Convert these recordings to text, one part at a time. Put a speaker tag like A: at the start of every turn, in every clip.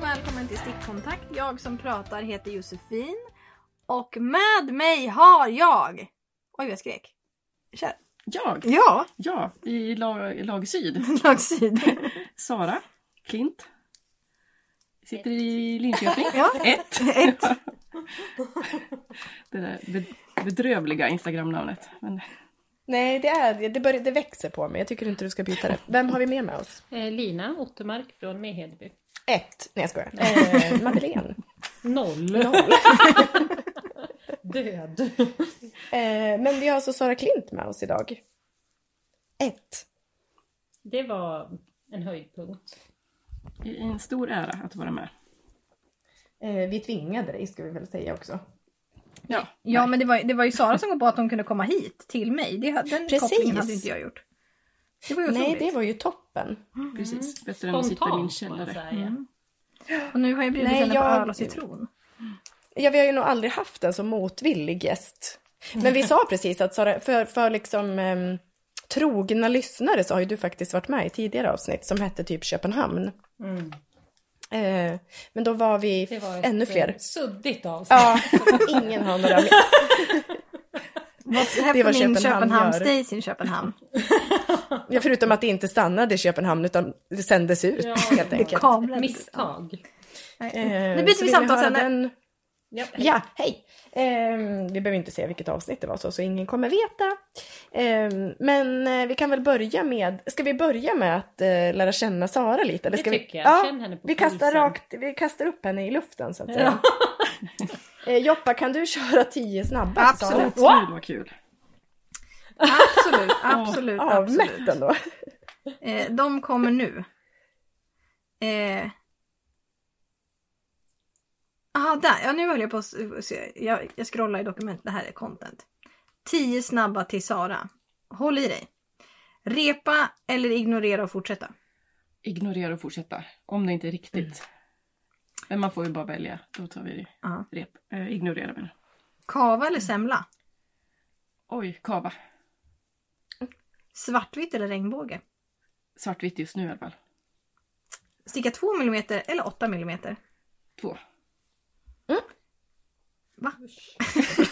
A: välkommen till Stickkontakt. Jag som pratar heter Josefin. Och med mig har jag... Oj, vad jag skrek. Kör.
B: Jag?
A: Ja,
B: Ja, i lag, i lag syd.
A: lag syd.
B: Sara Klint. Sitter i Linköping.
A: Ja.
B: Ett.
A: Ett.
B: Det där be- bedrövliga Instagram-namnet. Men
C: Nej, det är det. Börjar, det växer på mig. Jag tycker inte du ska byta det. Vem har vi mer med oss?
D: Eh, Lina Ottermark från Mehedby.
C: Ett. Nej, jag skojar. Eh, Madeleine.
D: Noll. Död.
C: Eh, men vi har alltså Sara Klint med oss idag. Ett.
D: Det var en höjdpunkt.
B: det är en stor ära att vara med.
C: Eh, vi tvingade dig, ska vi väl säga också.
B: Ja,
A: Ja, men det var, ju- det var ju Sara som kom på att hon kunde komma hit till mig. Det, den
C: Precis.
A: kopplingen hade inte jag gjort. Det var ju
C: Mm. Nej,
A: otroligt.
C: det var ju toppen.
A: Mm.
B: precis. Bättre än att sitta i min
D: Spontant får jag
B: källare.
D: säga.
A: Och nu har jag bjudit
C: Nej,
A: henne på
C: jag-
A: öl och citron.
C: Ja, vi har ju nog aldrig haft en så motvillig gäst. Men vi sa precis att Sara, för, för liksom ehm, trogna lyssnare så har ju du faktiskt varit med i tidigare avsnitt som hette typ Köpenhamn.
D: Mm.
C: Eh, men då var vi
D: Det var ett
C: ännu
D: eh,
C: fler.
D: suddigt avsnitt.
C: Ja, ingen har några
A: What's
C: var
A: happening
C: Köpenhamn
A: in Köpenhamn
C: gör.
A: stays in Köpenhamn.
C: Ja, förutom att det inte stannade i Köpenhamn utan det sändes ut
D: Ja.
C: helt enkelt.
A: Kablar.
D: Misstag.
A: Nej.
C: Eh,
A: Nu byter
C: så
A: vi
C: vill
A: samtal sen.
C: höra den-
D: Ja.
C: Ja, hej! Eh, vi behöver inte säga vilket avsnitt det var så, så ingen kommer veta. Eh, men eh, vi kan väl börja med, ska vi börja med att eh, lära känna Sara lite? Eller
D: Det
C: ska
D: tycker
C: vi,
D: jag.
C: Ja,
D: Känn henne på
C: vi kastar,
D: pulsen.
C: rakt, vi kastar upp henne i luften så att säga. Eh, Joppa, kan du köra tio snabba?
A: Absolut.
B: Åh, kul, vad kul.
A: Absolut, absolut,
C: Sara?
A: absolut.
C: Avmätt ändå.
A: Eh, de kommer nu. Eh. Aha, där. Ja, nu höll jag på att s- se. Jag, jag scrollar i dokument. Det här är content. 10 snabba till Sara. Håll i dig. Repa eller ignorera och fortsätta.
B: Ignorera och fortsätta. Om det inte är riktigt. Men man får ju bara välja. Då tar vi
A: Mm. Ja.
B: rep. Eh, ignorera menar jag.
A: Kava eller semla.
B: Oj, kava.
A: Svartvitt eller regnbåge.
B: Svartvitt just nu i alla fall.
A: Sticka 2 mm eller 8 mm.
B: Två.
A: Va?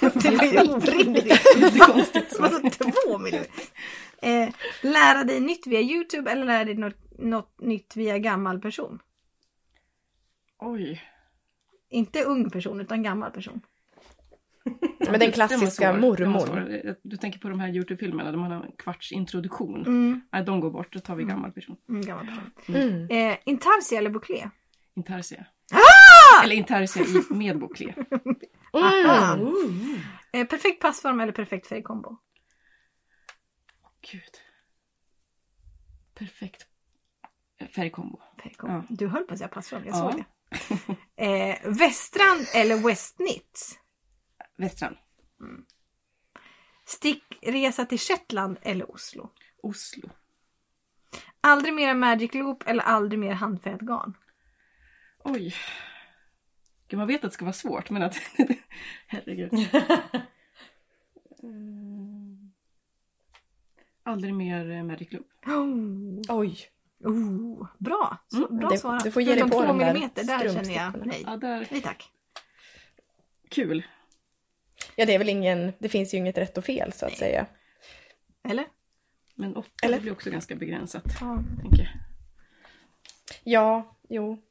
A: det var ju orimligt. Alltså 2 mm. Eh, lära dig nytt via Youtube eller lära dig något, något nytt via gammal person.
B: Oj.
A: Inte ung person utan gammal person.
C: Men den
B: Den
C: klassiska
B: var svår. Den var
C: mormor.
B: svår. Du tänker på de här Youtube-filmerna där man har en kvarts introduktion.
A: Mm,
B: Nej, de går bort. Då tar vi gammal person.
A: mm, gammal person.
C: Mm.
A: Eh, intarsia eller bouclé?
B: Intarsia.
C: Ah!
B: Eller Intarsia i med bouclé.
A: Ah.
C: Mm.
A: Eh, perfekt passform eller perfekt färgkombo?
B: Gud. Perfekt färgkombo.
A: Färgkombo.
B: Ja.
A: Du höll på att säga passform, jag
B: Ja.
A: såg det. Eh, västrand eller westnit?
B: Västran.
A: Stickresa till Shetland eller Oslo?
B: Oslo.
A: Aldrig mer magic loop eller aldrig mer handfärgat garn?
B: Oj. Gud, man vet att det ska vara svårt men att... Herregud. Eh, Mm. Aldrig mer eh, Magic Loop.
A: Oh,
C: Oj.
A: oh, bra så,
B: Mm,
A: bra
C: det-
A: svarat.
C: du får ge dig
A: Förutom
C: på
A: två
C: de där
A: millimeter, där känner jag
C: strumpstickorna.
A: nej.
B: Ja, där.
A: Nej tack.
B: Kul.
C: Ja, det är väl ingen, det finns ju inget rätt och fel så att säga.
A: Eller?
B: Men åtta
C: Eller?
B: blir också ganska begränsat.
A: Ja,
B: Tänker jag.
C: Ja, jo,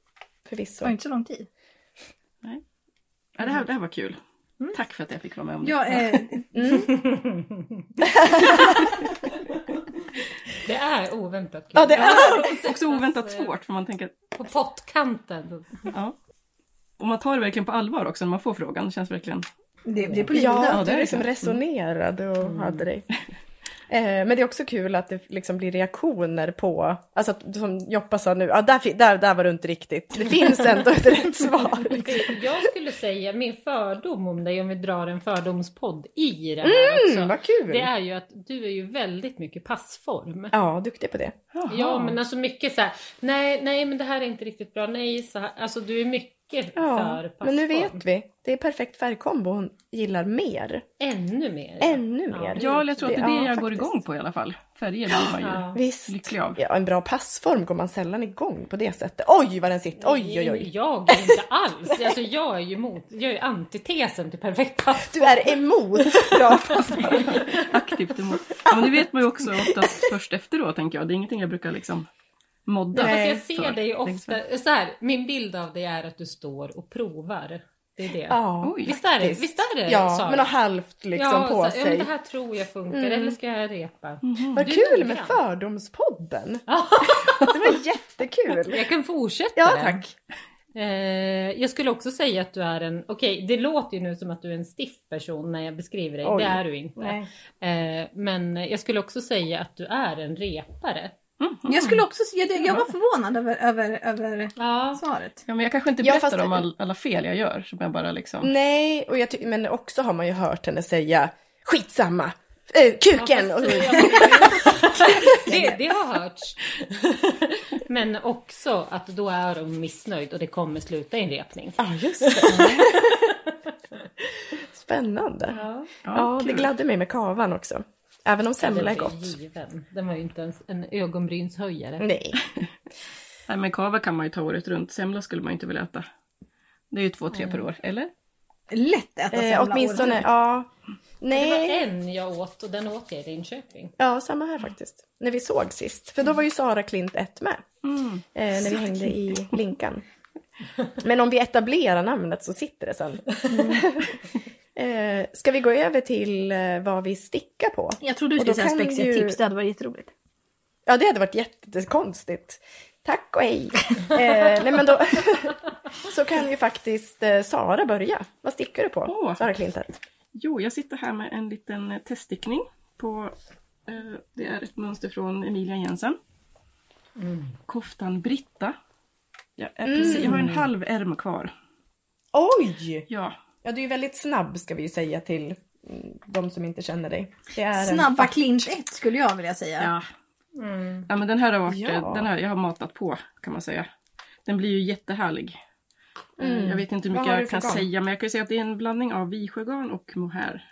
A: det
C: förvisso.
A: var inte så lång tid.
B: Ja, det, här, det här var kul. Tack för att jag fick vara med om det.
A: Ja, eh,
D: Det är oväntat kul.
C: Ja, det är...
B: Också oväntat svårt för man tänker att
D: På pottkanten.
B: Ja. Och man tar det verkligen på allvar också när man får frågan. Det känns verkligen...
A: det blir på livet.
C: Ja,
B: Ja, det
C: du
B: är
C: liksom
B: det. Mm.
C: resonerade och hade dig. Eh, Men det är också kul att det liksom blir reaktioner på, alltså att, som Joppa sa nu, ah, där, fi- där, där var du inte riktigt, det finns ändå ett rätt svar. Liksom.
D: Jag skulle säga min fördom om dig, om vi drar en fördomspodd i det här också.
C: Mm, vad kul!
D: Det är ju att du är ju väldigt mycket passform.
C: Ja, duktig på det.
B: Jaha.
D: Ja men alltså mycket så här. nej nej men det här är inte riktigt bra, nej så här. Alltså du är mycket
C: Ja,
D: för passform.
C: men nu vet vi, det är perfekt färgkombo hon gillar mer,
D: Ännu mer.
C: ännu
D: Ja.
C: mer.
B: Ja, eller jag tror att det är
C: Ja,
B: det jag går
C: faktiskt.
B: igång på i alla fall. Färger blir man ju
D: Ja.
C: Visst.
B: lycklig av.
C: Ja, en bra passform går man sällan igång på det sättet. Oj vad den sitter! Oj oj oj!
D: Jag är inte alls. Alltså, jag är ju mot, jag är ju antitesen till perfekt pass.
C: Du är emot bra passform.
B: Aktivt emot. Ja, men det vet man ju också oftast först efteråt tänker jag. Det är ingenting jag brukar liksom modda.
D: Ja, fast
C: Nej,
D: jag ser
B: för.
D: dig ju
B: Längs
D: ofta,
B: med.
D: så här, min bild av dig är att du står och provar. Det är det.
C: Ja,
B: Oj.
D: visst är det,
C: faktiskt.
D: visst är det
C: ja
D: Sara?
C: men har halvt liksom
D: ja,
C: på
D: så, Ja, men det
C: sig.
D: här tror jag funkar,
C: Mm.
D: eller ska jag repa?
B: Mhm.
C: Vad
D: Du är
C: kul med
D: noggrann.
C: Fördomspodden!
D: Ja.
C: Det var jättekul!
D: Jag kan fortsätta.
C: Ja tack!
D: Eh, jag skulle också säga att du är en, okej det låter ju nu som att du är en stiff person när jag beskriver dig,
C: Oj.
D: det är du inte. Eh, men jag skulle också säga att du är en repare.
B: Mhm.
A: Jag skulle också, jag, jag var förvånad över, över, över
D: Ja.
A: svaret.
B: Ja, men jag kanske inte
C: Ja,
B: berättar
C: fast- Mm,
B: om all, alla fel jag gör. Som jag bara liksom...
C: Nej, och jag ty- men också har man ju hört henne säga skitsamma! Äh, kuken!
D: Ja,
C: och,
D: fast- det, det har hörts. Men också att då är de missnöjd och det kommer sluta i en repning.
C: Ja, just det. Spännande. Ja, det
B: kul.
C: gladde mig med kavan också. Även om semla är
D: Den var ju
C: gott.
D: Given. Den var ju inte ens en ögonbrynshöjare.
C: Nej.
B: Nej, men kava kan man ju ta året runt. Semla skulle man ju inte vilja äta. Det är ju två, tre per år. Eller?
A: Lätt att äta
C: Eh,
A: semla året
C: åtminstone,
A: runt.
C: ja.
D: Det var
C: Nej.
D: en jag åt och den åt jag i Linköping.
C: Ja, samma här faktiskt. När vi såg sist. För då var ju Sara Klint ett med.
B: Mm.
C: Eh, när vi hängde i Linkan. Men om vi etablerar namnet så sitter det sen. eh, ska vi gå över till eh, vad vi stickar på?
A: Jag trodde du
C: Och då
A: skulle säga
C: kan
A: spexiga
C: ju-
A: tips, det hade varit jätteroligt.
C: Ja, det hade varit jättekonstigt. Tack och hej! Eh, nej men då, så kan ju faktiskt eh, Sara börja. Vad stickar du på?
B: Åh.
C: Sara Klintet.
B: Jo, jag sitter här med en liten eh, teststickning. På, eh, det är ett mönster från Emilia Jensen. Koftan Britta. Jag, är precis, jag har en halv ärm kvar.
C: Oj!
B: Ja,
C: Ja, du är ju väldigt snabb ska vi ju säga till mm, de som inte känner dig. Det är en...
A: Snabba clinch 1 skulle jag vilja säga.
B: ja.
C: Mm.
B: ja men den här har varit,
C: Ja.
B: eh, den här, jag har matat på kan man säga. Den blir ju jättehärlig. Eh, Jag vet inte hur
C: Vad
B: mycket
C: har du
B: jag
C: för
B: kan
C: garn?
B: säga men jag kan ju säga att det är en blandning av visjögarn och mohair.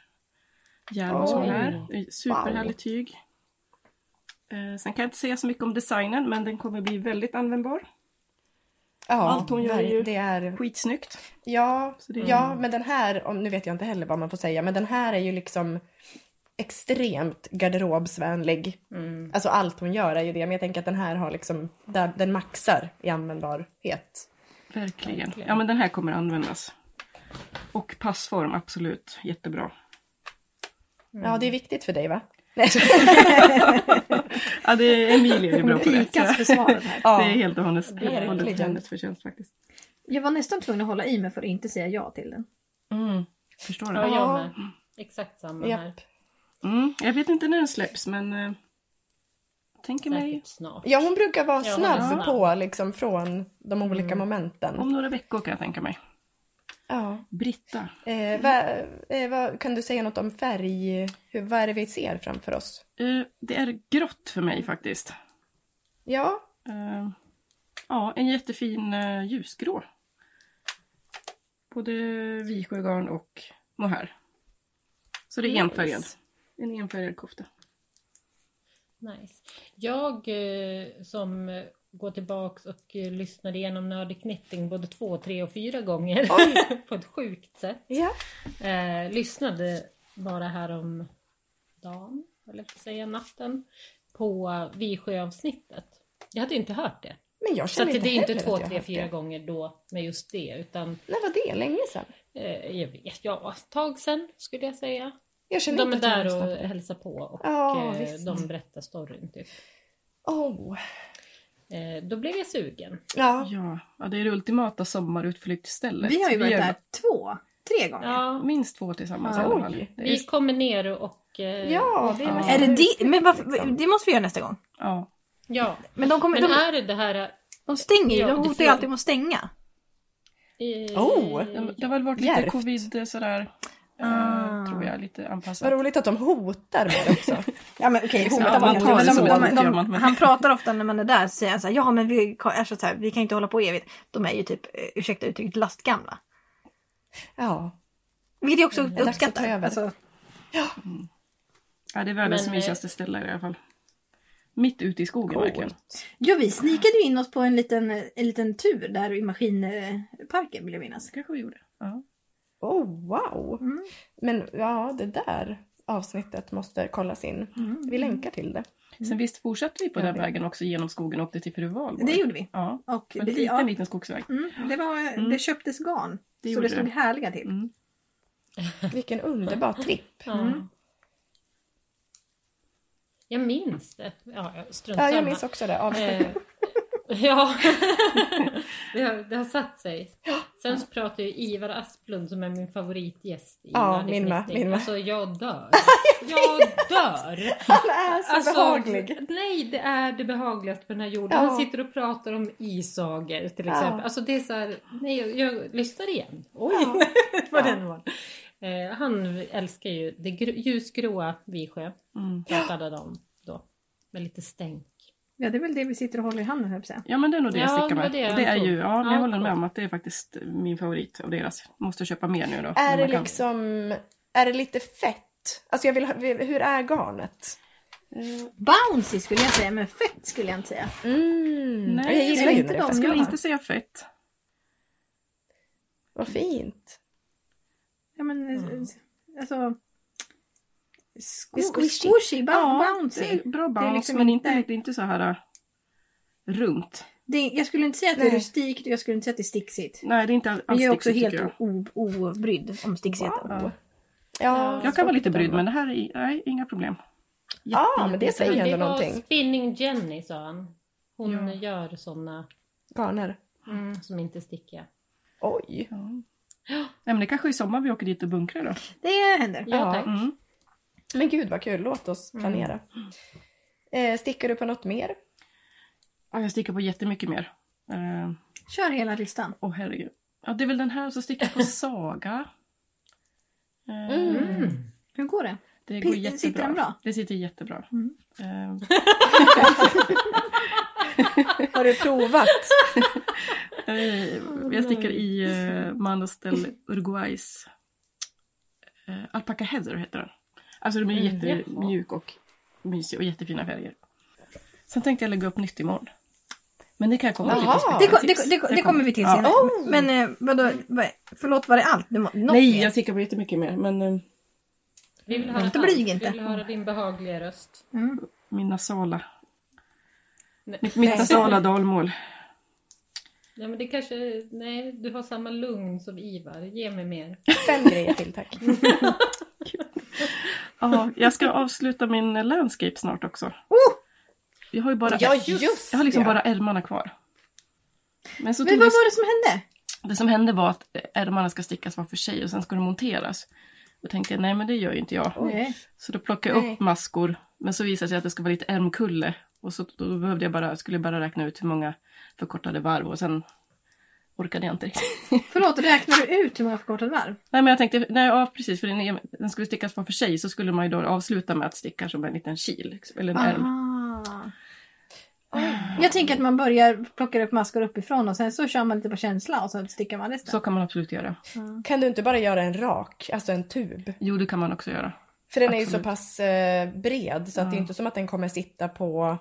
B: Järnås
C: Oj.
B: mohair. Det är Superhärligt tyg. Eh, Sen kan jag inte säga så mycket om designen men den kommer bli väldigt användbar.
C: Ja,
B: Allt hon gör är ju-
C: Det är...
B: Skitsnyggt.
C: Ja,
B: Så det är-
C: ja, men den här, om- nu vet jag inte heller vad man får säga, men den här är ju liksom extremt garderobsvänlig.
B: Mm.
C: Alltså allt hon gör är ju det, men jag tänker att den här har liksom, där, den maxar i användbarhet.
B: Verkligen. Ja men den här kommer användas. Och passform, absolut. Jättebra.
C: Ja,
B: Mm.
C: det är viktigt för dig va? Nej.
B: Ja, det är Emilia är bra på det.
A: Pikas för
B: så-
A: svaret här.
C: Ja.
B: Det är helt och hållet
C: Verkligen.
B: hållet hennes förtjänst faktiskt.
A: Jag var nästan tvungen att hålla i mig för att inte säga ja till den.
B: Mm. Förstår
D: Ja,
B: du?
D: jag med. Exakt samma här.
C: Japp.
B: Mm. Jag vet inte när den släpps men eh, tänker mig
D: Säkert snart.
C: Ja, hon brukar vara
D: Ja, hon är
C: snabb
D: snabb.
C: på liksom från de olika momenten.
B: Mm. om några veckor kan jag tänka mig.
C: Ja.
B: Britta.
C: Eh, va, eh, vad- kan du säga något om färg? Hur, vad är det vi ser framför oss?
B: Eh, det är grått för mig faktiskt.
C: Ja,
B: Eh, ja, en jättefin eh, ljusgrå. Både visjögarn och mohair. Så det är
C: Nice.
B: enfärgad. En enfärgad kofta.
D: Nice. Jag eh, som eh, går tillbaks och eh, lyssnar igenom Nördig Knitting både två, tre och fyra gånger på ett sjukt sätt.
C: ja.
D: Eh, lyssnade bara här om dagen, eller jag säga natten, på Visjöavsnittet. Jag hade ju inte hört det.
C: men jag
D: Så att
C: känner inte
D: det är inte
C: heller
D: två,
C: att jag
D: tre,
C: haft
D: fyra
C: det.
D: gånger då med just det utan
C: När var det? Länge sedan?
D: eh, jag vet, ja, ett tag sen skulle jag säga.
C: Jag känner
D: De är
C: inte att jag
D: där
C: lyssnar
D: och
C: på det.
D: hälsar på och
C: Ja,
D: eh,
C: visst.
D: de berättar storyn typ.
C: Åh.
D: Eh, då blev jag sugen.
C: Ja.
B: Ja, ja, det är det ultimata sommarutflyktsstället.
A: Vi har ju varit
B: är
A: där två, tre gånger.
D: Ja,
B: Minst två tillsammans i
A: Ja.
B: alla fall.
C: Oj.
B: Det är-
D: vi kommer ner och... eh,
C: ja, det är
B: Ja.
C: mest
A: Är det di- men varför,
C: liksom.
A: det måste vi göra nästa gång.
B: Ja.
D: ja.
A: Men de, kommer,
D: Men
A: de,
D: är det det här... eh,
A: de stänger ju,
D: Ja,
A: de
D: det
A: hotar
D: får-
A: ju alltid med att stänga.
D: eh,
C: Oh,
B: Det det har väl varit lite
C: Djärvt.
B: covid eh, sådär.
A: Ah.
B: Eh, tror jag, lite
C: Vad
B: anpassat.
C: roligt att de hotar med det också.
A: Ja men okej,
B: hota var inte- men de- de- de-
A: Han pratar ofta när man är där så säger han så här, ja men vi, är så här, vi kan inte hålla på evigt. De är ju typ, eh, ursäkta uttrycket, lastgamla.
C: Ja.
A: Vilket jag också
C: dags att ta
A: uppskattar.
C: över.
A: Alltså,
B: Ja, det är världens
D: Men, eh,
B: mysigaste ställe i alla fall. Mitt ute i skogen verkligen.
C: Coolt.
A: Ja, vi snikade ju in oss på en liten, eh, en liten tur där i maskinparken vill jag minnas.
B: Så kanske vi gjorde. Ja.
C: Oh, wow!
A: Mm.
C: Men ja, det där avsnittet måste kollas in. Vi länkar till det.
B: Sen visst fortsatte vi på
C: Jag
B: den
C: vet.
B: vägen också genom skogen och åkte till Furuvalborg.
A: Det gjorde vi.
B: Ja,
A: Och
B: en
A: det,
B: liten,
A: ja,
B: liten skogsväg.
A: mm, det, var,
B: Mm.
A: det köptes garn.
B: Det
A: så
B: gjorde
A: det stod
B: det.
A: härliga till.
B: Mm.
C: Vilken underbar tripp!
D: Ja.
A: Mm.
D: Jag minns det. Ja, jag strunt
C: Ja,
D: samma.
C: jag minns också det. avsnittet.
D: Eh, ja, det har, det har satt sig. Sen så pratar ju Ivar Asplund som är min favoritgäst i
C: Ja,
D: Nördig
C: min med,
D: Knitting.
C: min med.
D: Alltså jag dör. jag dör!
C: Han är så
D: Alltså,
C: behaglig!
D: Nej, det är det behagligaste på den här jorden.
C: Ja.
D: Han sitter och pratar om isagor till exempel.
C: Ja.
D: Alltså det är så här, nej jag, jag lyssnar igen. Oj,
C: Ja.
D: vad den var. Eh, han älskar ju det gr- ljusgråa Visjö,
B: Mm.
D: pratade de om då. Med lite stänk.
A: Ja, det är väl det vi sitter och håller i handen höll jag på att säga.
B: Ja men det är nog det jag
D: Ja,
B: stickar
D: det var
B: med.
D: det jag
B: Och det är
D: antog.
B: ju, ja, men
D: Ja,
B: jag håller med
D: bra.
B: om att det är faktiskt min favorit av deras. Måste köpa mer nu då. när
C: Är det
B: man kan.
C: liksom, är det lite fett? Alltså jag vill ha- hur är garnet?
B: Eh,
D: Mm.
A: Bouncy skulle jag säga, men fett skulle jag inte säga.
C: Mm.
B: Nej,
C: jag
A: det är
C: gillar ju
A: inte de
C: när det är
B: Jag
C: fett
B: skulle
A: Ja.
C: garn.
B: inte säga fett.
C: Vad fint!
A: Ja, men,
D: Mm.
A: alltså,
C: Det
A: sko-
C: är squishy.
A: squishy, ba-
B: Ja,
A: bouncy.
B: det är Bra bounce
A: liksom
B: men inte,
A: inte-
B: inte... inte så här äh, runt.
A: Det, jag skulle inte säga att det är
C: Nej.
A: rustikt och jag skulle inte säga att det är sticksigt.
B: Nej det är inte all-
A: Men
B: alls
A: jag är också
B: sticksigt, tycker
A: helt
B: jag.
A: o- obrydd om sticksheten.
C: Wow.
D: Ja.
C: Ja,
B: Jag kan vara lite brydd men det här är nej, inga problem.
C: Ja, men det
D: Men
C: säger
D: det
C: ändå
D: var
C: någonting.
D: Spinning Jenny sa han. Hon
B: Ja.
D: gör såna
C: Garner.
D: som inte sticker.
C: Oj.
B: Ja. Nej, men det kanske är i sommar vi åker dit och bunkrar då.
A: Det händer.
D: Ja,
C: Ja.
D: tack.
B: Mm.
C: Men gud vad kul, låt oss
D: Mm.
C: planera. Eh, stickar du på något mer?
B: Ja, jag stickar på jättemycket mer. Eh, Kör
A: Hela listan.
B: Åh herregud. Ja, det är väl den här som stickar på Saga. Eh,
D: Mm.
A: Hur går det?
B: Det
A: Pi-
B: går
A: sitter
B: jättebra.
A: den bra?
B: Det sitter jättebra.
A: Mm.
B: Eh,
C: Har du provat?
B: eh, jag stickar i eh, Manostel Uruguays eh, Alpaca Heather heter den. Alltså de är
D: Mm,
B: jättemjuk och mysig och jättefina färger. Sen tänkte jag lägga upp nytt imorgon. Men det kan jag komma till.
C: Jaha.
B: på
A: Det,
B: speciella
A: ko- det,
B: tips.
A: ko- det, ko- det kommer vi till
B: Ja. Oh!
A: senare. Men eh, vadå, vad, förlåt var det allt? Du må, något
B: Nej,
A: mer?
B: jag stickar på jättemycket mer. Men eh,
D: Vi vill höra
A: Inte
D: allt.
A: blyg inte.
D: Vi vill höra din behagliga röst.
B: Oh!
A: Mm.
B: min nasala.
D: Nej.
B: Mitt, mitt nasala dalmål.
D: Ja, men det kanske, nej, du har samma lugn som Ivar. Ge mig mer.
C: Fem grejer till tack.
B: Ja, jag ska avsluta min eh, landscape snart också.
A: Oh!
B: Jag har ju bara,
C: Ja, just
B: jag har liksom
C: det.
B: bara ärmarna kvar. Men så
A: Men
B: tog
A: vad
B: det,
A: var det som hände?
B: det som hände var att eh, ärmarna ska stickas var för sig och sen ska de monteras. Då tänkte jag, nej men det gör ju inte jag.
A: Nej.
B: Så då plockade jag
C: Nej.
B: upp maskor, men så visade det sig att det ska vara lite ärmkulle. Och så då behövde jag bara, skulle jag bara räkna ut hur många förkortade varv och sen orkade jag inte riktigt.
A: Förlåt, räknar du ut hur många förkortade varv?
B: Nej men jag tänkte, nej ja precis för den, är- den skulle stickas var för sig så skulle man ju då avsluta med att sticka som en liten kil, liksom, eller en ärm.
A: Aha. Jag tänker att man börjar plocka upp maskor uppifrån och sen så kör man lite på känsla och så stickar man resten.
B: Så kan man absolut göra.
C: Kan du inte bara göra en rak, alltså en tub?
B: Jo, det kan man också göra.
C: För den är ju så
B: Absolut.
C: pass eh, bred så att det är inte som att den kommer sitta på...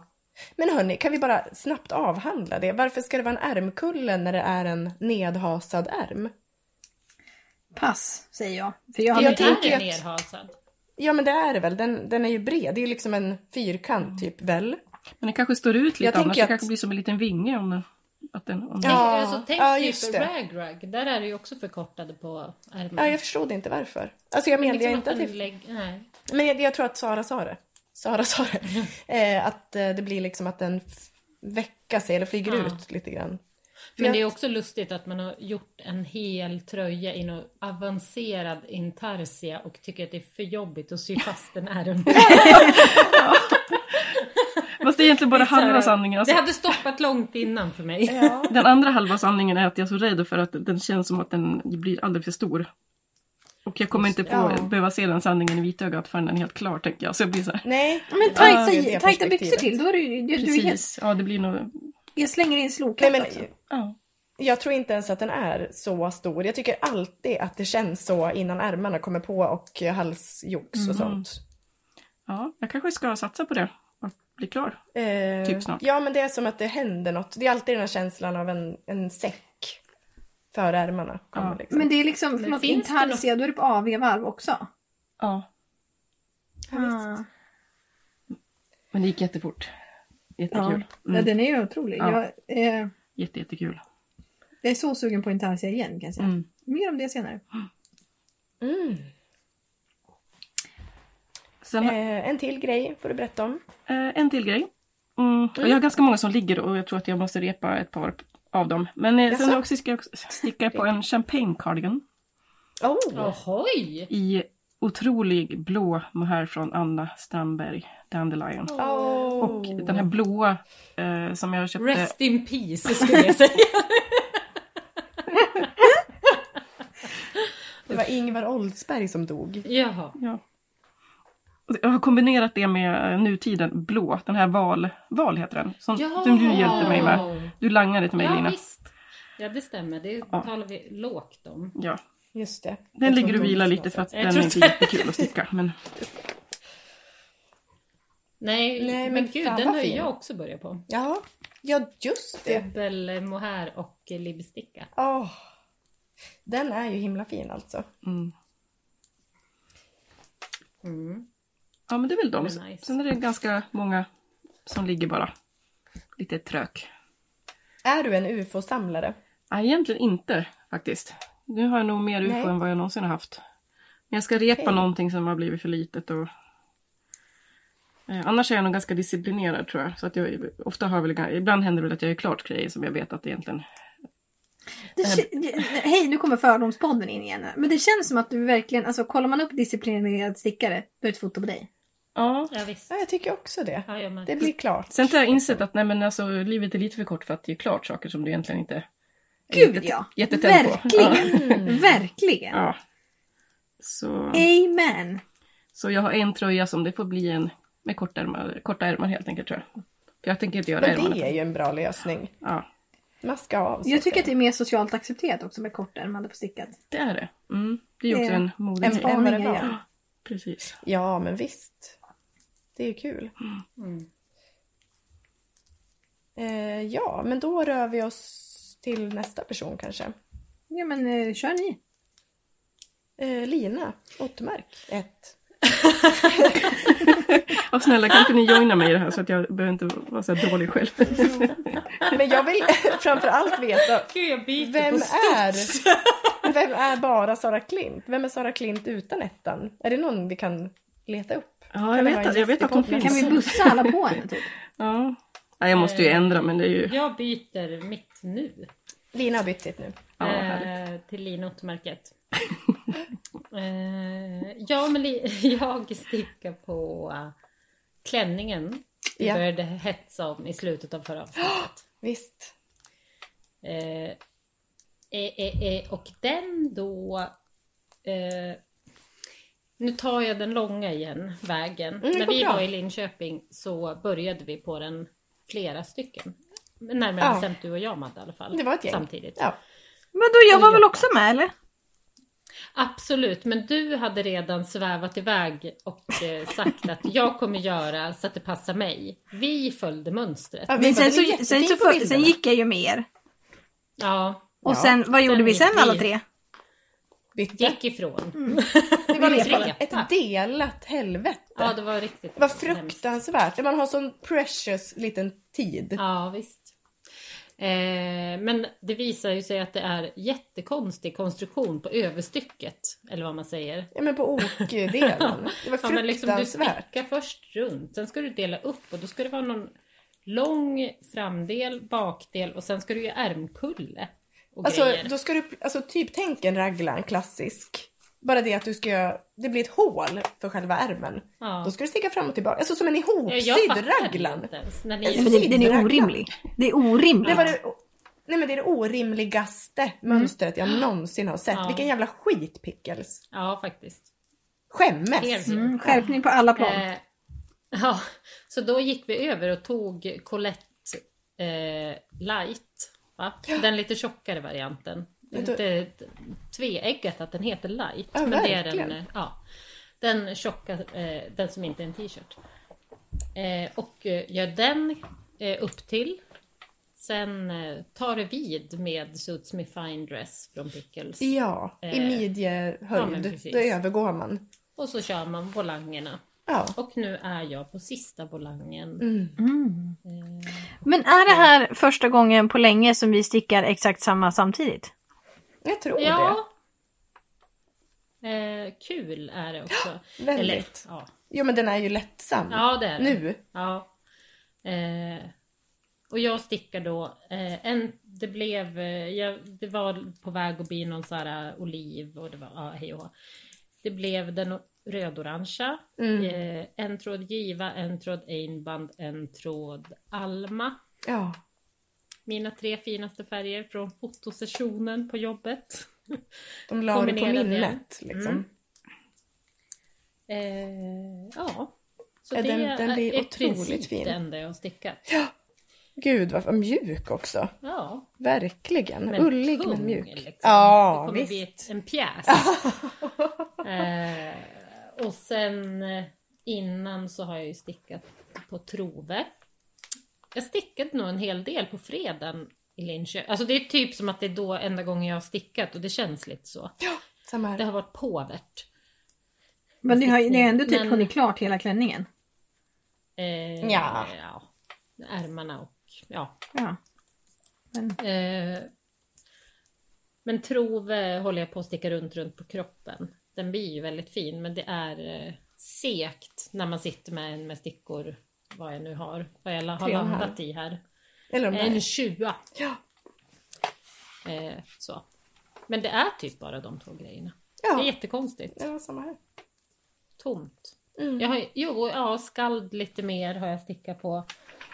C: Men hörni, kan vi bara snabbt avhandla det? Varför ska det vara en ärmkulle när det är en nedhasad ärm?
A: Pass, säger jag. För jag har
C: För jag
D: Men
A: mycket-
C: tänker
D: är den
C: att-
D: nerhasad?
C: Ja men det är det väl, den, den är ju bred, det är ju liksom en fyrkant typ väl?
B: Men den kanske står ut
C: Jag
B: lite
C: tänker
B: annars. Det
C: att-
B: kanske blir som en liten vinge om den... Att den om
C: Ja,
B: den...
D: tänk alltså, tänk
C: ja, just
D: typ
C: det.
D: rag rag. Där är det ju också förkortade på ärmarna.
C: Ja, jag förstod inte varför. Alltså jag menar
D: Liksom
C: inte att
D: den
C: det...
D: lägg- nej.
C: Men jag, jag tror att Sara sa det. Sara sa det. Eh, att eh, det blir liksom att den f- väcker sig eller flyger
D: Ja.
C: ut lite grann. För
D: Men
C: jag-
D: det är också lustigt att man har gjort en hel tröja i någon avancerad intarsia och tycker att det är för jobbigt att sy fast en ärm.
B: Fast det är egentligen bara halva sanningen.
D: Det
B: Alltså,
D: hade stoppat långt innan för mig.
C: Ja.
B: Den andra halva sanningen är att jag är så rädd för att den känns som att den blir alldeles för stor. Och jag kommer inte få
C: Ja.
B: behöva se den sanningen i vitögat förrän den är helt klar, tänker jag. Så jag blir så här,
C: Nej.
A: Men
C: Ja, det är
A: tajta, tajta
C: det perspektivet.
A: byxor till, då är du, ju- du, du är helt...
B: precis. Ja, det blir nog...
A: Jag slänger in
C: Nej,
A: slokatt
C: men,
A: också.
B: Ja.
C: jag tror inte ens att den är så stor. Jag tycker alltid att det känns så innan ärmarna kommer på och halsjox och sånt.
B: ja, jag kanske ska satsa på det. att bli klar.
C: Eh,
B: Typ snart.
C: Ja, men det är som att det händer något. Det är alltid den här känslan av en, en säck för ärmarna. Kommer,
B: Ja.
C: liksom.
A: Men det är liksom,
D: Men
A: förlåt,
D: finns
A: inte
D: det något-
A: halvsida, då är det på AV-varv också.
B: Ja,
C: Ja, visst.
A: Ah.
B: men det gick jättefort.
A: Ja.
B: Jättekul.
A: ja,
B: Mm.
A: den är ju otrolig.
B: Ja.
A: Jag, eh,
B: Jätte, jättekul.
A: jag är så sugen på Intarsia igen kan jag säga.
B: Mm.
A: Mer om det senare.
C: mm.
B: Sen
C: eh, en till grej får du berätta om.
B: Eh, en till grej. Mm. Och jag har ganska många som ligger och jag tror att jag måste repa ett par av dem. Men eh, sen har jag också ska jag också sticka på en champagne cardigan
C: Oh.
D: Ohoj!
B: i otrolig blå mohair från Anna Strandberg, Dandelion.
C: Oh.
B: Och den här blåa eh, som jag köpte.
D: Rest in peace skulle jag säga.
C: Det var Ingvar Oldsberg som dog.
D: Jaha.
B: Ja. Och Jag har kombinerat det med eh, nutiden blå, den här val, val heter den, som,
D: Ja.
B: som du hjälpte mig med. Du langade till mig
D: Ja
B: Lina.
D: visst. Ja det stämmer, det talar vi lågt om.
B: Ja.
C: Just det.
B: Den ligger och vilar lite för att
D: Jag
B: den är
D: tror
B: inte
D: inte-
B: jättekul att sticka. Men
D: Nej,
C: Nej,
D: men,
C: men
D: gud
C: fan,
D: den
C: vad
D: har ju
C: fin.
D: jag också börjat på.
C: Ja, ja just det.
D: Dubbel mohair och libsticka.
C: Oh. Den är ju himla fin alltså.
B: mm.
D: Mm.
B: Ja men det är väl de.
D: Det är nice.
B: Sen är det ganska många som ligger bara lite trök.
C: Är du en ufo-samlare?
B: Nej egentligen inte faktiskt. Nu har jag nog mer ufo
C: Nej.
B: än vad jag någonsin har haft. Men jag ska repa
C: Okej.
B: någonting som har blivit för litet och eh, Annars är jag nog ganska disciplinerad tror jag. Så att jag ofta har väl, ibland händer det väl att jag är klart grejer som jag vet att det egentligen...
A: Det, kä- det- hej, nu kommer Fördomspodden in igen. här. Men det känns som att du verkligen, alltså kollar man upp disciplinerad stickare, då är det ett foto på dig.
B: Ja.
D: Ja visst.
C: Ja, jag tycker också det.
D: Ja, ja, men...
C: Det blir klart.
B: Sen har jag insett att nej men alltså livet är lite för kort för att ge klart saker som du egentligen inte är
A: Gud,
B: jätte-
A: ja.
B: jättetänd på.
A: Verkligen. Mm. Verkligen!
B: Ja. Så...
A: Amen!
B: Så jag har en tröja som det får bli en med korta ärmar, korta ärmar helt enkelt tror jag. För jag tänker inte göra
C: Men
B: ärmarna.
C: det är ju en bra lösning.
B: Ja,
C: Maska av. så
A: Jag
C: att
A: tycker att det
C: säga.
A: är mer socialt accepterat också med kortärmad på stickat.
B: det är det. Mm. Det är ju också
A: Det är
B: en modegrej.
C: en
A: spaning
C: var det
A: jag
C: bra.
A: gör.
B: Precis.
C: Ja, men visst. Det är kul.
D: Mm.
C: Eh, ja, men då rör vi oss till nästa person kanske.
A: Ja men eh, kör ni.
C: Eh, Lina Ottmark, ett.
B: Och snälla kan inte ni joina mig i det här så att jag behöver inte vara så här dålig själv.
C: Men jag vill framför allt veta,
D: Gud jag biter
C: vem
D: på
C: är, vem är bara Sara Klint? Vem är Sara Klint utan ettan? Är det någon vi kan leta upp?
B: Ja, jag
C: det vara
B: vet,
C: en
B: att, jag vet att hon
C: gästipodden?
B: finns.
A: Kan vi Eh, bussa alla på henne typ?
B: Ja. Nej, jag måste ju ändra men det är ju...
D: Jag byter mitt nu.
C: Lina har bytt sitt nu.
B: Ja, härligt.
D: eh, till Lina Ottmarket. eh, ja, men li- jag stickar på eh, klänningen. Vi
C: Ja.
D: började hetsa om i slutet av förra avsnittet.
C: Visst.
D: Eh, eh, eh, eh, och den då... Eh, nu tar jag den långa igen, vägen. När
C: vad Mm,
D: vi
C: bra.
D: var i Linköping så började vi på den flera stycken. Men Närmare
C: Ja.
D: bestämt du och jag Madde i alla fall.
C: Det var ett gäng.
D: Samtidigt.
C: Ja.
A: Men då, jag var väl också med eller?
D: Absolut, men du hade redan svävat iväg och eh, sagt att jag kommer göra så att det passar mig. Vi följde mönstret.
C: Ja, vi
A: Men
C: bara,
A: sen,
C: det är
A: så, sen,
C: jättefint
A: så
C: på
A: för,
C: bilderna.
A: sen gick jag ju med er.
D: Ja,
A: Och
C: Ja.
A: sen, vad gjorde vi
D: gick
A: sen
D: vi.
A: alla tre?
C: Bytte.
D: gick ifrån.
C: Det Mm. var
D: Vi
C: liksom
D: repade.
C: ett delat helvete.
D: Ja, det var riktigt
C: Vad
D: hemskt.
C: fruktansvärt. Man har sån precious liten tid.
D: Ja, visst. Eh, men det visar ju sig att det är jättekonstig konstruktion på överstycket, eller vad man säger.
C: Ja men på OK-delen. Det var
D: Ja, men liksom du
C: fruktansvärt.
D: stickar först runt, sen ska du dela upp och då ska det vara någon lång framdel, bakdel och sen ska du göra ärmkulle och
C: Alltså,
D: grejer.
C: då ska du, alltså typ tänk en raglan klassisk. Bara det att du ska göra, det blir ett hål för själva ärmen.
D: Ja.
C: Då ska du sticka fram och tillbaka, alltså som en
D: Ja,
C: ihopsydd
D: fattar det
C: raglan.
D: inte ens. När
C: Ja,
A: Nej,
D: ni,
A: Alltså, men det, den är
C: Sidorna.
A: orimlig. Det är
C: Det
A: orimligt.
C: var det, nej men det är det orimligaste mönstret jag någonsin har sett.
D: Mm. Ja.
C: Vilken jävla skit pickles.
D: ja, faktiskt.
C: Skämmes!
D: Helt
A: Mm, skärpning på alla plan.
D: Eh, ja, så då gick vi över och tog Colette eh, light. Va? Den lite tjockare varianten. Det är
C: Men då-
D: lite tveeggat att den heter light.
C: Ja,
D: men det är den,
C: verkligen.
D: eh, ja, den tjocka, eh, den som inte är en t-shirt. Eh, och eh, gör den eh, upp till. Sen eh, tar det vid med Suits Me Fine Dress från Pickles.
C: Ja, i
D: Eh, ja, men
C: midjehöjd.
D: precis.
C: Då övergår man.
D: Och så kör man volangerna.
C: Ja.
D: Och nu är jag på sista volangen. Eh,
C: Mm.
A: Men är det här första gången på länge som vi stickar exakt samma samtidigt?
C: Jag tror det.
D: Ja. Eh, kul är det också.
C: Väldigt.
D: ja.
C: Jo men den är ju lättsam.
D: ja, det är det.
C: Nu.
D: Ja. Eh, och jag stickar då, eh, en, det blev, eh, jag, det var på väg att bli någon så här eh, oliv och det var, ja hej och hå. Det blev den o- rödorangea,
C: Mm.
D: eh, en tråd Giva, en tråd Einband, en tråd Alma.
C: Ja.
D: Mina tre finaste färger från fotosessionen på jobbet.
C: De la det på
D: Kombinerade.
C: minnet. Liksom.
D: Mm. Eh, ja. Så
C: Ja,
D: det
C: den- den
D: är
C: blir
D: i
C: otroligt
D: princip
C: fin.
D: det enda jag har stickat.
C: Gud vad vad mjuk också.
D: Ja.
C: Verkligen.
D: men
C: Ullig
D: tung,
C: men mjuk.
D: liksom. det
C: Ja,
D: kommer
C: visst.
D: bli ett- en pjäs. eh, och sen eh, innan så har jag ju stickat på Trove. Jag stickat nog en hel del på freden i Linköping. Alltså det är typ som att det är då enda gången jag har stickat och det känns lite så.
C: Samma
D: Det
C: här.
D: har varit påvert.
A: Men ni har ju ni har ändå typ
D: Men-
A: hunnit klart hela klänningen.
D: Eh,
C: Ja.
D: ja. Ärmarna och ja.
A: Ja.
D: Eh, men trove håller jag på att sticka runt, runt på kroppen. Den blir ju väldigt fin, men det är eh, sekt när man sitter med en med stickor, vad jag nu har, vad jag la- har
C: Tre och en halv.
D: landat i här.
C: Eller de
D: En
C: där.
D: tjua.
C: Ja.
D: Eh, så. Men det är typ bara de två grejerna. Det är
C: Ja.
D: jättekonstigt.
C: ja, samma här.
D: Tomt.
C: Mm.
D: Jag har, jo, ja, skald lite mer har jag stickat på.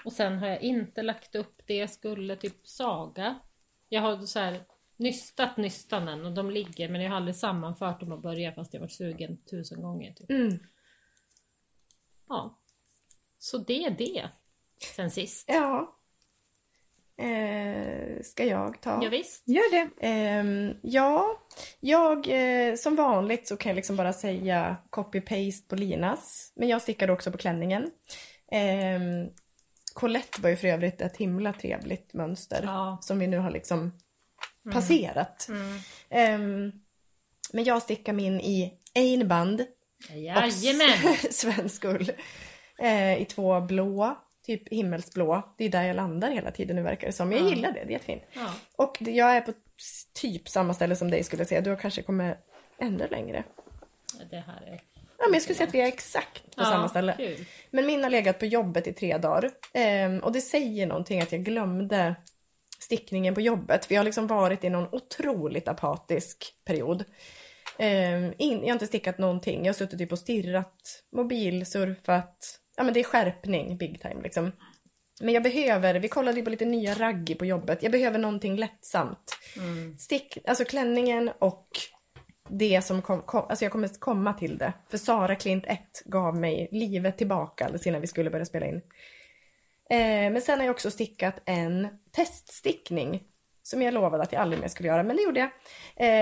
D: Och sen har jag inte lagt upp det jag skulle, typ saga. Jag har så här nystat nystanen och de ligger men jag har aldrig sammanfört dem och börjat fast jag varit sugen tusen gånger. Typ.
C: Mm.
D: Ja. Så det är det. Sen sist.
C: Ja. Eh, ska jag ta?
D: Ja, visst.
A: Gör det.
C: Ehm, ja, jag eh, som vanligt så kan jag liksom bara säga copy-paste på Linas. Men jag stickade också på klänningen. Ehm, Colette var ju för övrigt ett himla trevligt mönster
D: Ja.
C: som vi nu har liksom passerat.
D: Mm.
C: Ehm, men jag stickar min i einband och s-
D: Jajamän!
C: svensk ull. Eh, I två blå, typ himmelsblå. Det är där jag landar hela tiden nu verkar det som. Jag
D: Ja.
C: gillar det, det är jättefint.
D: Ja.
C: Och det- jag är på s- typ samma ställe som dig skulle jag säga. Du har kanske kommit ännu längre.
D: Det här är
C: Ja, men jag skulle säga att vi är exakt på
D: ja,
C: samma ställe.
D: Kul.
C: Men min har legat på jobbet i tre dagar. Ehm, och det säger någonting att jag glömde stickningen på jobbet. För jag har liksom varit i någon otroligt apatisk period. Ehm, in, jag har inte stickat någonting. Jag har suttit typ och stirrat, mobilsurfat. Ja men det är skärpning big time liksom. Men jag behöver, vi kollade ju på lite nya raggi på jobbet. Jag behöver någonting lättsamt. Stick, alltså klänningen och det som kom, kom, alltså jag kommer komma till det. För Sara Klint 1 gav mig livet tillbaka alldeles innan vi skulle börja spela in. Eh, men sen har jag också stickat en teststickning som jag lovade att jag aldrig mer skulle göra, men det gjorde jag.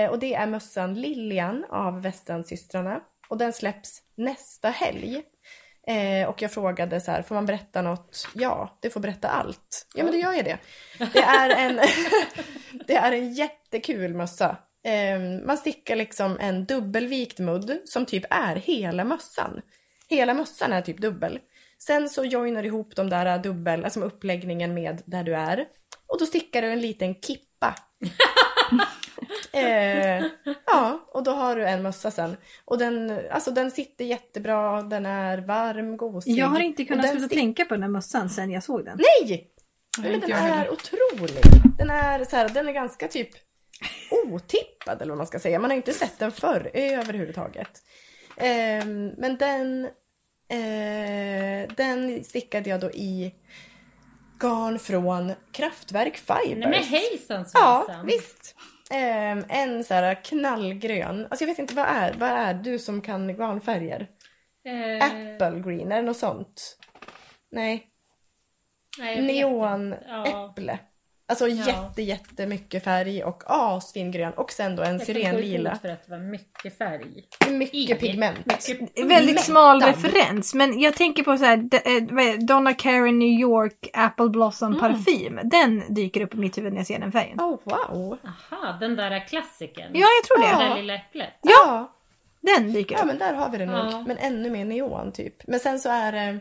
C: Eh, och det är mössan Lilian av Västernsystrarna och den släpps nästa helg. Eh, och jag frågade så här, får man berätta något? Ja, du får berätta allt. Ja, men då gör jag det. Det är en, det är en jättekul mössa. Eh, man stickar liksom en dubbelvikt mudd som typ är hela mössan. Hela mössan är typ dubbel. Sen så joinar du ihop de där dubbel, alltså med uppläggningen med där du är. Och då stickar du en liten kippa. eh, ja, och då har du en mössa sen. Och den, alltså den sitter jättebra, den är varm, gosig.
A: Jag har inte
C: Och
A: kunnat
C: den
A: sluta tänka på den här mössan sen jag såg den.
C: Nej!
B: Nej,
C: Nej, men
B: inte
C: den
B: jag heller.
C: är otrolig. Den är, så här, den är ganska typ otippad eller vad man ska säga. Man har inte sett den förr eh, överhuvudtaget. Ehm, men den, eh, den stickade jag då i garn från Kraftwerk Fibers.
D: Nej, men hejsan
C: Ja,
D: svejsan!
C: visst. Ehm, en så här knallgrön, alltså jag vet inte vad är, vad är du som kan garnfärger?
D: Eh,
C: Apple green, är det något sånt? Nej,
D: nej, jag vet inte.
C: neonäpple.
D: Ja.
C: Alltså Alltså
D: Ja.
C: jätte, jättemycket färg och asfin grön och sen då en
D: Jag kan gå i god
C: syrenlila.
D: för att det var mycket färg.
C: Mycket pigment.
D: Mycket
A: Väldigt smal
C: Mättad.
A: referens. Men jag tänker på så här, d- eh, vad är det? Donna Karen New York Apple Blossom parfym. Den dyker upp i mitt huvud när jag ser den färgen.
C: Oh, wow.
D: Aha, den där klassikern.
A: Ja, jag tror
D: Det
A: det.
D: där lilla äpplet.
C: Ja.
A: Den dyker
C: ja,
A: upp.
C: men där har vi det nog.
D: Ja.
C: Men ännu mer neon typ. Men sen så är det,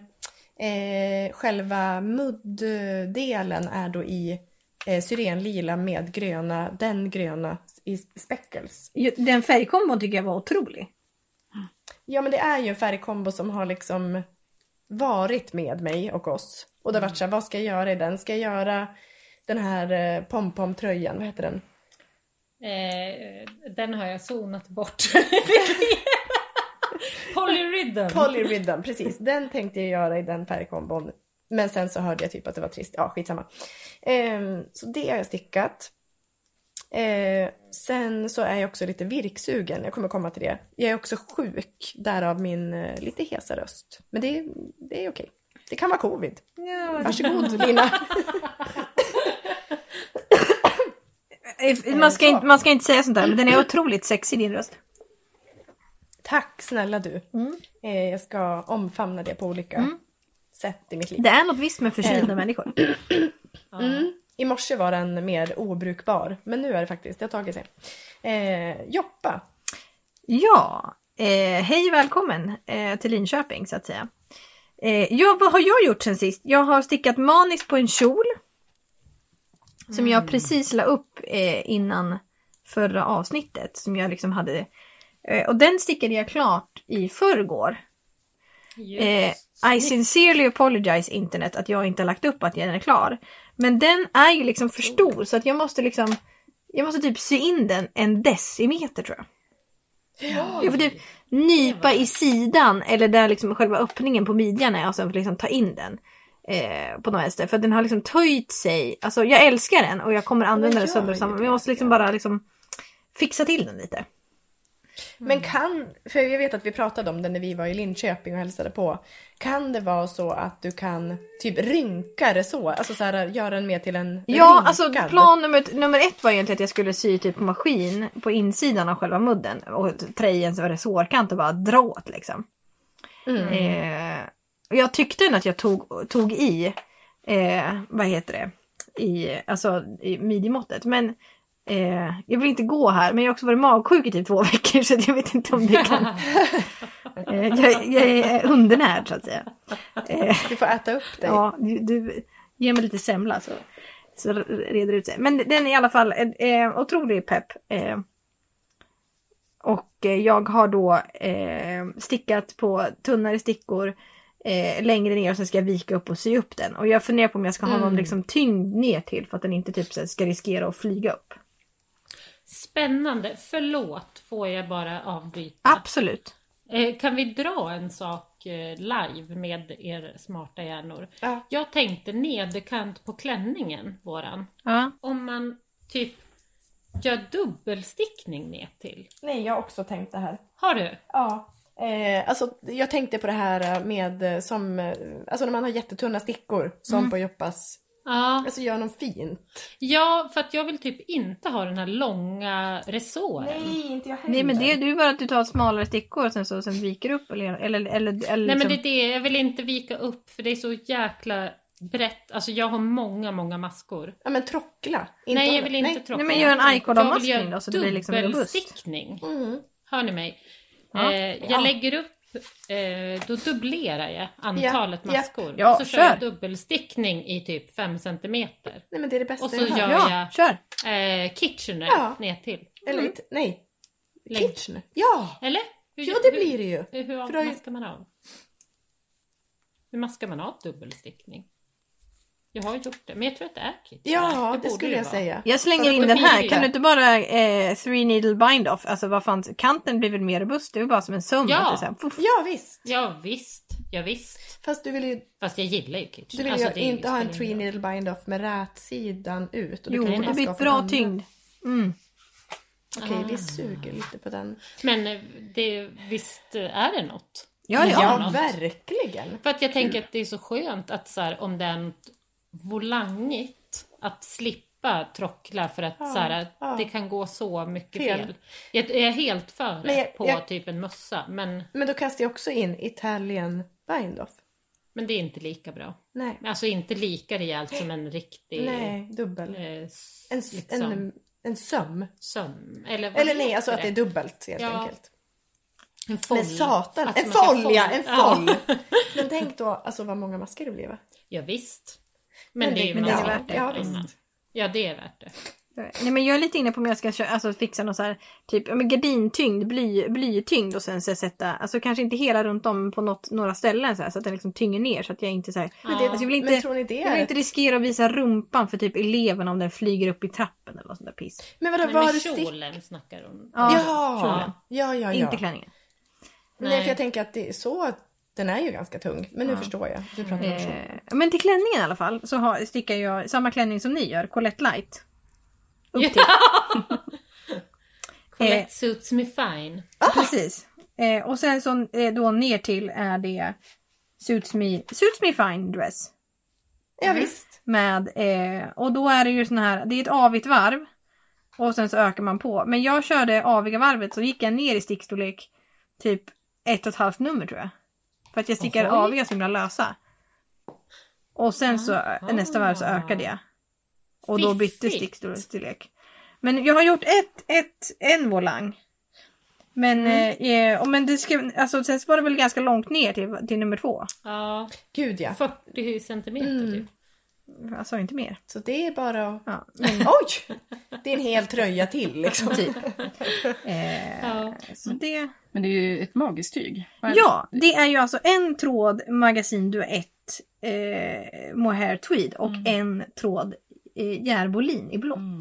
C: eh, själva muddelen är då i eh, syrenlila med gröna, den gröna i speckles.
A: Ju- Den färgkombon tycker jag var otrolig.
C: Ja men det är ju en färgkombo som har liksom varit med mig och oss. Och det har varit såhär, vad ska jag göra i den? Ska jag göra den här eh, pompom-tröjan, vad heter den?
D: Eh, den har jag zonat bort. Polyrhythm.
C: Polyrhythm, precis. Den tänkte jag göra i den färgkombon. Men sen så hörde jag typ att det var trist. Ja, skitsamma. Ehm, så det har jag stickat. Ehm, sen så är jag också lite virksugen. Jag kommer komma till det. Jag är också sjuk, därav min eh, lite hesa röst. Men det, det är okej. Det kan vara covid. Varsågod Lina.
A: Eh, Man ska, inte, man ska inte säga sånt där, men den är otroligt sexig din röst.
C: Tack snälla du.
A: Mm.
C: Eh, jag ska omfamna det på olika sätt i mitt liv.
A: Det är något visst med förkylda
C: Eh.
A: människor.
C: Mm. I morse var den mer obrukbar, men nu är det faktiskt, det har tagit sig. Eh, Joppa.
A: Ja, eh, hej välkommen eh, till Linköping så att säga. Eh, ja, vad har jag gjort sen sist? Jag har stickat maniskt på en kjol. Som jag precis la upp eh, innan förra avsnittet. Som jag liksom hade. Eh, och den stickade jag klart i förrgår.
D: Just.
A: Eh, I sincerely apologize internet att jag inte har lagt upp att den är klar. Men den är ju liksom för stor så att jag måste liksom jag måste typ sy in den en decimeter tror jag. Jag får typ nypa i sidan eller där liksom själva öppningen på midjan är och sen liksom ta in den. Eh, på något vänster. För den har liksom töjt sig. Alltså jag älskar den och jag kommer använda den
C: gör
A: sönder och
C: ju
A: samman. Men
C: det.
A: jag måste liksom bara liksom fixa till den lite. Mm.
C: Men kan, för jag vet att vi pratade om det när vi var i Linköping och hälsade på. Kan det vara så att du kan typ rynka det så? Alltså så här, göra den mer till en
A: Ja,
C: rynkad?
A: alltså plan nummer, nummer ett var egentligen att jag skulle sy typ på maskin på insidan av själva mudden och trejens och resårkant och bara dra åt liksom.
C: Mm.
A: Eh, och jag tyckte ändå att jag tog, tog i, eh, vad heter det, i, alltså i midjemåttet. Men eh, jag vill inte gå här, men jag har också varit magsjuk i typ två veckor så att jag vet inte om det kan... eh, jag, jag är undernärd så att säga. Eh,
C: Du får äta upp dig.
A: Ja, du, du ge mig lite semla så, så reder det ut sig. Men den är i alla fall en eh, otrolig pepp. Eh, och eh, jag har då eh, stickat på tunnare stickor eh, längre ner och sen ska jag vika upp och sy upp den. Och jag funderar på om jag ska ha någon
C: Mm.
A: liksom, tyngd ner till för att den inte typ, så här, ska riskera att flyga upp.
D: Spännande. Förlåt, får jag bara avbryta?
A: Absolut.
D: Eh, kan vi dra en sak eh, live med er smarta hjärnor?
C: Ja.
D: Jag tänkte nederkant på klänningen, våran.
A: Ja.
D: Om man typ gör dubbelstickning ner till.
C: Nej, jag har också tänkt det här.
D: Har du?
C: Ja. Eh, alltså, jag tänkte på det här med eh, som, eh, alltså när man har jättetunna stickor som
D: Mm.
C: på Joppas,
D: Ja,
C: alltså gör någon fin.
D: ja, för att jag vill typ inte ha den här långa resåren.
C: inte jag heller.
A: Nej men det, det är ju bara att du tar smalare stickor och sen, så, sen viker upp. Eller, eller, eller, eller,
D: Nej
A: liksom-
D: men det är det, jag vill inte vika upp för det är så jäkla brett. Alltså jag har många, många maskor.
C: Ja men trockla. Inte
D: nej jag
C: hålla-
D: vill inte tråka.
A: Nej, men gör en Icodon-maskning
D: Jag vill göra
A: då, så det blir liksom robust.
D: dubbelstickning.
C: Mm.
D: Hör ni mig?
A: Ja.
D: Eh, jag
A: Ja.
D: lägger upp, eh, då dubblerar jag antalet
C: Ja.
D: maskor.
A: Ja,
D: så kör jag
A: kör.
D: dubbelstickning i typ 5 cm.
C: Nej men det är det bästa
D: Och så
C: jag har.
D: gör-
A: Ja,
D: Ja.
A: kör!
D: Eh, Kitchener
C: Ja.
D: ner till.
C: Eller inte, nej.
D: Längd.
C: Kitchen. Ja!
D: Eller? Hur,
C: Ja det blir det ju.
D: Hur, hur
C: För då har ju-
D: maskar man av? Hur maskar man av dubbelstickning? Jag har gjort det, men jag tror att det är kit.
C: Ja, det
D: borde
C: skulle
D: ju
C: jag
D: vara.
C: säga.
A: Jag slänger
D: Fast
A: in
D: då
A: den
D: blir
A: här.
D: det-
A: Kan du inte bara eh, three needle bind off? Alltså vad fan, kanten blir väl mer robust? Det är väl bara som en söm.
D: Ja.
A: att det är så här, puff.
C: Ja visst.
D: Ja, visst. Ja, visst.
C: Fast du vill ju,
D: Fast jag gillar ju kitchen.
C: du vill ju
D: Alltså, det är ju-
C: inte ha en
D: spelar ingen
C: three
D: roll.
C: needle bind off med rätsidan ut.
A: Jo,
C: kan ju
A: det
C: maska
A: blir
C: av
A: ett
C: för
A: bra
C: andra.
A: tyngd. Mm.
C: Okej,
D: Ah.
C: vi suger lite på den.
D: Men eh, det, visst eh, är det något.
A: Ja, ja.
D: Ja.
A: ja.
C: verkligen.
D: För att jag tänker att det är så skönt att så här, om det är något volangigt, att slippa slippa trockla för att
C: Ja,
D: så här,
C: ja.
D: det kan gå så mycket fel.
C: Fel.
D: Jag, jag är helt för
C: Men jag-
D: på
C: jag-
D: typ en mössa men,
C: Men då kastar jag också in Italian Bindoff.
D: men det är inte lika bra.
C: Nej,
D: Alltså inte lika rejält som en riktig
C: nej, dubbel.
D: eh, s-
C: En, s-
D: liksom,
C: en, en söm.
D: söm. Eller, vad
C: Eller nej,
D: heter
C: alltså att det är dubbelt helt
D: Ja.
C: enkelt.
D: En foll.
C: Men satan,
D: Att
C: en
D: man kan
C: foll ja, en foll!
D: Ja.
C: Men tänk då alltså vad många masker det blir va?
D: Ja, visst. Men, det är ju
A: men det är
D: något
A: värt det,
C: ja,
D: annat.
C: visst.
D: Ja, det är värt det.
A: Nej men jag är lite inne på om jag ska kö- alltså, fixa någon så här typ ja, men gardintyngd, bly, blytyngd och sen så sätta, alltså kanske inte hela runt om men på något, några ställen så, här, så att den liksom tynger ner så att jag inte så här,
D: Men
A: alltså,
D: det-
A: jag vill inte,
C: Men tror ni det
A: jag vill
C: är?
A: inte riskera att visa rumpan för typ eleven om den flyger upp i trappen eller något sånt där piss.
C: Men vadå,
D: Nej,
C: vad har
D: men
C: du stick?
D: kjolen snackar hon.
A: Ja,
C: Ja, ja, ja. ja.
A: Inte klänningen.
C: Nej.
D: Nej.
C: för jag tänker att det är så, den är ju ganska tung. Men nu
A: Ja.
C: förstår jag. Du pratar om kjol.
A: Eh, men till klänningen i alla fall så har, stickar jag samma klänning som ni gör, Colette Light. Upp till.
D: Colette suits me fine.
A: Precis. Eh, och sen så eh, då ner till är det Suits Me, suits me Fine Dress. mm.
C: Ja, visst.
A: Med, eh, och då är det ju sån här, det är ett avigt varv. Och sen så ökar man på. Men jag körde aviga varvet så gick jag ner i stickstorlek typ ett och ett halvt nummer tror jag. För att jag stickar
D: Ohoj.
A: aviga så himla lösa. Och sen så
D: Aha.
A: nästa varv så ökade jag. Och då bytte
D: Fiffigt.
A: stickstorlek. Men jag har gjort ett, ett, en volang. Men,
D: Mm.
A: eh, och men det ska, alltså, sen så var det väl ganska långt ner till, till nummer två.
D: Ja,
C: Gud ja.
D: 40 centimeter typ.
A: Alltså inte mer.
C: Så det är bara att...
A: Ja, men-
C: Oj! Det är en hel tröja till liksom.
A: Typ. Eh,
D: Ja.
A: så det...
B: Men det är ju ett magiskt tyg. Vad är
A: Ja, det är ju alltså en tråd magasin duett eh, mohair tweed och en tråd eh, järbolin i blått.
B: Mm.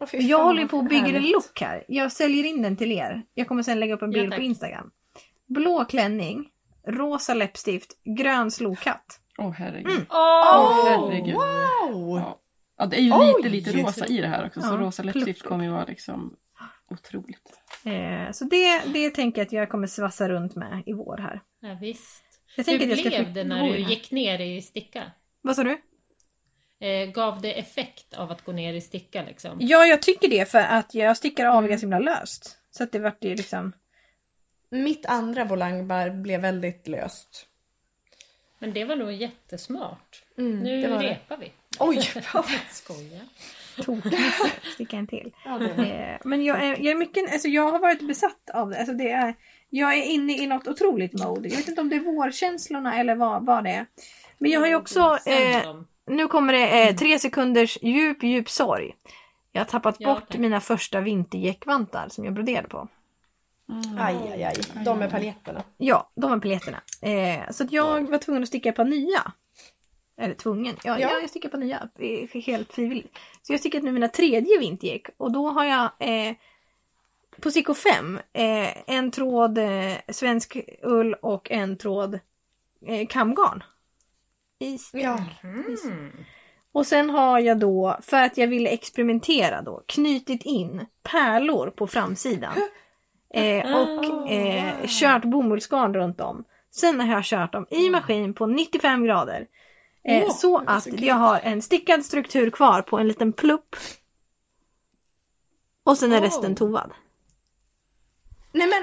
C: Åh, fy
A: Jag
C: fan,
A: håller ju på och
C: vad
A: bygger en
C: härligt.
A: lock här. Jag säljer in den till er. Jag kommer sen lägga upp en
D: Ja,
A: bild
D: tack.
A: på Instagram. Blå klänning, rosa läppstift, grön slokhatt.
B: det? Åh herregud.
A: Mm.
D: Åh!
B: Åh, herregud.
C: Wow!
B: Ja. ja, det är ju
C: Oj!
B: lite, lite rosa i det här också.
A: Ja,
B: Så rosa läppstift
A: pluttigt.
B: kommer ju vara liksom otroligt.
A: Eh, så det, det tänker jag att jag kommer svassa runt med i vår här.
D: Ja, visst.
A: Jag
D: Hur
A: tänker att jag ska
D: blev det när
A: bo i
D: du
A: den här.
D: gick ner i sticka?
A: Vad sa du?
D: Eh, gav det effekt av att gå ner i sticka liksom?
A: Ja, jag tycker det för att jag stickar aviga så himla löst. Så att det vart ju liksom...
C: Mitt andra volangbar blev väldigt löst.
D: Men det var nog jättesmart.
C: Mm,
D: nu
C: det var det.
D: repar vi.
C: Oj! vad-
D: Skoja.
A: tokigt. Sticka en till.
C: Ja, det var-
A: Eh, Men jag är, jag är mycket, alltså jag har varit besatt av det. Alltså det är, jag är inne i något otroligt mode. Jag vet inte om det är vårkänslorna eller vad, vad det är. Men jag har ju också, eh,
D: dem.
A: nu kommer det eh, tre sekunders djup, djup sorg. Jag har tappat
D: Ja,
A: bort
D: tack.
A: mina första vintergäckvantar som jag broderade på. Mm.
C: Aj, aj, aj. De med paljetterna.
A: Ja, de var biljetterna. Eh, så att jag var tvungen att sticka ett par nya. Eller tvungen, ja,
C: Ja.
A: ja. jag stickar på nya. eh, Helt frivilligt. Så jag har stickat nu mina tredje vintergäck och då har jag eh, på Sicko 5 eh, en tråd eh, svensk ull och en tråd eh, kamgarn. I stick.
C: Ja.
D: Mm.
A: Och sen har jag då, för att jag ville experimentera då, knutit in pärlor på framsidan. Eh,
B: Ah.
A: och eh, kört bomullsgarn runt om. Sen har jag kört dem i maskin på 95 grader. Eh,
C: Åh,
A: så
C: det var
A: att
C: så
A: jag har en stickad struktur kvar på en liten plupp. Och sen är
D: Wow.
A: resten tovad.
C: Nej men,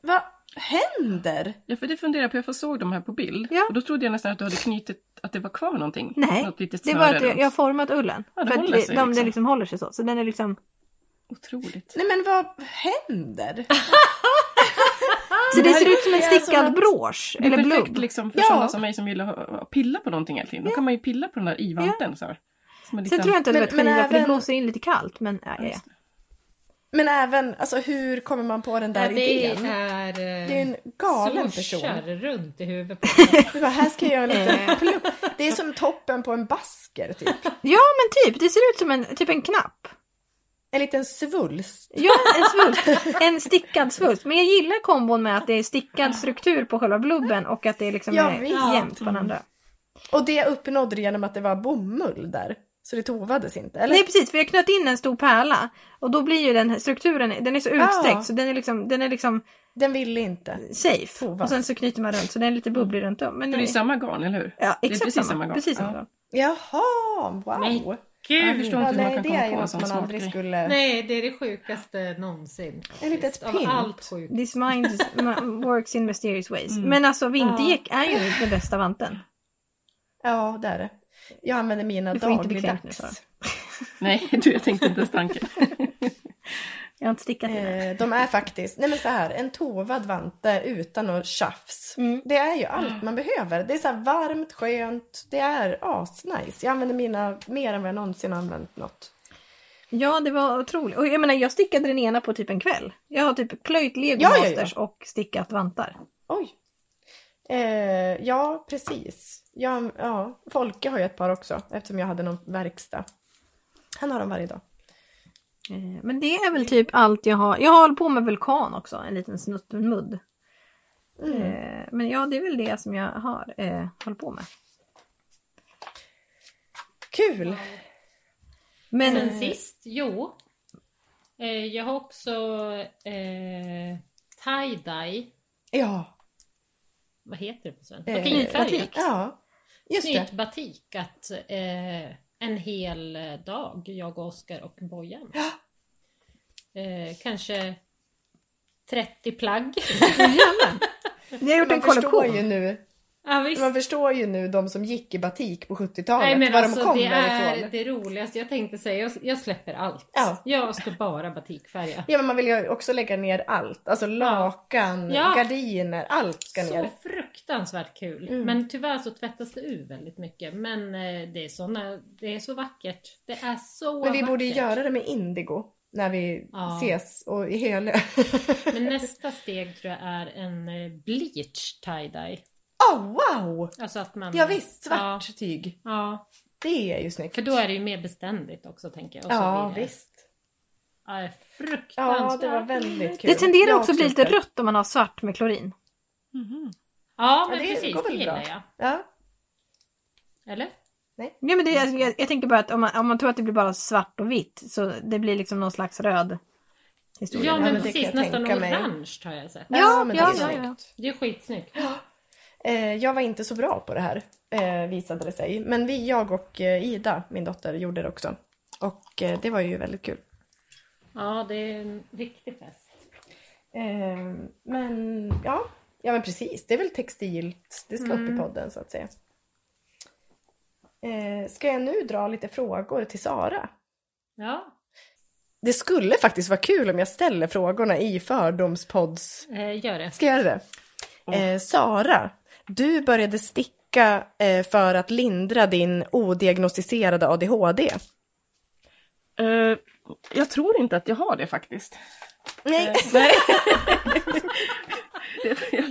C: vad händer?
B: Ja, för det funderar jag på. Jag såg de här på bild.
A: Ja.
B: Och då trodde jag nästan att du hade knutit, att det var kvar någonting.
A: Nej,
B: Något litet
A: det var
B: snöre
A: att jag,
B: runt.
A: jag har format ullen.
B: Ja, det
A: för att
B: håller
A: det,
B: sig
A: de,
B: liksom. Ah,
A: det liksom håller sig så. Så den är liksom...
B: Otroligt.
C: Nej men vad händer?
A: Så det ser ut som en
C: det är som
A: stickad
C: att-
A: brosch. Eller
B: det är perfekt
A: blubb.
B: liksom för
C: Ja.
B: sådana som mig som gillar att pilla på någonting hela tiden. Då kan man ju pilla på den där i-vanten så här. Som
A: Sen
B: en liten-
A: tror jag inte att det var
C: Men-
A: ett
C: men
A: skiva för det
C: även-
A: blåser in lite kallt. Men, ja, ja, ja.
C: Men även, alltså hur kommer man på den där
D: Ja, det
C: idén?
D: är...
C: Det är ju en galen person.
D: Swooshar runt i huvudet på mig.
C: Du bara, här ska jag göra en liten plupp. Det är som toppen på en basker typ.
A: Ja men typ, det ser ut som en, typ en knapp.
C: En liten svulst.
A: Ja, en svulst. En stickad svulst. Men jag gillar kombon med att det är stickad struktur på själva blubben och att det liksom
C: Ja,
A: är
C: visst.
A: jämnt på den andra.
C: Och det uppnådde du genom att det var bomull där. Så det tovades inte, eller?
A: Nej precis, för jag knöt in en stor pärla och då blir ju den här strukturen, den är så utsträckt
C: Ja.
A: så den är liksom, den är liksom
C: Den ville inte.
A: safe.
C: Tovad.
A: Och sen så knyter man runt så den är lite bubblig runt om. Men
B: Det är ju samma garn, eller hur?
A: Ja,
B: är
A: exakt
B: precis
A: samma.
B: samma garn.
A: Precis samma.
B: Ja.
A: garn.
C: Jaha, wow!
D: Men- gud!
B: Jag förstår
C: Ja,
B: inte hur man
C: nej,
B: kan
C: det
B: komma
C: är ju
B: på en
C: något
B: sån
C: man
B: smart
C: aldrig
B: grej.
C: skulle...
D: Nej, det är det sjukaste någonsin.
C: En litet
D: Av
C: pimp.
D: allt sjukt.
A: This mind is- ma- works in mysterious ways.
B: Mm.
A: Men alltså vintergäck är ju den bästa vanten.
C: Ja, det är det. Jag använder mina
A: Du får inte bli kränkt
C: dagligdags.
A: nu, Sara.
B: Nej, du, jag tänkte inte ens tanken.
A: Jag har inte stickat i den.
C: Eh, de är faktiskt, nej men så här, en tovad vante utan något tjafs.
A: Mm.
C: Det är ju allt man behöver. Det är så här varmt, skönt, det är asnice. Jag använder mina mer än vad jag någonsin har använt något.
A: Ja, det var otroligt. Och jag menar, jag stickade den ena på typ en kväll. Jag har typ plöjt lego
C: Ja, ja, ja.
A: masters och stickat vantar.
C: Oj! Eh, ja, precis. Jag, ja, Folke har ju ett par också eftersom jag hade någon verkstad. Han har dem varje dag.
A: Eh, Men det är väl typ allt jag har. Jag har hållit på med vulkan också, en liten snutt mudd.
C: Mm.
A: Eh, Men ja, det är väl det som jag har eh, hållit på med.
C: Kul! Mm.
A: Men
D: Sen sist, jo. Eh, jag har också eh, tie-dye.
C: Ja,
D: Vad heter det på svenska?
C: eh,
D: Batikfärgat.
C: Ja, just det.
D: Knytbatik. Att, eh, en hel dag, jag och Oskar och Bojan. Eh, kanske 30 plagg.
A: ni har gjort en
C: Man förstår
A: kollektion.
C: ju nu
D: ja, visst.
C: Man förstår ju nu de som gick i batik på 70-talet,
D: Nej, men
C: var
D: alltså,
C: de kommer
D: det är
C: ifrån.
D: det roligaste. Jag tänkte säga, jag, jag släpper allt.
C: Ja.
D: Jag ska bara batikfärga.
C: Ja, men man vill ju också lägga ner allt. Alltså lakan,
D: Ja.
C: gardiner, allt ska
D: Så
C: ner.
D: fruktansvärt kul.
C: Mm.
D: Men tyvärr så tvättas det ur väldigt mycket. Men eh, det är, såna, det är så vackert. Det är så
C: Men vi
D: vackert.
C: borde ju göra det med indigo när vi
D: Ja.
C: ses och i Hölö.
D: Men nästa steg tror jag är en eh, bleach tie-dye.
C: Åh Oh, wow!
D: Alltså att man...
C: Ja visst, svart tyg.
D: Ja, ja,
C: Det är ju snyggt.
D: för då är det ju mer beständigt också tänker jag. Och så
C: ja
D: blir det,
C: visst.
D: ja, det är fruktansvärt.
C: Ja, det var väldigt kul.
A: Det tenderar
C: Jag har
A: också att bli lite
C: gjort det.
A: rött om man har svart med klorin.
D: Ja,
C: Ja,
D: men
C: det
D: precis.
C: går
D: Det
C: väl
D: gillar
C: bra.
D: jag.
C: Ja.
D: Eller?
A: Nej, men det, jag, jag, jag tänker bara att om man, om man tror att det blir bara svart och vitt så det blir liksom någon slags röd historia.
D: Ja,
C: men
D: men
C: det kan
D: precis.
C: jag
D: Nästan
C: tänka mig.
D: orange har jag sett.
A: Ja,
C: men
A: ja,
C: det är
A: ja,
C: snyggt.
A: ja.
D: Det är skitsnyggt.
C: Eh, jag var inte så bra på det här, eh, visade det sig. Men vi, jag och eh, Ida, min dotter, gjorde det också. Och eh, det var ju väldigt kul.
D: Ja, det är en riktig fest.
C: Eh, men ja. ja, men precis. Det är väl textilt. Det ska upp i podden så att säga. Eh, ska jag nu dra lite frågor till Sara?
D: Ja,
C: Det skulle faktiskt vara kul om jag ställer frågorna i Fördomspods...
D: eh, gör det.
C: Ska jag göra det? Eh, Sara, du började sticka eh, för att lindra din odiagnostiserade ADHD.
B: Eh, jag tror inte att jag har det faktiskt.
C: Nej,
B: Eh,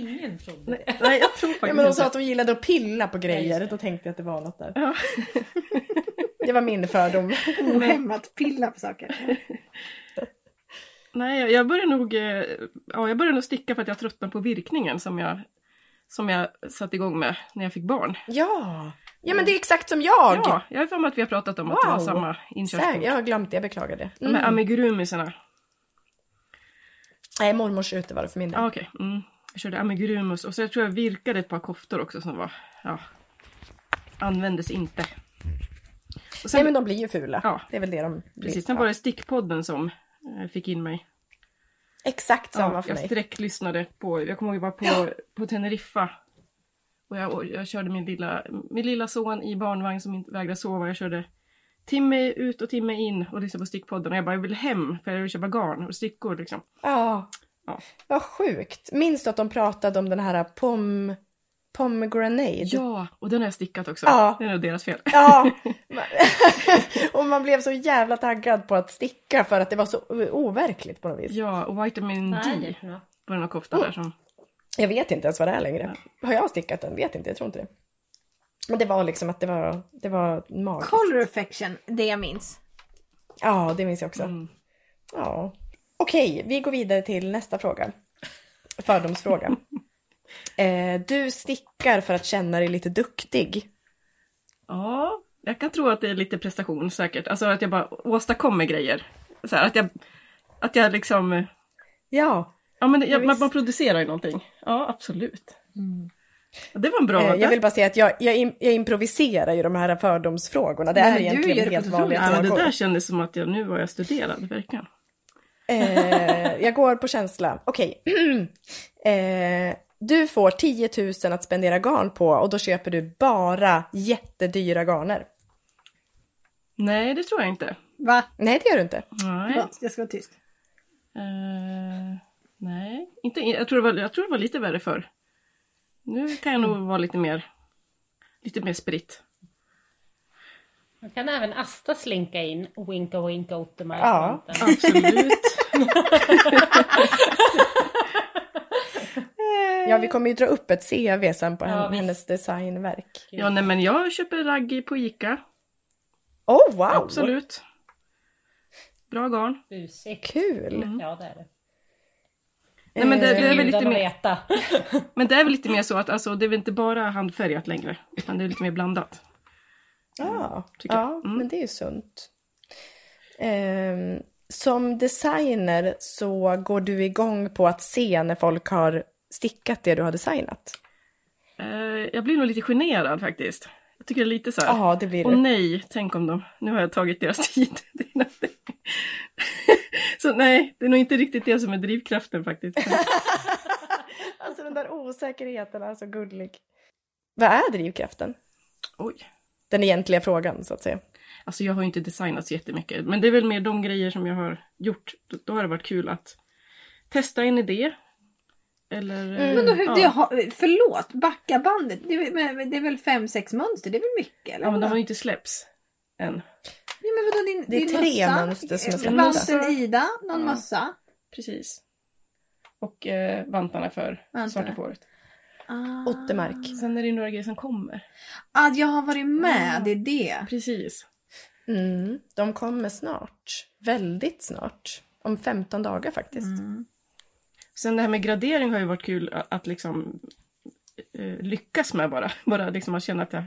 D: Ingen trodde det.
B: Nej, jag tror faktiskt
C: ja, men hon sa
B: inte.
C: att hon gillade att pilla på
D: Ja,
C: grejer.
D: just det.
C: Då tänkte jag att det var något där.
B: Ja.
C: Det var min fördom.
A: Ohämmat pilla på saker.
B: Nej, jag- jag började nog, eh, ja, jag började nog sticka för att jag tröttnade på virkningen som jag, som jag satte igång med när jag fick barn.
C: Ja, ja men det är exakt som jag.
B: Ja, jag har för mig att vi har pratat om att det var
C: Wow.
B: samma
C: Säg,
B: inkörsport.
C: jag har glömt det, jag beklagar det.
B: De här amigurumisarna.
C: Nej, mormors ute var det för min del.
B: Ja, okej. Mm. Jag körde amigurumus och så jag tror jag virkade ett par koftor också som var, ja, användes inte. Och sen,
C: Nej men de blir ju fula.
B: Ja.
C: Det är väl det de blir.
B: precis, sen
C: Ja.
B: var det stickpodden som eh, fick in mig.
C: Exakt samma
B: Ja,
C: för
B: jag
C: mig.
B: sträcklyssnade på, jag kommer ihåg jag var på, på Teneriffa. Och jag, och jag körde min lilla, min lilla son i barnvagn som inte vägrade sova. Jag körde timme ut och timme in och lyssnade på stickpodden. Och jag bara, jag vill hem för jag vill köpa garn och stickor liksom.
C: Ja.
B: Ja.
C: Vad sjukt. Minns du att de pratade om den här pom... Pomegranate?
B: Ja, och den har jag stickat också.
C: Ja.
B: Det är nog deras fel.
C: Ja. och man blev så jävla taggad på att sticka för att det var så o- overkligt på något vis.
B: Ja, och vitamin
D: Vad är det
B: D
D: för något?
B: var det någon kofta där som...
C: Jag vet inte ens vad det är längre. Har jag stickat den? Vet inte, jag tror inte det. Men det var liksom att det var, det var magiskt.
A: Color affection, det jag minns.
C: Ja, det minns jag också.
B: Mm.
C: Ja. Okej, vi går vidare till nästa fråga. Fördomsfråga. eh, du stickar för att känna dig lite duktig.
B: Ja, jag kan tro att det är lite prestation säkert. Alltså att jag bara åstadkommer grejer. Så här, att jag, att jag liksom...
C: Ja.
B: Ja, men det-
C: Ja,
B: jag,
C: visst. Mm.
B: man, man producerar ju någonting. Ja, absolut. Det var en bra
C: Eh,
B: öde.
C: Jag vill bara säga att jag, jag, im- jag improviserar ju de här fördomsfrågorna. Det
A: Nej,
C: är
A: men du gör
C: egentligen
A: det
C: helt
A: på ett
C: vanliga
A: otroligt
B: ja, det
C: frågor.
B: där kändes som att jag, nu var jag studerad, verkligen.
C: Eh, jag går på känsla. Okej. eh, du får 10 000 att spendera garn på och då köper du bara jättedyra garner.
B: Nej, det tror jag inte.
A: Va?
C: Nej, det gör du inte.
B: Nej.
A: Förlåt, jag ska vara tyst.
B: Eh, nej, inte, jag, tror det var, jag tror det var lite värre förr. Nu kan jag nog
C: Mm.
B: vara lite mer, lite mer spritt.
D: Man kan även Asta slinka in winka winka åt de här
C: Ja.
D: kanten.
B: Absolut.
C: Ja, vi kommer ju dra upp ett CV sen på hen-
D: Ja, visst.
C: hennes designverk.
B: ja, nej, men jag köper raggi på Ica.
C: Oh, wow!
B: Absolut. Bra garn.
D: Busigt.
C: Kul!
D: Ja det är det.
B: Nej, men Mm. det, det, är väl lite
D: Gudarna
B: mer,
D: veta.
B: men det är väl lite mer så att alltså, det är väl inte bara handfärgat längre, utan det är lite mer blandat.
C: Ja,
B: tycker
C: ja
B: jag. Mm.
C: men det är ju sunt. Ehm, som designer så går du igång på att se när folk har stickat det du har designat.
B: Eh, jag blir nog lite generad faktiskt. Jag tycker det är lite så här.
C: Ja, det blir
B: Och
C: du.
B: nej, tänk om dem. Nu har jag tagit deras tid. Det är något- så nej, det är nog inte riktigt det som är drivkraften faktiskt.
C: Alltså den där osäkerheten är så gullig. Vad är drivkraften?
B: Oj.
C: Den egentliga frågan så att säga.
B: Alltså jag har ju inte designat så jättemycket, men det är väl mer de grejer som jag har gjort. Då, då har det varit kul att testa en idé. Eller... eh,
A: Men då, hur,
B: ja.
A: det har, förlåt, backa bandet. Det, är- men det är väl fem, sex mönster? Det är väl mycket? Eller?
B: ja, men de har
A: vadå?
B: ju inte släppts än.
A: Ja, men vadå, din,
C: Det är
A: din
C: tre
A: mössa,
C: mönster som är
A: eh,
C: släppta.
A: Vanten Ida, någon
B: Ja.
A: mössa.
B: Precis. Och eh, vantarna för
A: Vantarna.
B: Svarta fåret.
A: Ah.
C: Ottermark.
B: Sen är det ju några grejer som kommer.
A: Ah, jag har varit
C: Ah.
A: med, det är det.
B: Precis.
C: Mm, de kommer snart. Väldigt snart. Om 15 dagar faktiskt.
B: Mm. Sen det här med gradering har ju varit kul att, att liksom eh, lyckas med bara. Bara liksom att känna att jag,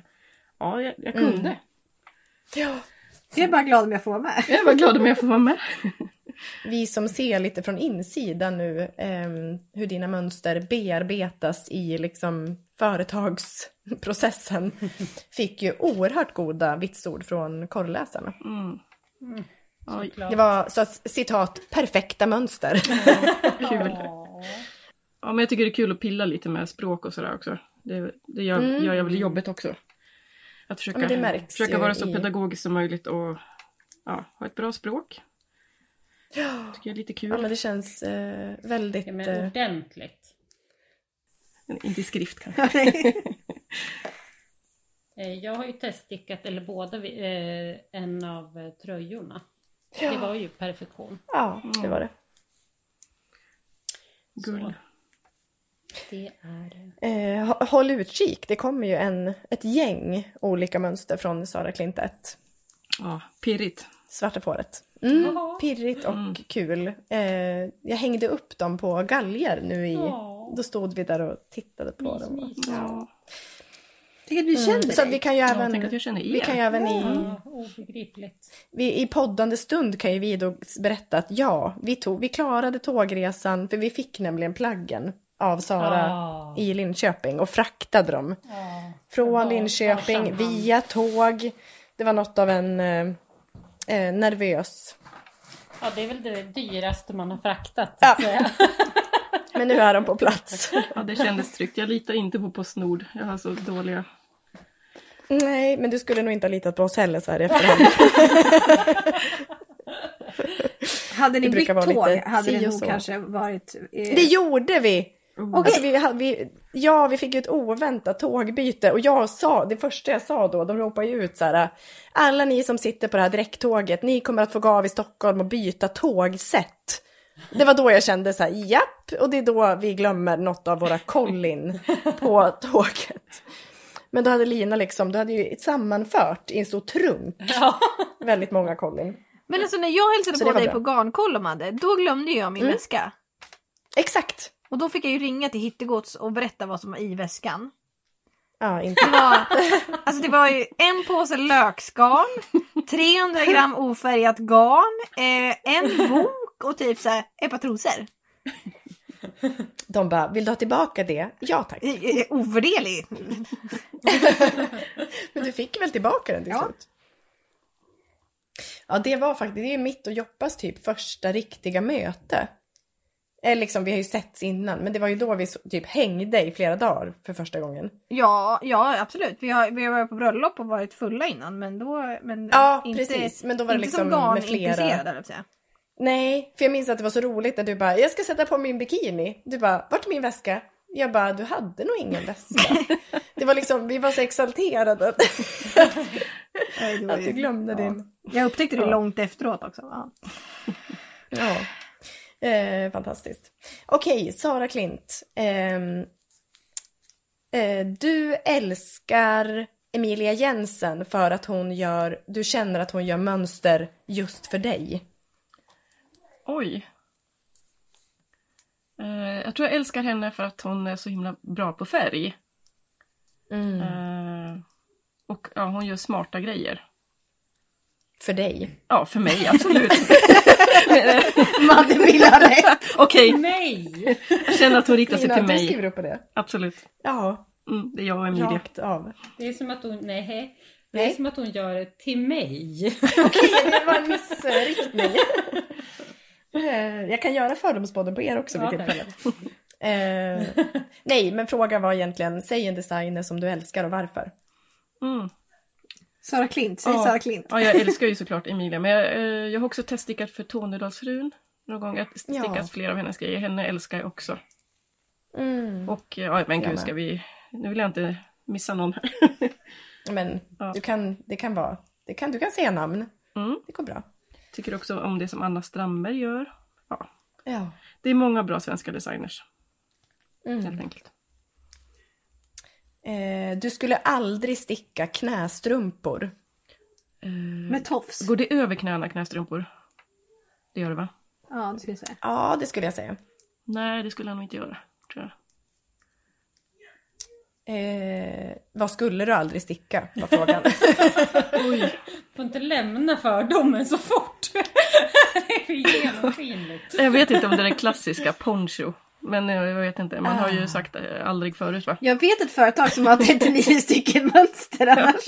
B: ja, jag, jag kunde.
A: Mm.
C: Ja.
A: Jag är bara glad om jag får vara med.
B: Jag var glad om jag får vara med.
C: Vi som ser lite från insidan nu ehm, hur dina mönster bearbetas i liksom företagsprocessen fick ju oerhört goda vitsord från korrläsarna.
B: Mm. Oj,
D: Såklart.
C: Det var så att, citat perfekta mönster.
D: Mm.
B: kul.
D: Ja.
B: Ja, men jag tycker det är kul att pilla lite med språk och sådär också. Det, det gör,
C: Mm.
B: gör jag väl i jobbet också. Att
C: Ja,
B: försöka,
C: men det märks
B: försöka
C: ju
B: vara så
C: i-
B: pedagogisk som möjligt och ja, ha ett bra språk. Tycker jag är lite kul.
C: ja men det känns eh, väldigt...
D: Ja, men
C: eh,
D: ordentligt.
B: Men Inte i skrift kanske.
D: Eh, Jag har ju teststickat, eller båda, vi- eh, en av eh, tröjorna. Det var ju perfektion.
C: ja
D: Mm.
C: det var det.
B: Gull.
D: Det är det.
C: Eh, hå- håll utkik, det kommer ju en, ett gäng olika mönster från Sara Klint 1.
B: Ja, pirrigt.
C: Svarta fåret. Mm,
D: Ja.
C: pirrigt och
B: Mm.
C: kul. Eh, jag hängde upp dem på galgar nu i...
D: Ja.
C: Då stod vi där och tittade på
D: Mys,
C: dem.
D: mys.
B: Ja.
A: Tänk att vi känner
C: Mm, så att
A: dig.
C: vi kan ju
B: Ja, tänk
C: även...
B: att jag känner er.
C: Vi kan ju även i,
B: Mm.
D: Ja, obegripligt.
C: vi, i poddande stund kan ju vi då berätta att ja, vi, tog, vi klarade tågresan för vi fick nämligen plaggen av Sara
D: Ah.
C: i Linköping och fraktade dem
D: Ja.
C: från
D: Var-
C: Linköping
D: varsam hand.
C: via tåg. Det var något av en eh, eh, nervös
D: Ja, det är väl det dyraste man har fraktat.
C: Ja.
D: Så att säga.
C: Men nu är de på plats.
B: Ja, det kändes tryggt. Jag litar inte på Postnord. Jag har så dåliga...
C: Nej, men du skulle nog inte ha litat på oss heller så här i efterhand.
A: Hade ni
C: det brukar
A: bytt
C: vara
A: tåg
C: lite
A: hade
C: si
A: det
C: och
A: nog
C: så.
A: kanske varit... eh,
C: Det gjorde vi!
B: Oh.
C: Alltså, vi, ha- vi! Ja, vi fick ju ett oväntat tågbyte och jag sa, det första jag sa då, de ropade ju ut så här, alla ni som sitter på det här direkttåget, ni kommer att få gå av i Stockholm och byta tågsätt. Det var då jag kände så här, japp, och det är då vi glömmer något av våra kollin på tåget. Men då hade Lina liksom, du hade ju sammanfört i en stor trunk
D: Ja.
C: väldigt många kollin.
A: Men alltså när jag hälsade
C: Så det
A: på
C: var
A: dig
C: bra.
A: på Garnkoll Madde, då glömde jag min
C: Mm.
A: väska.
C: Exakt!
A: Och då fick jag ju ringa till Hittegods och berätta vad som var i väskan.
C: Ja, inte.
A: Det var, alltså det var ju en påse löksgarn, 300 gram ofärgat garn, eh, en bok och typ så här, ett par trosor.
C: De bara, vill du ha tillbaka det? Ja tack.
A: Eh, eh, Ovärderlig!
C: Men du fick väl tillbaka den till
A: Ja.
C: slut? Ja, det var faktiskt, det är ju mitt och Joppas typ första riktiga möte. Eller liksom, vi har ju setts innan, men det var ju då vi så- typ hängde i flera dagar för första gången.
A: Ja, ja absolut. Vi har, vi har varit på bröllop och varit fulla innan men då... Men
C: Ja, precis. Men då var
A: inte
C: det liksom
A: som
C: med flera.
A: garnintresserad höll jag på att säga.
C: Nej, för jag minns att det var så roligt när du bara, jag ska sätta på min bikini. Du bara, vart är min väska? Jag bara, du hade nog ingen väska. det var liksom, vi var så exalterade att,
A: Nej, det var
C: att du
A: ju-
C: glömde
A: ja.
C: din.
A: Jag upptäckte det
C: Ja.
A: långt efteråt också. Ja.
C: Ja. Eh, fantastiskt. Okej, Sara Klint. Ehm, eh, du älskar Emilia Jensen för att hon gör, du känner att hon gör mönster just för dig.
B: Oj. Eh, jag tror jag älskar henne för att hon är så himla bra på färg.
C: Mm.
B: Eh, och ja, hon gör smarta grejer.
C: För dig.
B: Ja, för mig absolut.
A: Madde vill ha det!
B: Okej,
D: Nej!
B: jag känner att hon riktar sig
C: Lina,
B: till
C: du
B: mig.
C: skriver upp på det?
B: Absolut.
C: Ja,
B: Mm, det är jag och Emilia.
C: rakt av.
D: Det är som att hon, nej. Det är
C: Nej.
D: som att hon gör det till mig.
C: Okej, det var en missriktning. Eh, Jag kan göra fördomspodden på er också vid
D: Ja,
C: tillfälle. Eh, nej, men frågan var egentligen, säg en designer som du älskar och varför.
B: Mm.
A: Sara Klint, säg
B: Ja.
A: Sara Klint.
B: Ja, jag älskar ju såklart Emilia, men jag, eh, jag har också teststickat för Tornedalsfrun. Någon gång att stickat
C: Ja.
B: flera av hennes grejer. Henne älskar jag också.
C: Mm.
B: Och eh, ja, men
C: Jag
B: gud
C: med.
B: ska vi... Nu vill jag inte missa någon här.
C: Men
B: Ja.
C: du kan, det kan vara, det kan, du kan säga namn.
B: Mm.
C: Det går bra.
B: Tycker också om det som Anna Strandberg gör. Ja.
C: Ja.
B: Det är många bra svenska designers,
C: Mm.
B: helt enkelt.
C: Eh, du skulle aldrig sticka knästrumpor.
A: Med tofs.
B: Går det över knäna, knästrumpor? Det gör det va?
A: Ja, det ska jag säga.
C: Ja, det skulle jag säga.
B: Nej, det skulle jag nog inte göra, tror jag.
C: Eh, vad skulle du aldrig sticka? Var frågan.
D: Får inte lämna fördomen så fort. Det är för genomskinligt.
B: Jag vet inte om det är det klassiska poncho. Men eh, jag vet inte, man har
C: Ah.
B: ju sagt det aldrig förut va?
A: Jag vet ett företag som har 39 stycken mönster annars.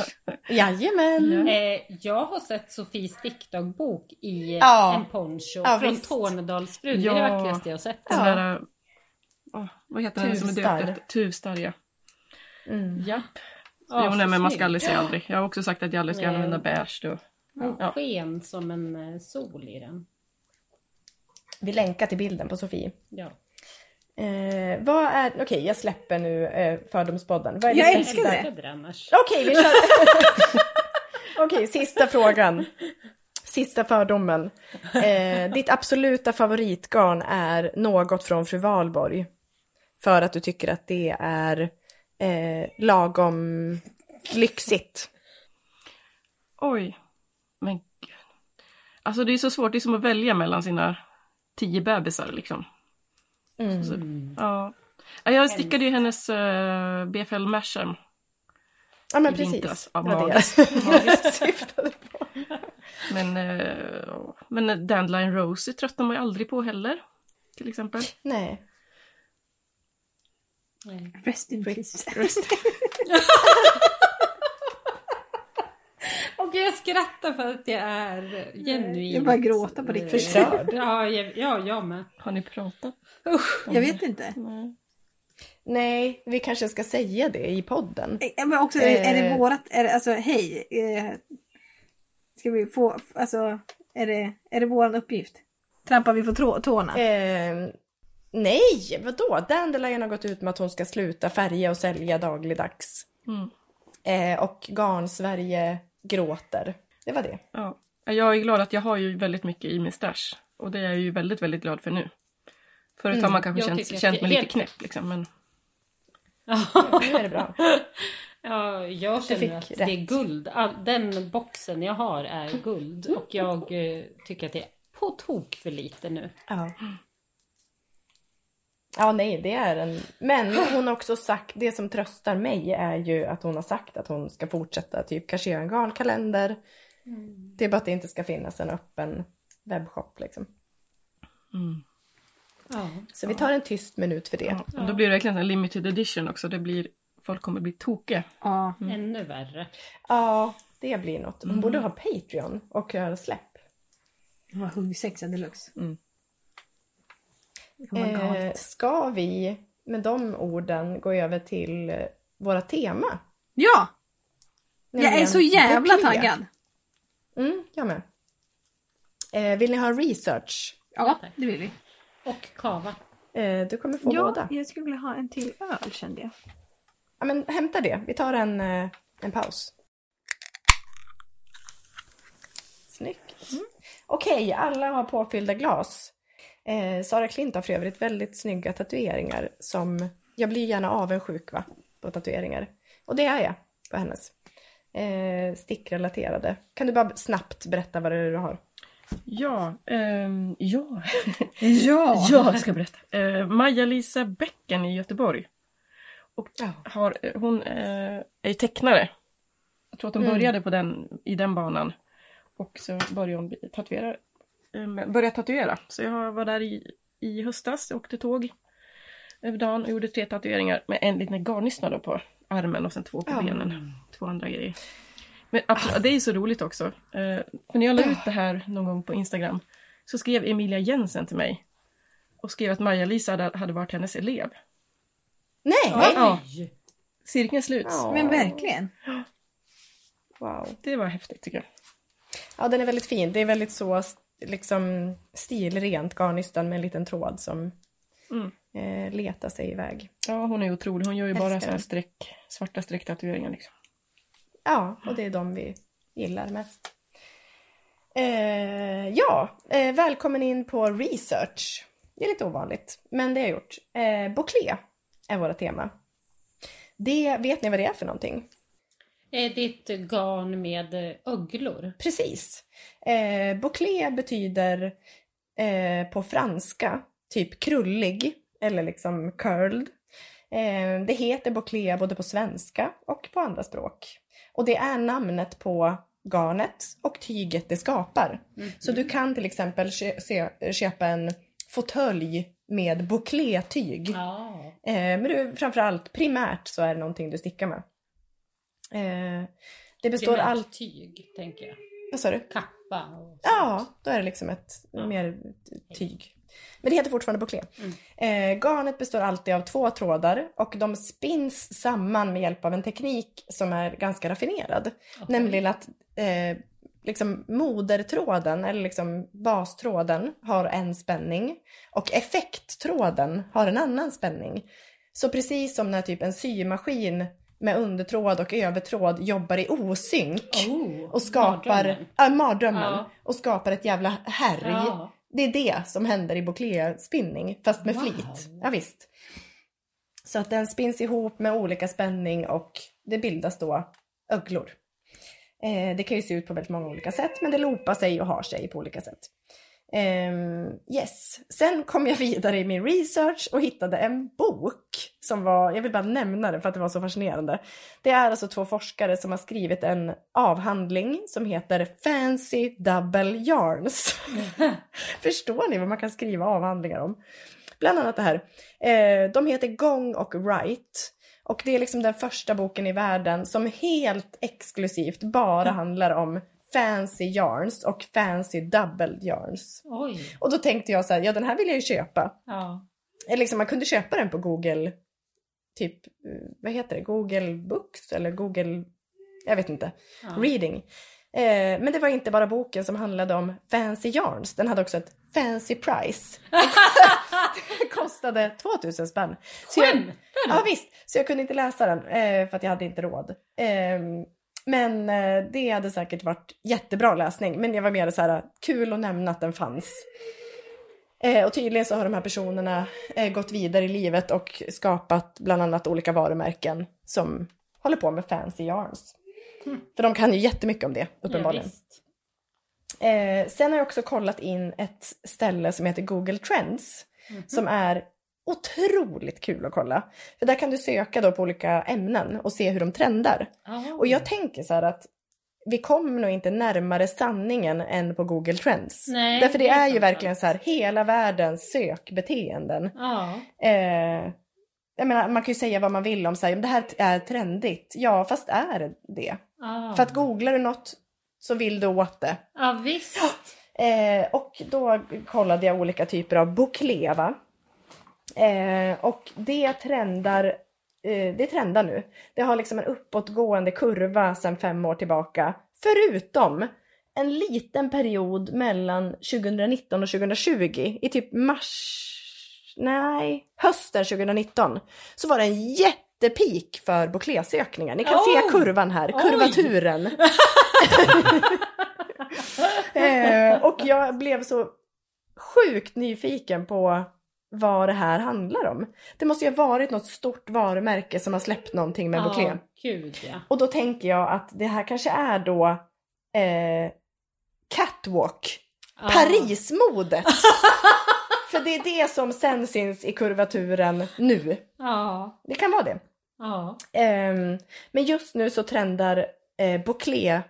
C: Jajamän.
B: Ja.
D: Eh, jag har sett Sofies stickdagbok i
C: Ja.
D: en poncho
C: Ja,
D: från
C: visst.
D: Tornedalsfrun. Det är
B: Ja.
D: det vackraste jag har sett.
B: Den
C: Ja.
B: där, eh, åh, vad heter den som är
C: Tuvstar.
B: döpt efter? Ah, Tuvstar ja.
C: Mm.
D: Japp.
B: jo, nej, men man ska
D: snygg.
B: aldrig säga aldrig. Jag har också sagt att jag aldrig ska
D: Nej.
B: använda beige då.
D: Hon
B: Ja.
D: sken som en eh, sol i den.
C: Vi länkar till bilden på Sofie.
D: Ja.
C: Eh, vad är, okej jag släpper nu eh, fördomspodden. Vad är
A: Jag
C: det
A: älskar
C: bästa-
A: det.
D: Älskade det annars.
C: Okej, vi kör. Okej, sista frågan. Sista fördomen. Eh, ditt absoluta favoritgarn är något från Fru Valborg. För att du tycker att det är eh, lagom lyxigt.
B: Oj. Men gud. Alltså det är så svårt, det är som att välja mellan sina tio bebisar liksom.
C: Mm.
B: Så, ja. Ja, Jag stickade ju hennes eh, BFL Masham.
C: Ja, men
B: i
C: precis.
B: vintras. Ja,
C: Det var
B: magiskt.
C: det jag syftade på.
B: Men, eh, ja. men Dandelion Rosie tröttnar man ju aldrig på heller. Till exempel.
C: Nej.
D: Nej.
A: Rest in peace.
D: Och jag skrattar för att jag är genuint...
A: Jag bara gråter på riktigt.
C: Förstörd.
D: Ja, jag, ja, jag med.
B: Har ni pratat?
A: Jag vet inte.
B: Nej.
C: Nej, vi kanske ska säga det i podden.
A: Eh, Men också, är det
C: Eh.
A: vårat, är det, alltså hej. eh, Ska vi få, alltså, är det, är det våran uppgift? Trampar vi på trå- tårna?
C: Eh, nej, vadå? Dandelion har gått ut med att hon ska sluta färga och sälja dagligdags.
B: Mm.
C: Eh, och Garn-Sverige gråter. Det var det.
B: Ja. Ja, Jag är glad att jag har ju väldigt mycket i min stash. Och det är jag ju väldigt, väldigt glad för nu. Förut har man kanske
D: jag
B: känt,
D: tycker att
B: känt
D: det
B: mig
D: är
B: lite
D: helt-
B: knäpp liksom. Men...
C: Nu är det bra.
D: Ja, jag
C: fick
D: känner att det är
C: rätt.
D: guld. All, den boxen jag har är guld och jag eh, tycker att det är på tok för lite nu.
C: Ja. Ja, nej, det är en... Men hon har också sagt, det som tröstar mig är ju att hon har sagt att hon ska fortsätta typ kanske göra en garnkalender. Det är bara att det inte ska finnas en öppen webbshop liksom.
B: Mm.
D: Ja.
C: Så vi tar en tyst minut för det.
B: Ja. Då blir det verkligen en limited edition också. Det blir, folk kommer bli tokiga.
C: Ja,
D: Mm. Ännu värre.
C: ja det blir något. Hon borde ha Patreon och göra släpp.
E: Det var huggsexa deluxe.
B: Mm.
E: Det kommer vara
C: Eh,
E: galet.
C: ska vi med de orden gå över till eh, våra tema?
A: Ja! Jag är
C: Nämligen
A: så jävla
C: bubblia.
A: taggad!
C: Mm, jag med. Eh, vill ni ha research?
A: Ja, det vill vi.
D: Och kava.
C: Eh, du kommer få
A: Ja,
C: båda.
A: jag skulle vilja ha en till öl kände jag.
C: Ja, men hämta det. Vi tar en, eh, en paus. Snyggt. Okej, alla har påfyllda glas. Eh, Sara Klint har för övrigt väldigt snygga tatueringar som... Jag blir gärna avundsjuk va? på tatueringar. Och det är jag på hennes. Eh, stickrelaterade. Kan du bara snabbt berätta vad det är du har?
B: Ja, ehm, ja.
E: Ja!
B: Jag ska berätta. Eh, Maja-Lisa Bäcken i Göteborg.
C: Ja.
B: Har, eh, hon eh, är ju tecknare. Jag tror att hon
C: Mm.
B: började på den, i den banan. Och så började hon bli- tatuera. eh, började tatuera. Så jag var där i, i höstas, jag åkte tåg över dagen och gjorde tre tatueringar med en liten garnnysla då på armen och sen två på
C: Ja.
B: benen. Två andra grejer. Men absolut, det är ju så roligt också. Eh, för när jag la ut det här någon gång på Instagram så skrev Emilia Jensen till mig och skrev att Maja-Lisa hade, hade varit hennes elev.
C: Nej!
B: Ja.
D: Oj!
B: Cirkeln sluts.
C: Ja.
E: Men verkligen.
C: Wow.
B: Det var häftigt tycker jag.
C: Ja, den är väldigt fin. Det är väldigt så liksom stilrent garnnystan med en liten tråd som
B: Mm.
C: eh, letar sig iväg.
B: Ja, hon är otrolig. Hon gör ju
C: Älskar
B: bara såna
C: den.
B: streck, svarta strecktatueringar liksom.
C: Ja, och det är de vi gillar mest. Eh, ja, eh, välkommen in på research. Det är lite ovanligt, men det har jag gjort. Eh, Bouclé är våra tema. Det, vet ni vad det är för någonting?
D: Eh, Det är ett garn med eh, öglor.
C: Precis. Eh, bouclé betyder eh, på franska typ krullig eller liksom curled. Eh, det heter bouclé både på svenska och på andra språk. Och det är namnet på garnet och tyget det skapar.
D: Mm-hmm.
C: Så du kan till exempel kö- se- köpa en fåtölj med bouclé-tyg.
D: Ja.
C: Eh, men du, framförallt primärt så är det någonting du stickar med. Eh, det består
D: Primärt
C: allt...
D: tyg, tänker jag.
C: Vad sa du?
D: Kappa och sånt.
C: Ja, då är det liksom ett mer tyg. Men det heter fortfarande bouclé. Eh, garnet består alltid av två trådar och de spinns samman med hjälp av en teknik som är ganska raffinerad.
D: Okej.
C: Nämligen att eh, liksom modertråden, eller liksom bastråden, har en spänning och effekttråden har en annan spänning. Så precis som när typ en symaskin med undertråd och övertråd jobbar i osynk
D: Oh,
C: och skapar
D: mardrömmen.
C: mardrömmen, äh, mardrömmen
D: Ja.
C: och skapar ett jävla härj.
D: Ja.
C: Det är det som händer i Bouclé-spinning, fast med
D: Wow.
C: flit. Ja, visst. Så att den spinns ihop med olika spänning och det bildas då öglor. Eh, det kan ju se ut på väldigt många olika sätt, men det lopar sig och har sig på olika sätt. Ehm, yes, sen kom jag vidare i min research och hittade en bok som var, jag vill bara nämna den för att det var så fascinerande. Det är alltså två forskare som har skrivit en avhandling som heter Fancy Double Yarns. Förstår ni vad man kan skriva avhandlingar om? Bland annat det här. Eh, de heter Gong och Right. Och det är liksom den första boken i världen som helt exklusivt bara handlar om fancy yarns och fancy double yarns.
D: Oj.
C: Och då tänkte jag så här, ja den här vill jag ju köpa.
D: Ja.
C: Eller liksom, man kunde köpa den på Google, typ, eh, vad heter det, Google Books eller Google, jag vet inte,
D: ja.
C: Reading. Eh, men det var inte bara boken som handlade om fancy yarns, den hade också ett fancy price. det kostade 2000 spänn. Så jag,
D: Skämtar
C: ja, visst, så jag kunde inte läsa den eh, för att jag hade inte råd. Eh, men eh, det hade säkert varit jättebra läsning, men jag var mer så här, kul att nämna att den fanns. Eh, och tydligen så har de här personerna eh, gått vidare i livet och skapat bland annat olika varumärken som håller på med fancy yarns. För de kan ju jättemycket om det, uppenbarligen.
D: Mm. Ja, visst.
C: Eh, sen har jag också kollat in ett ställe som heter Google Trends som är otroligt kul att kolla. För där kan du söka då på olika ämnen och se hur de trendar.
D: Ja.
C: Och jag tänker så här att vi kommer nog inte närmare sanningen än på Google Trends.
D: Nej,
C: Därför det
D: helt
C: är ju
D: sant.
C: verkligen så här hela världens sökbeteenden.
D: Ja.
C: Eh, jag menar, man kan ju säga vad man vill om så här, "Men det här är trendigt. Ja, fast är det det?
D: Ja,
C: För att googlar du något så vill du åt det.
D: ja visst.
C: Eh, och då kollade jag olika typer av bokleva. Eh, och det trendar, eh, det trendar nu. Det har liksom en uppåtgående kurva sedan fem år tillbaka. Förutom en liten period mellan 2019 och 2020 i typ mars, nej, hösten 2019 så var det en jättepeak för Bouclé-sökningar. Ni kan
D: Oh!
C: se kurvan här,
D: Oj!
C: kurvaturen. Eh, och jag blev så sjukt nyfiken på vad det här handlar om. Det måste ju ha varit något stort varumärke som har släppt någonting med Bouclé.
D: ja, gud ja.
C: Och då tänker jag att det här kanske är då eh, catwalk,
D: ja.
C: Parismodet. För det är det som sen syns i kurvaturen nu.
D: Ja,
C: Det kan vara det.
D: ja.
C: Ehm, men just nu så trendar eh, Bouclé...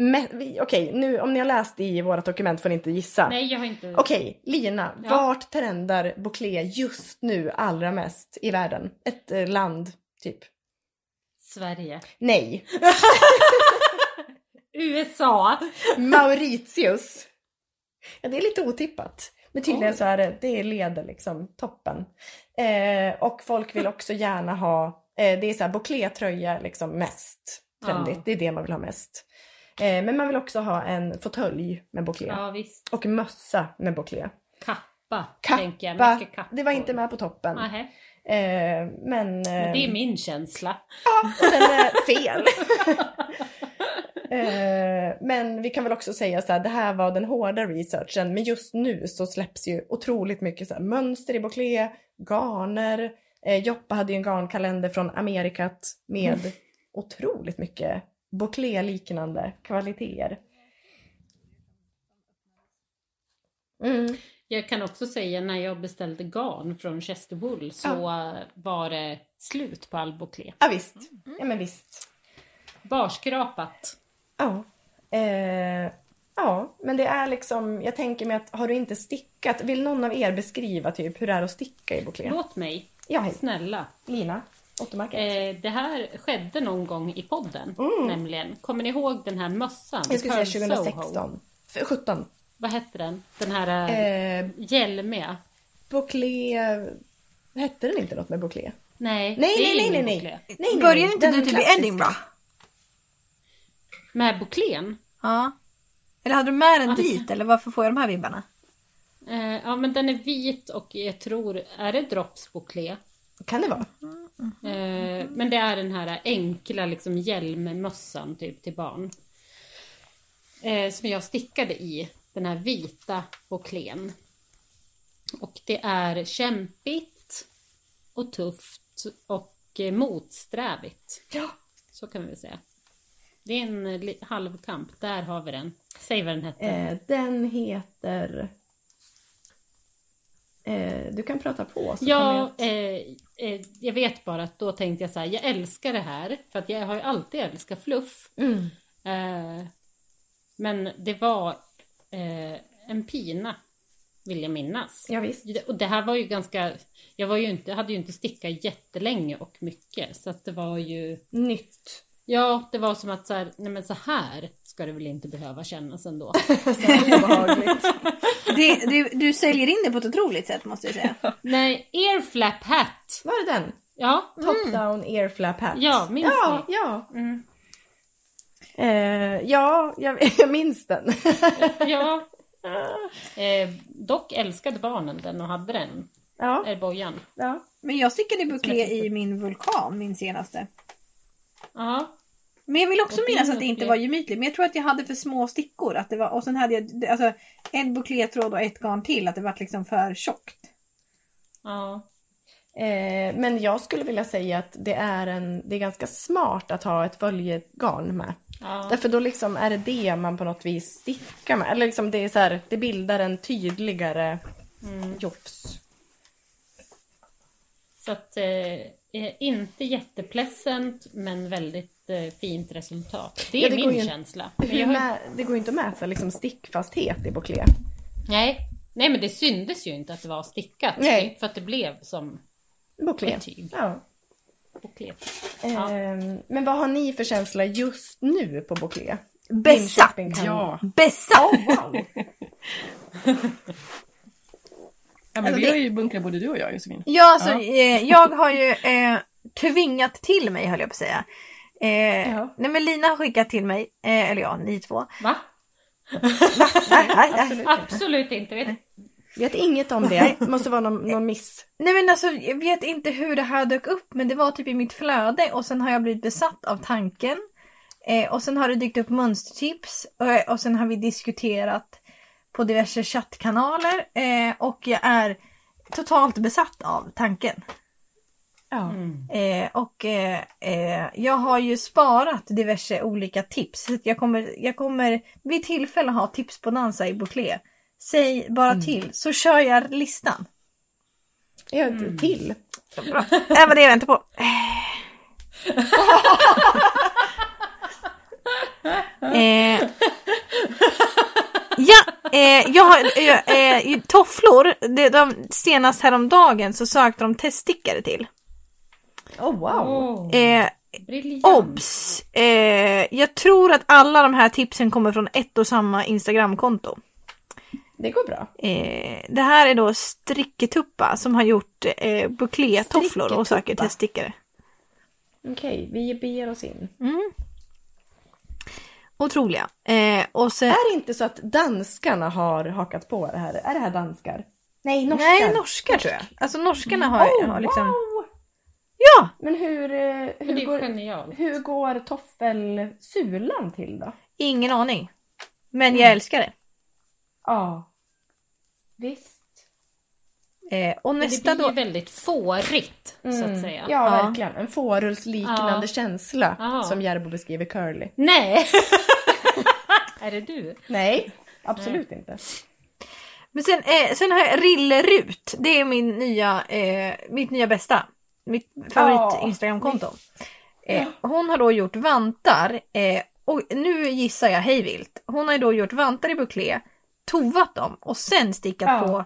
C: me- vi- Okej, nu om ni har läst i vårat dokument får ni inte gissa.
D: Nej, jag har inte...
C: Okej, Lina,
D: Ja.
C: vart trendar Bouclé just nu allra mest i världen? Ett eh, land, typ?
D: Sverige.
C: Nej,
D: USA.
C: Mauritius. Ja, det är lite otippat. Men tydligen
D: Oj.
C: så är det, det leder liksom toppen. Eh, och folk vill också gärna ha, eh, det är så här Bouclé-tröja liksom mest trendigt.
D: Ja.
C: Det är det man vill ha mest. Eh, men man vill också ha en fåtölj med Bouclé.
D: Ja, visst.
C: Och mössa med Bouclé.
D: Kappa, tänker jag.
C: Kappa,
D: Mycket kappor.
C: det var inte med på toppen.
D: Nähä.
C: Eh, men...
D: Men
C: eh,
D: Det är min känsla.
C: Och sen är fel. Eh, Men vi kan väl också säga så här, det här var den hårda researchen, men just nu så släpps ju otroligt mycket så här, mönster i Bouclé, garner. Eh, Joppa hade ju en garnkalender från Amerikat med otroligt mycket Bouclé-liknande kvaliteter. Mm.
D: Jag kan också säga när jag beställde garn från Chesterwool så eh, var det slut på all Bouclé.
C: Ja, visst. Ja, men visst.
D: Barskrapat.
C: Ja. Eh, ja, men det är liksom, jag tänker mig att har du inte stickat, vill någon av er beskriva typ hur det är att sticka i Bouclé?
D: Låt mig,
C: Ja, hej.
D: snälla.
C: Lina Ottomarker.
D: Eh, det här skedde någon gång i podden, nämligen. Kommer ni ihåg den här mössan?
C: Mm. jag skulle säga
D: Pearl Soho.
C: 2016. F- 17.
D: Vad hette den? Den här eh,
C: Eh,
D: hjälmiga?
C: Bouclé, hette den inte något med Bouclé? Nej,
D: Nej, det är
C: nej, nej, nej,
D: ingen
C: nej.
D: Bouclé.
C: nej, nej.
A: Börjar inte
C: Den
A: du typ i
C: klassiska.
A: Edinburgh?
D: Med Bouclén?
A: Ja. Eller hade du med den
D: Ja, det
A: dit eller varför får jag de här vibbarna?
D: Eh, ja, men den är vit och jag tror, är det Drops Bouclé?
C: Kan det vara?
D: Eh, men det är den här enkla liksom, hjälmmössan typ till barn. Eh, som jag stickade i den här vita bouclén. Och det är kämpigt och tufft och eh, motsträvigt.
C: Ja.
D: Så kan vi väl säga. Det är en eh, li- halvkamp, där har vi den. Säg vad den hette.
C: Eh, den heter... Eh, du kan prata på. Så
D: Ja,
C: kommer jag-
D: eh, eh, jag vet bara att då tänkte jag så här, jag älskar det här för att jag har ju alltid älskat fluff.
C: Mm.
D: Eh, men det var eh, en pina, vill jag minnas.
C: ja visst.
D: Och det här var ju ganska, jag var ju inte, hade ju inte stickat jättelänge och mycket så att det var ju,
C: Nytt.
D: ja det var som att så här, nej men så här ska det väl inte behöva kännas ändå.
C: Så obehagligt.
A: Det, du, du säljer in det på ett otroligt sätt måste jag säga.
D: nej, earflap hat!
C: Var det den?
D: Ja,
C: Top down air flap hat.
D: Ja, minns
C: Mm. ja,
D: ni?
C: Ja,
D: mm.
C: eh, ja jag, jag minns den.
D: ja. Eh, dock älskade barnen den och hade den,
C: ja,
D: är bojan.
C: ja.
A: Men jag stickade buklé i min vulkan, min senaste.
D: Ja,
A: Men jag vill också
D: Och
A: minnas
D: din
A: att det inte
D: buklé.
A: var gemytligt. Men jag tror att jag hade för små stickor. Att det var, och sen hade jag alltså, en buklétråd och ett garn till. Att det var liksom för tjockt.
D: ja.
C: Eh, men jag skulle vilja säga att det är, en, det är ganska smart att ha ett följegarn med.
D: ja.
C: Därför då liksom är det det man på något vis stickar med. Eller liksom det, är så här, det bildar en tydligare jofs.
D: Mm. Så att, eh, eh, inte jättepleasant men väldigt eh, fint resultat. Det är
C: Ja, det går
D: min
C: ju-
D: känsla.
C: Det,
D: Men
C: går ju
D: jag har,
C: mä- det går ju inte att mäta liksom stickfasthet i bouclé.
D: nej, nej, men det syndes ju inte att det var stickat.
C: Nej.
D: För att det blev som
C: Bouclé.
D: Betyg.
C: Ja.
D: boklet. Ja.
C: Ehm, Men vad har ni för känsla just nu på bouclé?
A: Besatt!
C: Linköping kan-
B: Ja,
A: Besatt!
C: Wow.
B: ja men
A: Alltså,
B: vi
A: det-
B: har ju bunkrat både du och jag Josefin.
A: Ja, alltså,
B: Ja.
A: Eh, jag har ju eh, tvingat till mig höll jag på att säga. Eh,
B: Ja.
A: Nej men Lina har skickat till mig, eh, eller ja, ni två.
D: Va?
A: Nej, nej, nej.
D: Absolut inte. Vet.
C: Vet inget om det. Måste vara någon, någon miss.
A: Nej men alltså jag vet inte hur det här dök upp men det var typ i mitt flöde och sen har jag blivit besatt av tanken. Eh, och sen har det dykt upp mönstertips eh, och, och sen har vi diskuterat på diverse chattkanaler eh, och jag är totalt besatt av tanken.
C: Ja.
D: Mm.
A: Eh, och eh, eh, jag har ju sparat diverse olika tips. Så att Jag kommer, jag kommer vid tillfälle ha tips på dansa i Bouclé. Säg bara till så kör jag listan.
C: Jag mm. till.
A: Nej men det jag väntar på. eh, ja, eh, jag har eh, eh, i tofflor. De, de, senast häromdagen så sökte de teststickare till.
C: Oh wow.
D: Åh,
A: Eh,
D: briljant.
A: obs! Eh, jag tror att alla de här tipsen kommer från ett och samma Instagramkonto.
C: Det går bra.
A: Eh, det här är då Stricketuppa som har gjort eh, bouclé-tofflor och söker
C: Stricketuppa.
A: teststickare.
C: Okej, vi beger oss in.
A: Otroliga. Eh, och sen,
C: Är det inte så att danskarna har hakat på det här? Är det här danskar? Nej, norskar.
A: Nej, norskar tror jag. Alltså norskarna har,
C: Oh,
A: har liksom...
C: wow.
A: Ja!
C: Men hur, eh,
D: Men Det
C: hur,
D: är
C: går,
D: genialt.
C: hur går toffelsulan till då?
A: Ingen aning. Men
C: Mm.
A: jag älskar det.
C: Ja. Visst.
A: Eh, och
D: Men
A: nästa
D: Det blir
A: då...
D: ju väldigt fårigt så att
C: Mm.
D: säga.
C: Ja,
A: Ja.
C: verkligen. En fårullsliknande
D: Ja.
C: känsla
D: Ja.
C: som Järbo beskriver Curly.
D: Nej! är det du?
C: Nej, absolut inte.
A: Men sen, eh, sen har jag Rillerut. Det är min nya, eh, mitt nya bästa. Mitt
C: Ja,
A: favorit-instagramkonto. Eh, hon har då gjort vantar. Eh, och nu gissar jag hej vilt. Hon har ju då gjort vantar i bouclé, tovat dem och sen stickat
C: Ja.
A: på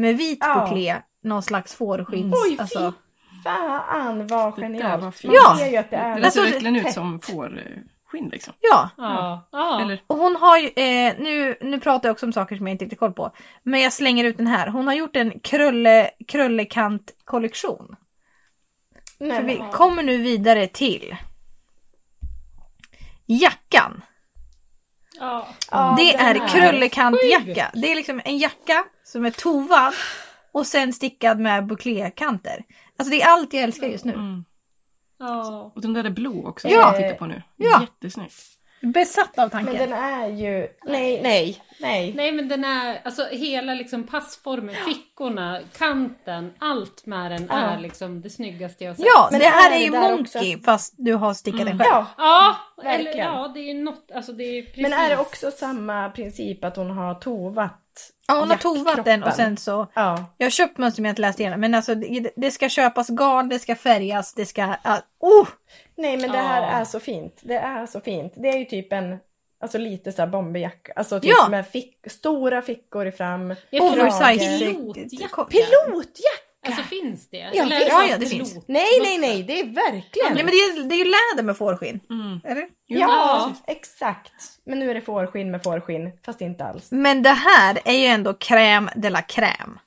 A: med vit
C: Ja.
A: bouclé någon slags fårskins... alltså,
C: Oj, fy Fan vad
B: Det där
C: genialt.
B: var fint.
C: Man
A: Ja.
C: ser ju att det är
B: Det
A: Alltså,
B: ser verkligen
C: det-
B: ut som fårskinn liksom.
A: ja,
D: Ja. ja.
B: Eller
A: Och hon har ju, eh, nu, nu pratar jag också om saker som jag inte riktigt koll på. Men jag slänger ut den här. Hon har gjort en krulle, krullekant-kollektion.
C: Nej,
A: Så vi
C: men-
A: kommer nu vidare till jackan.
D: ja.
C: Ja,
A: det
C: den
A: är
C: här.
A: krullekantjacka. Det är liksom en jacka som är tovad och sen stickad med bouclékanter. Alltså det är allt jag älskar just nu.
B: Mm.
D: ja.
B: Och den där är blå också
A: Ja.
B: som jag tittar på nu.
A: Ja.
B: Jättesnyggt.
A: Besatt av
C: Men
A: tanken.
C: den är ju... Nej, nej, nej.
D: Nej men den är, alltså hela liksom passformen, fickorna, kanten, allt med den
C: Ja.
D: är liksom det snyggaste jag har sett.
A: Ja,
C: Men
A: det här
C: är
A: är
C: det
A: ju
C: där Mm.
A: Monkey fast du har stickat den själv.
C: Ja,
D: Ja,
C: Verkligen.
D: eller ja, det är ju något, alltså det är precis.
C: men är det också samma princip att hon har tovat?
A: Ja, hon har tovat den och sen
C: Jackkroppen.
A: så
C: Ja.
A: Jag har köpt mönster men jag har inte läst igenom. Men alltså det, det ska köpas garn, det ska färgas, det ska... ah, oh!
C: Nej, men det
D: Ja.
C: här är så fint. Det är så fint. Det är ju typ en... Alltså lite såhär bomberjacka. Alltså typ
A: Ja.
C: med fick, stora fickor i fram.
D: Jag
A: Oh,
D: tror-
A: Oversize.
D: Pilotjacka.
C: Pilotjacka!
D: Alltså finns det?
C: Ja,
D: eller är det,
A: ja,
D: bara
A: ja, det
D: pilot?
A: finns.
C: Nej, nej, nej, det är verkligen...
A: Nej men det är, det är ju läder med fårskinn.
B: Mm.
A: Eller?
B: Jo,
C: Ja,
B: precis.
C: exakt. Men nu är det fårskinn med fårskinn, fast inte alls.
A: Men det här är ju ändå crème de la crème.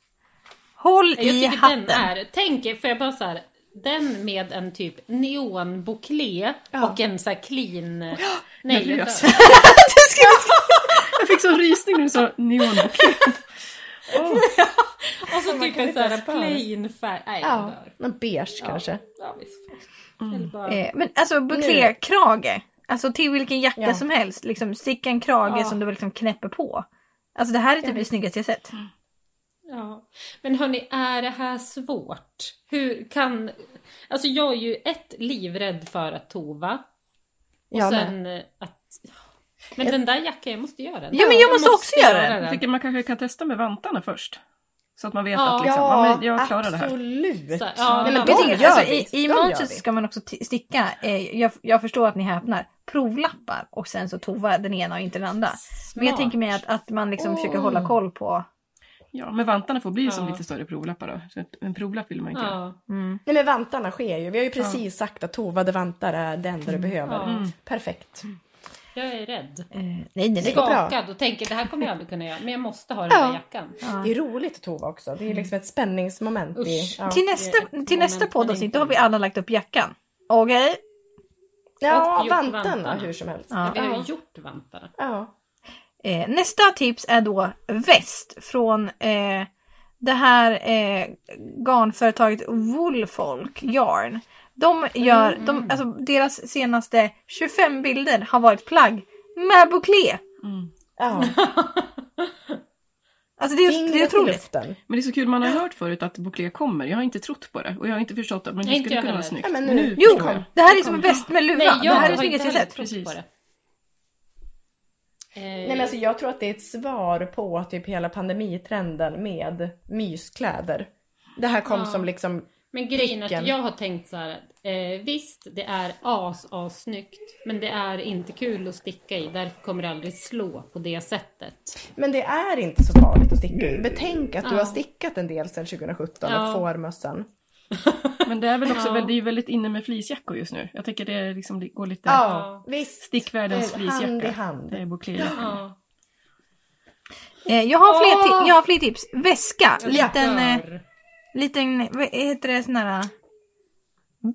A: Håll
D: Jag
A: i
D: tycker
A: hatten.
D: den är, tänk er, för jag bara så här, den med en typ neonbouclé
C: Ja.
D: och en så här clean... nej, jag
B: nervös.
D: dör.
A: Du ska-
B: Jag fick sån rysning när du sa neonbok.
D: och så typ
C: kan
D: en
C: inte
D: så här
C: ens spara.
D: plain färg. Nej, jag
C: Ja,
D: dör.
C: någon beige kanske.
D: Ja, visst. Eller bara,
A: Eh, Men alltså bouclé-krage. Alltså till vilken jacka
C: Ja.
A: som helst. Liksom, sticka en krage
D: Ja.
A: som du liksom knäpper på. Alltså det här är typ det snyggaste jag sett.
D: Ja. Men hörni, är det här svårt? Hur kan... Alltså jag är ju ett livrädd för att tova. Och
C: Jag med.
D: sen eh, att... Men den där jackan, jag måste göra den.
A: Ja, men jag måste också göra den.
D: den.
B: Jag tänker man kanske kan testa med vantarna först. Så att man vet
D: Ja.
B: att liksom, ja, men jag klarar det här.
C: absolut.
D: Så, ja,
A: Nej, men
D: då
A: jag tänker,
C: gör
A: alltså,
C: vi.
A: I i
C: Då gör
A: mönstret
C: vi.
A: ska man också t- sticka, eh, jag, jag förstår att ni häpnar, provlappar och sen så tovar den ena och inte den andra. Men jag
D: Smart.
A: tänker mig att, att man liksom försöker hålla koll på...
B: Ja, men vantarna får bli som
D: Ja.
B: lite större provlappar då. Så att en provlapp vill man inte göra.
D: Ja.
A: Mm.
C: Nej men vantarna sker ju. Vi har ju precis sagt att tovade vantar är det enda du behöver.
D: Ja. Mm.
C: Perfekt.
D: Jag är rädd.
A: Eh, nej, nej, nej.
C: går bra.
D: Skakad och tänker det här kommer jag aldrig kunna göra. Men jag måste ha den här
C: Ja.
D: jackan.
A: Ja.
C: Det är roligt att tova också. Det är ju liksom ett spänningsmoment. I,
D: Usch.
C: ja.
A: Till nästa,
D: ett
A: till nästa
D: moment, men
A: poddavsnitt
D: inte
A: då har vi
D: nu.
A: alla lagt upp jackan. Okej?
C: ja,
D: Och gjort
C: vantarna,
D: vantarna.
C: hur som helst.
A: Ja.
D: Vi har ju
C: Ja.
D: gjort vantarna.
C: Ja.
A: Eh, nästa tips är då väst från eh, det här eh, garnföretaget Woolfolk Yarn. De gör,
D: Mm,
A: de, alltså, deras senaste 25 bilder har varit plagg med bouclé.
B: Mm.
C: Ja.
A: Alltså det är, det är
C: Fingret i
A: otroligt.
C: luften.
B: Men det är så kul, man har hört förut att bouclé kommer. Jag har inte trott på det och jag har inte förstått att man
D: Nej, inte
B: skulle
D: jag
B: kunna vara
D: heller.
B: snyggt.
C: Nej, men
B: Men
C: nu-
B: nu
A: Jo,
B: förstår jag.
A: det här är som en väst med luva.
D: Nej, jag
A: det här är
D: har
A: snyggaste
D: inte
A: jag sett.
D: trott på det. Eh,
C: Nej men alltså jag tror att det är ett svar på typ hela pandemitrenden med myskläder. Det här kom
D: Ja.
C: som liksom,
D: Men grejen är
C: Blicken.
D: att jag har tänkt så här, eh, visst det är as, as snyggt, men det är inte kul att sticka i, därför kommer det aldrig slå på det sättet.
C: men det är inte så farligt att sticka i. Betänk att du
D: Ja.
C: har stickat en del sedan 2017
D: Ja.
C: och får mössan.
B: Men det är väl också
D: Ja.
B: väldigt, det är ju väldigt inne med fleecejackor just nu. Jag tycker det är liksom, det går lite
C: Ja, visst.
B: stickvärldens
C: Eh, Hand i
B: fleecejacka.
C: hand.
B: Det är bouclé.
D: Ja,
A: Eh, jag, har fler
D: Åh!
A: ti- jag har fler tips. Väska.
D: jag
A: Liten, eh,
D: dör.
A: liten, vad heter det, sån här eh,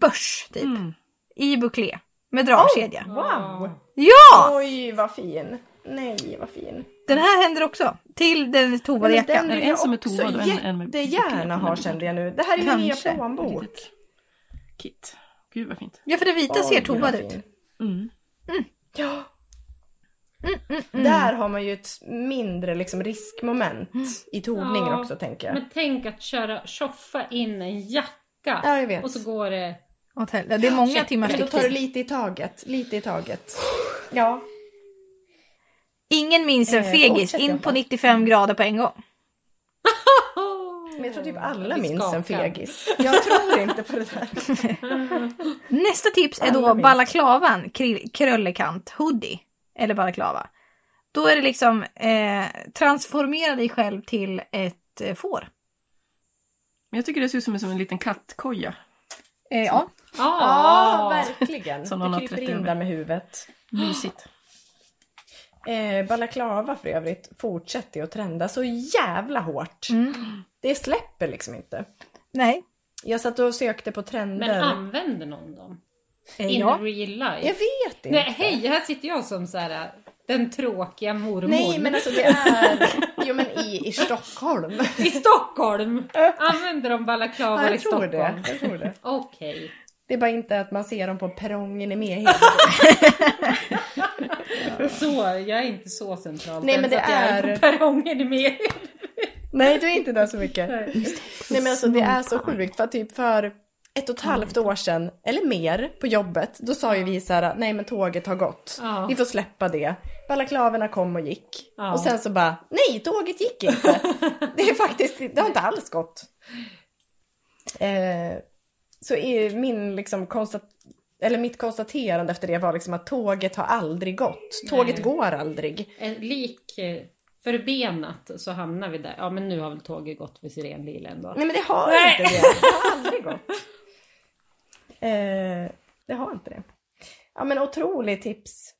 A: börs typ.
B: Mm.
A: I bouclé. Med dragkedja.
D: Oh!
C: Wow!
A: Ja!
C: Oj vad fin! Nej vad fin.
A: Den här händer också. Till den tovade
C: Men
A: jackan.
C: den
B: Är det
C: vill
B: en
C: jag
B: som är
C: också
B: tovad och en- en med-
C: jättegärna ha kände jag nu. Det här är min nya
A: Kanske.
B: Ett
C: plånbok.
B: litet kit. Gud vad fint.
A: Ja, för den vita ser
C: Oj, vad
A: tovad ut.
C: fin.
B: Mm.
C: Ja.
A: Mm,
C: Där har man ju ett mindre liksom, riskmoment i tovningen
D: Ja,
C: också tänker jag.
D: Men tänk att köra, tjoffa in en jacka
C: Ja, jag vet.
D: och så går det...
A: Åt helvete. Det är många
D: Shit.
A: timmars
C: Men då tar du
A: tid.
C: lite i taget, lite i taget. Ja,
A: Ingen minns en
C: Eh,
A: fegis.
C: fortsätt
A: In
C: jobba.
A: på 95 grader på en gång.
C: men jag tror typ alla
D: Vi
C: minns en
D: skakar.
C: fegis. Jag tror inte på det där.
A: Nästa tips är
C: Alla
A: då
C: minns.
A: balaklavan krill- kröllekant hoodie. Eller balaklava. Då är det liksom eh, transformera dig själv till ett eh, får.
B: Men jag tycker det ser ut som en, som en liten kattkoja.
A: Eh, ja.
D: Ja,
C: Ja, verkligen.
B: Som
C: Som
B: någon
C: du
B: har
C: kryper
B: trätt
C: in
B: över.
C: där med huvudet.
B: Mysigt.
C: Eh, balaklava för övrigt fortsätter ju att trenda så jävla hårt.
D: Mm.
C: Det släpper liksom inte.
A: Mm. Nej.
C: Jag satt och sökte på trender.
D: men använder någon dem?
A: Eh,
D: In
A: ja.
D: real life?
C: Jag vet inte.
D: Nej, hej, här sitter jag som så här, äh, den tråkiga mormor.
C: Nej men alltså det är, jo men i, i Stockholm.
D: I Stockholm! Använder de
C: Ja,
D: balaklavor i
C: jag tror
D: Stockholm?
C: det. Jag tror det.
D: Okej.
C: Det är bara inte att man ser dem på perrongen i Mehed.
D: Så, jag är inte så centralt
C: Nej, men
D: ens
C: det
D: att jag
C: är-
D: på perrongen med.
C: Nej du är inte där så mycket.
D: Nej.
C: Nej men alltså det är så sjukt för typ för ett och ett halvt år sedan eller mer på jobbet då sa ju vi så här: nej men tåget har gått.
D: Ja.
C: Vi får släppa det. Balaklaverna kom och gick.
D: Ja.
C: Och sen så bara nej tåget gick inte. det är faktiskt, det har inte alls gått. Eh, så är min liksom konstat eller mitt konstaterande efter det var liksom att tåget har aldrig gått. Tåget
D: Nej.
C: går aldrig.
D: Eh, Lik eh, förbenat så hamnar vi där. Ja, men nu har väl tåget gått vid sirenlila ändå.
C: Nej men det har
D: Nej.
C: inte det. Det har aldrig gått. Eh, det har inte det. Ja men otrolig tips.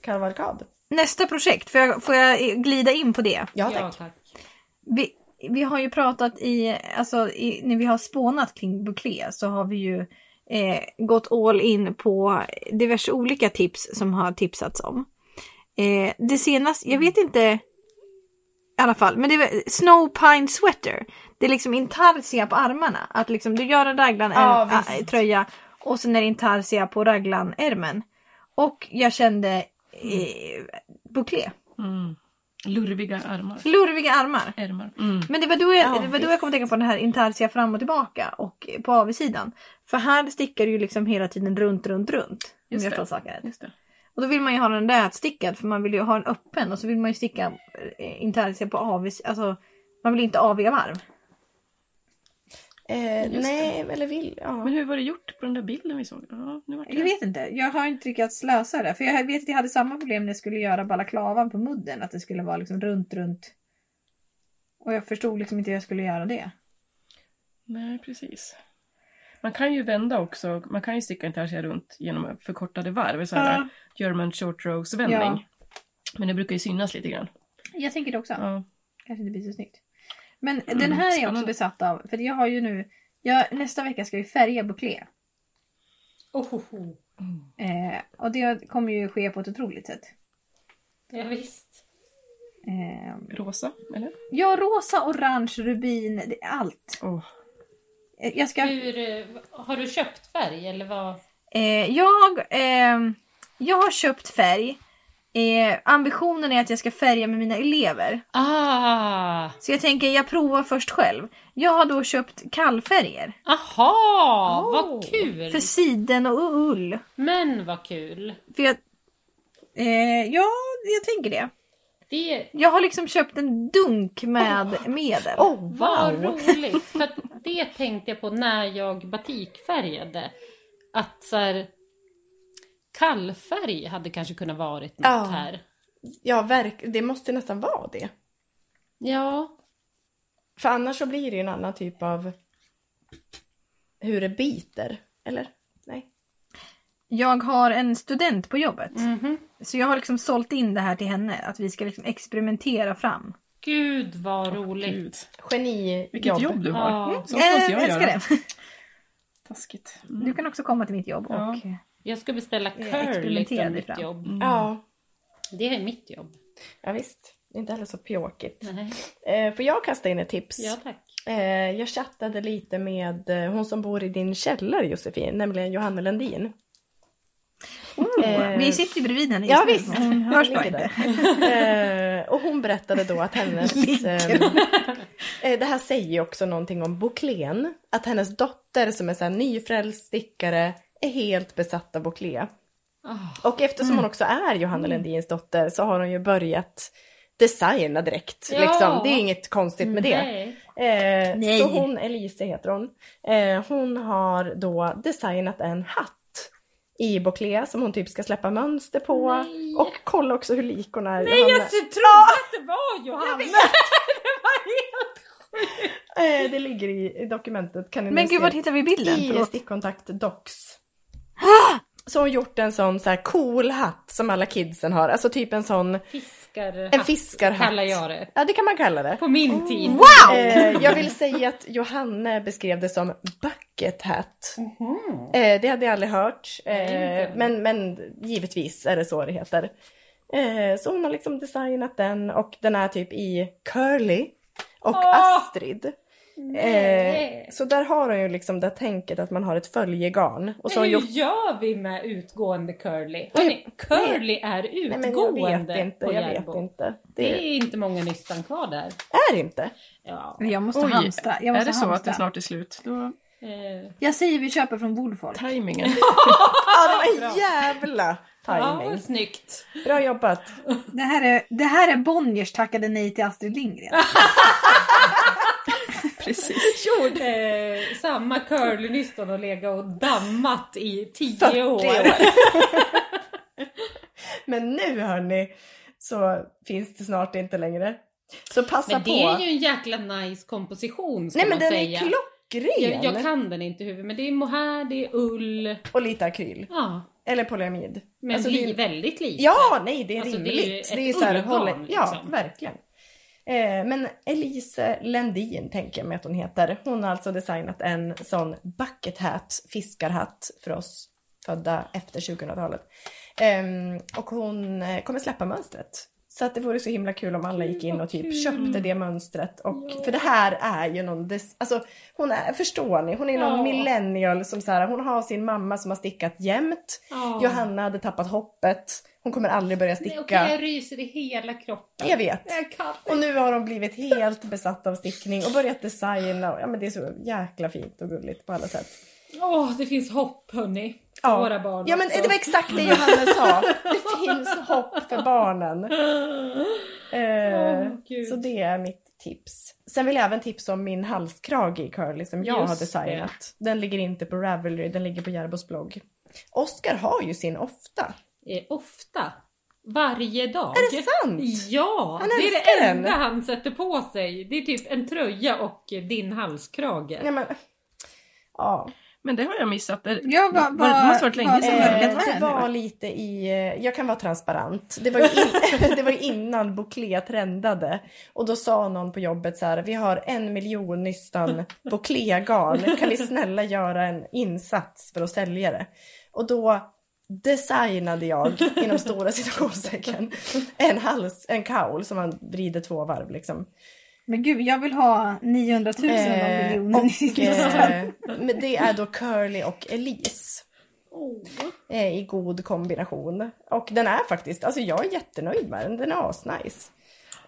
C: Kavalkad.
A: Nästa projekt. Får jag, får jag eh, glida in på det?
C: Ja
D: Ja,
C: tack.
D: tack.
A: vi, vi har ju pratat i, alltså i, när vi har spånat kring Bouclé så har vi ju eh, gått all in på diverse olika tips som har tipsats om. Eh, det senaste, jag vet inte i alla fall, men det är Snow Pine Sweater. Det är liksom intarsia på armarna. Att liksom du gör en raglan
C: Ja,
A: är-
C: visst.
A: ä- tröja och sen är det intarsia på raglan-ärmen. Och jag kände eh, Bouclé.
B: Mm. Lurviga armar.
A: Lurviga armar.
B: Ärmar. Mm.
A: Men det var då jag,
C: Ja,
A: det var då jag kom att tänka på den här intarsia fram och tillbaka och på avsidan. För här stickar du ju liksom hela tiden runt, runt, runt. Om
B: Just
A: jag
B: det.
A: förstår saken rätt.
B: Just det.
A: Och då vill man ju ha den rätstickad för man vill ju ha den öppen och så vill man ju sticka eh, intarsia på avis, alltså man vill inte aviga varv.
C: Eh,
B: Just
C: nej, eller vill. Ja.
B: Men hur var det gjort på den där bilden vi såg? Ja, nu vart
A: Jag
B: det...
A: vet inte. Jag har inte lyckats lösa det. För jag vet att jag hade samma problem när jag skulle göra balaklavan på mudden. Att det skulle vara liksom runt, runt. Och jag förstod liksom inte hur jag skulle göra det.
B: Nej, precis. Man kan ju vända också. Man kan ju sticka en tertia runt genom förkortade varv. Så här,
A: Ja.
B: Gör man en short rows vändning.
A: Ja.
B: Men det brukar ju synas lite grann.
A: Jag tänker det också.
B: Ja.
A: Kanske inte blir så snyggt. Men den här är jag också
B: spännande.
A: besatt av. För jag har ju nu... Jag, nästa vecka ska jag ju färga buklé.
D: Oh, oh, oh.
A: Eh, och det kommer ju ske på ett otroligt sätt.
D: Ja, visst.
A: Eh,
B: Rosa, eller?
A: ja, rosa, orange, rubin, det, allt.
B: Åh.
A: Eh, Jag ska...
D: Hur, eh, har du köpt färg eller vad?
A: Eh, jag, ehm, jag har köpt färg. Eh, ambitionen är att jag ska färga med mina elever.
D: Ah!
A: Så jag tänker jag provar först själv. Jag har då köpt kallfärger.
D: Aha!
C: Oh.
D: Vad kul!
A: För siden och ull.
D: Men vad kul!
A: För jag, eh, ja, jag tänker det.
D: Det
A: Jag har liksom köpt en dunk med medel.
C: Oh,
D: var
C: wow!
D: roligt! För att det tänkte jag på när jag batikfärgade. Att så här, kallfärg hade kanske kunnat varit något
C: Ja.
D: här.
C: Ja, verk- det måste nästan vara det.
D: Ja,
C: För annars så blir det ju en annan typ av hur det biter. Eller? Nej.
A: Jag har en student på jobbet.
D: mhm.
A: Så jag har liksom sålt in det här till henne. Att vi ska liksom experimentera fram.
D: gud vad roligt!
B: Gud.
C: Geni
B: Vilket jobb, du har.
D: Ja.
B: Sånt får inte jag
A: Eh, älskar
B: göra.
A: det. Mm.
B: Taskigt. Mm.
A: Du kan också komma till mitt jobb.
B: Ja.
A: Och,
D: Jag ska beställa
A: Eh,
D: curly
A: experimentera
D: som
A: dig
D: mitt
A: fram.
D: jobb.
C: Ja,
D: Det är mitt jobb.
C: ja visst. Inte heller så pjåkigt.
D: Nej.
C: Eh, får jag kasta in ett tips?
D: Ja tack.
C: Eh, jag chattade lite med eh, hon som bor i din källare Josefin, nämligen Johanna Lundin. Eh,
A: Oh, Vi sitter ju bredvid henne
C: Ja,
A: nu.
C: visst.
A: Hon hörs bara
C: Ligger
A: inte.
C: där. Eh, och hon berättade då att hennes... Eh, eh, det här säger ju också någonting om Bouclén. Att hennes dotter som är så här nyfrälst stickare är helt besatt av Bouclé.
D: Ah,
C: Och eftersom
A: Mm.
C: hon också är Johanna Lundins dotter så har hon ju börjat designa direkt.
D: Ja.
C: Liksom. Det är inget konstigt med
A: Mm,
C: det.
D: Nej.
C: Eh,
A: Nej.
C: Så hon, Elise heter hon, eh, hon har då designat en hatt i Bouclé som hon typ ska släppa mönster på.
D: Nej.
C: Och kolla också hur lik hon är.
D: Nej jag
C: Johanna.
D: trodde att det var Johanna! det var helt
C: Eh, det ligger i, i dokumentet. Kan ni
A: Men
C: nu
A: gud,
C: se.
A: vart hittar vi bilden?
C: I
A: Förlåt.
C: stickkontakt docs. Så hon gjort en sån så här cool hatt som alla kidsen har. Alltså typ en sån,
D: Fiskarhatt
C: en fiskarhatt.
D: kallar jag det.
C: Ja det kan man kalla det.
D: På min tid.
C: Eh, jag vill säga att Johanne beskrev det som bucket hat.
D: Mhm.
C: Eh, det hade jag aldrig hört.
D: Nej,
C: Eh,
D: inte.
C: men, men givetvis är det så det heter. Eh, så hon har liksom designat den och den är typ i Curly och
D: Åh!
C: Astrid. Eh, så där har hon ju liksom det tänket att man har ett följegarn. Och så har
D: men
C: hon
D: hur
C: gjort...
D: gör vi med utgående curly? Hörrni, curly är
C: Nej men jag
D: utgående
C: vet inte,
D: på
C: jag vet
D: Järbo.
C: inte. Det,
D: Det är inte många nystan kvar där.
C: är inte.
D: Ja.
A: Jag måste
B: Oj,
A: hamstra. Jag
B: är
A: måste
B: det så
A: hamstra.
B: att det snart är slut? Då
D: Eh,
A: Jag säger vi köper från Woolfolk.
B: tajmingen.
C: Ja det var en jävla
D: Ah, ja,
C: timing.
D: vad snyggt.
C: Bra jobbat.
A: Det här är, det här är Bonniers tackade nej till Astrid Lindgren.
B: Ah. Precis.
D: Gjord. Eh, samma curlynystan och lega och dammat i
C: 40
D: tio
C: år.
D: år.
C: Men nu hörni så finns det snart inte längre. Så passa
D: Men det
C: på.
D: är ju en jäkla nice komposition ska
C: Nej men
D: man
C: den
D: säga.
C: är klockren!
D: jag, jag kan den inte i huvudet men det är mohair, det är ull.
C: Och lite akryl.
D: Ja,
C: Eller polyamid.
D: men
C: Alltså,
D: li-
C: det är-
D: väldigt lite.
C: Ja, nej det är
D: Alltså, det är ju
C: rimligt.
D: ett
C: Det är ju så här,
D: ullgarn,
C: håller... Ja,
D: liksom.
C: verkligen. Eh, men Elise Lendin tänker jag mig att hon heter. Hon har alltså designat en sån bucket hat, fiskarhatt för oss födda efter 2000-talet. Ehm, och hon eh, kommer släppa mönstret. Så att det vore så himla kul om alla gick in och typ köpte det mönstret. Och, För det här är ju någon, des- alltså hon är, förstår ni? Hon är någon
D: Ja.
C: millennial som liksom så här, hon har sin mamma som har stickat jämt.
D: Ja.
C: Johanna hade tappat hoppet. Hon kommer aldrig börja
D: Nej,
C: sticka.
D: och jag ryser i hela kroppen.
C: Jag vet.
D: Jag kan inte.
C: Och nu har de blivit helt besatta av stickning och börjat designa. Och, ja, men det är så jäkla fint och gulligt på alla sätt.
D: Åh, det finns hopp hörni. För
C: Ja.
D: våra barn
C: Ja men
D: också.
C: det var exakt det Johanna sa. Det finns hopp för barnen. Eh,
D: Åh, Gud.
C: så det är mitt tips. Sen vill jag även tipsa om min halskrage i Curly som jag
D: Just
C: har designat. Den ligger inte på Ravelry, den ligger på Järbos blogg. Oskar har ju sin ofta.
D: Eh, ofta. Varje dag.
C: Är det sant?
D: Ja!
C: Han
D: det
C: älskar
D: är det
C: den.
D: enda han sätter på sig. Det är typ en tröja och eh, din halskrage.
C: Nej, men, ja.
B: Men det har jag missat. Är-
E: Ja, va,
B: Var- det måste varit länge
E: vad-
B: sedan.
E: vad-
C: Eh,
E: vad-
C: det var lite i, eh, jag kan vara transparent, det var ju, in, det var ju innan Bouclé trendade och då sa någon på jobbet så här, vi har en miljon nystan Bouclé-garn, kan vi snälla göra en insats för att sälja det? Och då designade jag, inom stora citationstecken, en hals, en kaul som man vrider två varv liksom.
E: Men gud, jag vill ha 900 000 av de
C: Eh,
E: miljonerna i
C: och,
E: sitt
C: eh, men det är då Curly och Elise. Eh, I god kombination. Och den är faktiskt, alltså jag är jättenöjd med den. Den är asnice.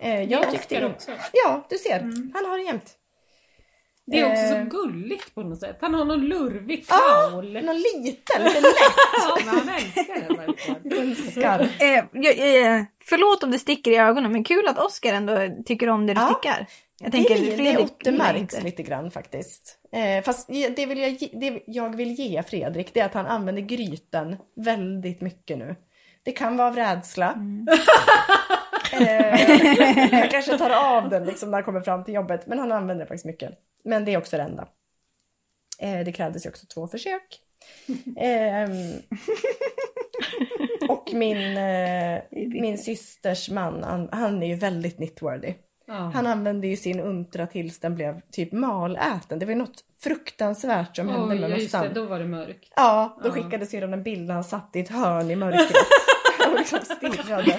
C: Eh, jag tyckte
D: Oskar
C: in-
D: också.
C: Ja, du ser. Han har det jämt.
D: Det är också
C: Eh. Ah!
D: så gulligt på något sätt. Han har någon lurvig
C: Ja,
D: kaul.
C: någon liten, lite lätt
D: Ja, men han älskar den verkligen.
C: skarp.
A: Eh, jag- eh, förlåt om det sticker i ögonen men kul att Oscar ändå tycker om det du
C: Ja.
A: stickar. Jag
C: Det,
A: tänker
C: är- liksom. det
A: Fredrik gillar
C: återmärks
A: inte.
C: lite grann faktiskt. Eh, fast ge- det, vill jag, ge- det jag vill ge Fredrik det är att han använder gryten väldigt mycket nu. Det kan vara av rädsla.
A: Mm.
C: eh, han kanske tar av den liksom när han kommer fram till jobbet. Men han använder det faktiskt mycket. Men det är också det enda. Eh, det krävdes ju också två försök. Ehm, och min, eh, min systers man, han, han är ju väldigt knitworthy.
D: Ja.
C: Han använde ju sin untra tills den blev typ maläten. Det var ju något fruktansvärt som hände
D: Oj,
C: med
D: ja, just det,
C: mössan.
D: då var det mörkt.
C: Ja, då
D: Ja.
C: skickade syrran en bild när han satt i ett hörn i mörkret. och liksom stirrade.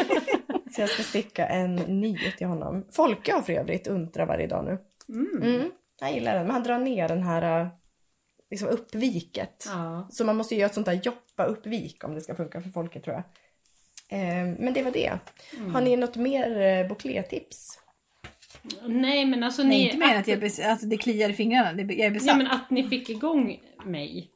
C: Så jag ska sticka en ny till honom. Folke har för övrigt untra varje dag nu. Mm. Han gillar den, men han drar ner den här eh, liksom uppviket.
D: Ja.
C: Så man måste ju göra ett sånt där joppa-uppvik om det ska funka för folket tror jag. Eh, men det var det.
D: Mm.
C: Har ni något mer eh, bouclé-tips?
D: Nej men alltså
E: Nej,
D: ni...
E: inte mer än
D: att-
E: att jag, bes- alltså, det kliar i fingrarna. Det, jag är besatt.
D: Ja men att ni fick igång mig.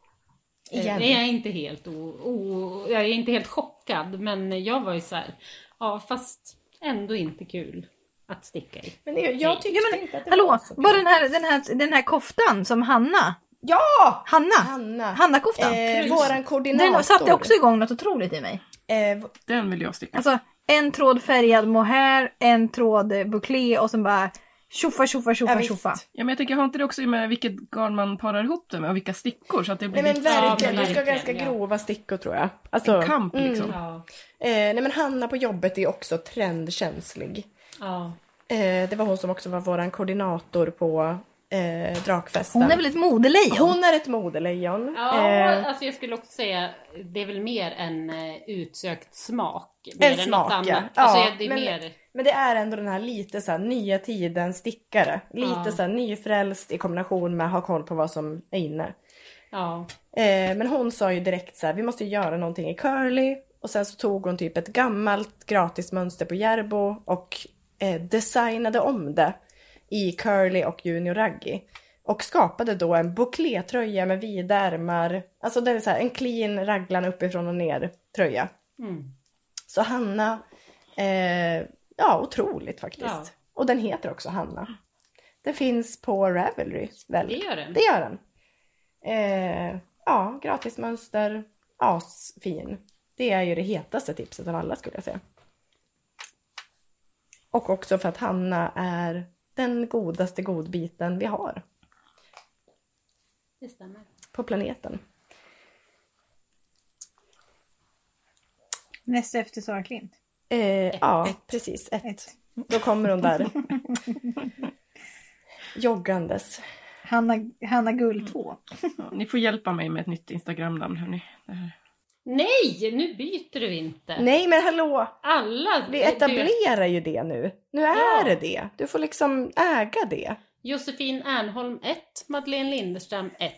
D: Eh,
C: Igen.
D: Det är jag inte helt o, o, Jag är inte helt chockad men jag var ju så här. Ja fast ändå inte kul att sticka i.
C: Men jag, jag tyckte inte att det var
A: Hallå,
C: så
A: bara den här, den, här, den här koftan som Hanna,
C: Ja!
A: Hanna,
C: Hanna.
A: Hanna-koftan.
C: Eh, våran koordinator.
A: den satte också igång något otroligt i mig.
C: Eh, v-
B: Den vill jag sticka.
A: Alltså en tråd färgad mohair, en tråd eh, bouclé och sen bara tjoffa tjoffa
C: Ja,
A: tjoffa
C: visst.
A: tjoffa.
B: Ja, men jag tänker, har inte det också med vilket garn man parar ihop det med och vilka stickor? Så att det blir
C: nej men
B: lite-
C: verkligen,
D: Ja,
C: det ska
D: verkligen,
C: ganska
D: ja.
C: grova stickor tror jag. Alltså,
B: kamp
A: Mm.
B: liksom.
D: Ja.
C: eh, nej men Hanna på jobbet är också trendkänslig.
D: ja.
C: Eh, det var hon som också var våran koordinator på eh, drakfesten.
A: Hon är väl ett modelejon?
C: Hon är ett modelejon.
D: Ja,
C: Eh,
D: alltså jag skulle också säga det är väl mer en eh, utsökt smak.
C: En
D: Mer än
C: smak,
D: något annat.
C: ja.
D: Alltså,
C: Ja,
D: ja, det är
C: men-
D: mer...
C: Men det är ändå den här lite så här nya tiden stickare. Lite
D: Ja.
C: så här nyfrälst i kombination med ha koll på vad som är inne.
D: Ja.
C: Eh, men hon sa ju direkt så här, vi måste ju göra någonting i curly. Och sen så tog hon typ ett gammalt gratis mönster på Järbo och eh, designade om det i curly och junior raggi. Och skapade då en bouclé-tröja med vida ärmar. Alltså det är så här en clean raglan uppifrån och ner tröja.
D: Mm.
C: Så Hanna, eh, ja otroligt faktiskt.
D: Ja.
C: Och den heter också Hanna. Den finns på Ravelry väl?
D: Det gör den.
C: Det gör den. Eh, ja, gratismönster, asfin. Det är ju det hetaste tipset av alla skulle jag säga. Och också för att Hanna är den godaste godbiten vi har
D: Det stämmer.
C: på planeten.
E: Näst efter Sara Klint.
C: Eh, ja, precis. Ett.
E: Ett.
C: Då kommer hon där. Joggandes.
E: Hanna, Hanna Gull
B: Mm.
E: 2.
B: Ja, ni får hjälpa mig med ett nytt Instagram-namn hörni. Det här.
D: Nej, nu byter du inte.
C: Nej men hallå!
D: Alla...
C: Vi
D: du-
C: etablerar ju det nu. Nu är
D: Ja.
C: det det. Du får liksom äga det.
D: Josefin Ernholm 1, Madeleine Linderstam 1.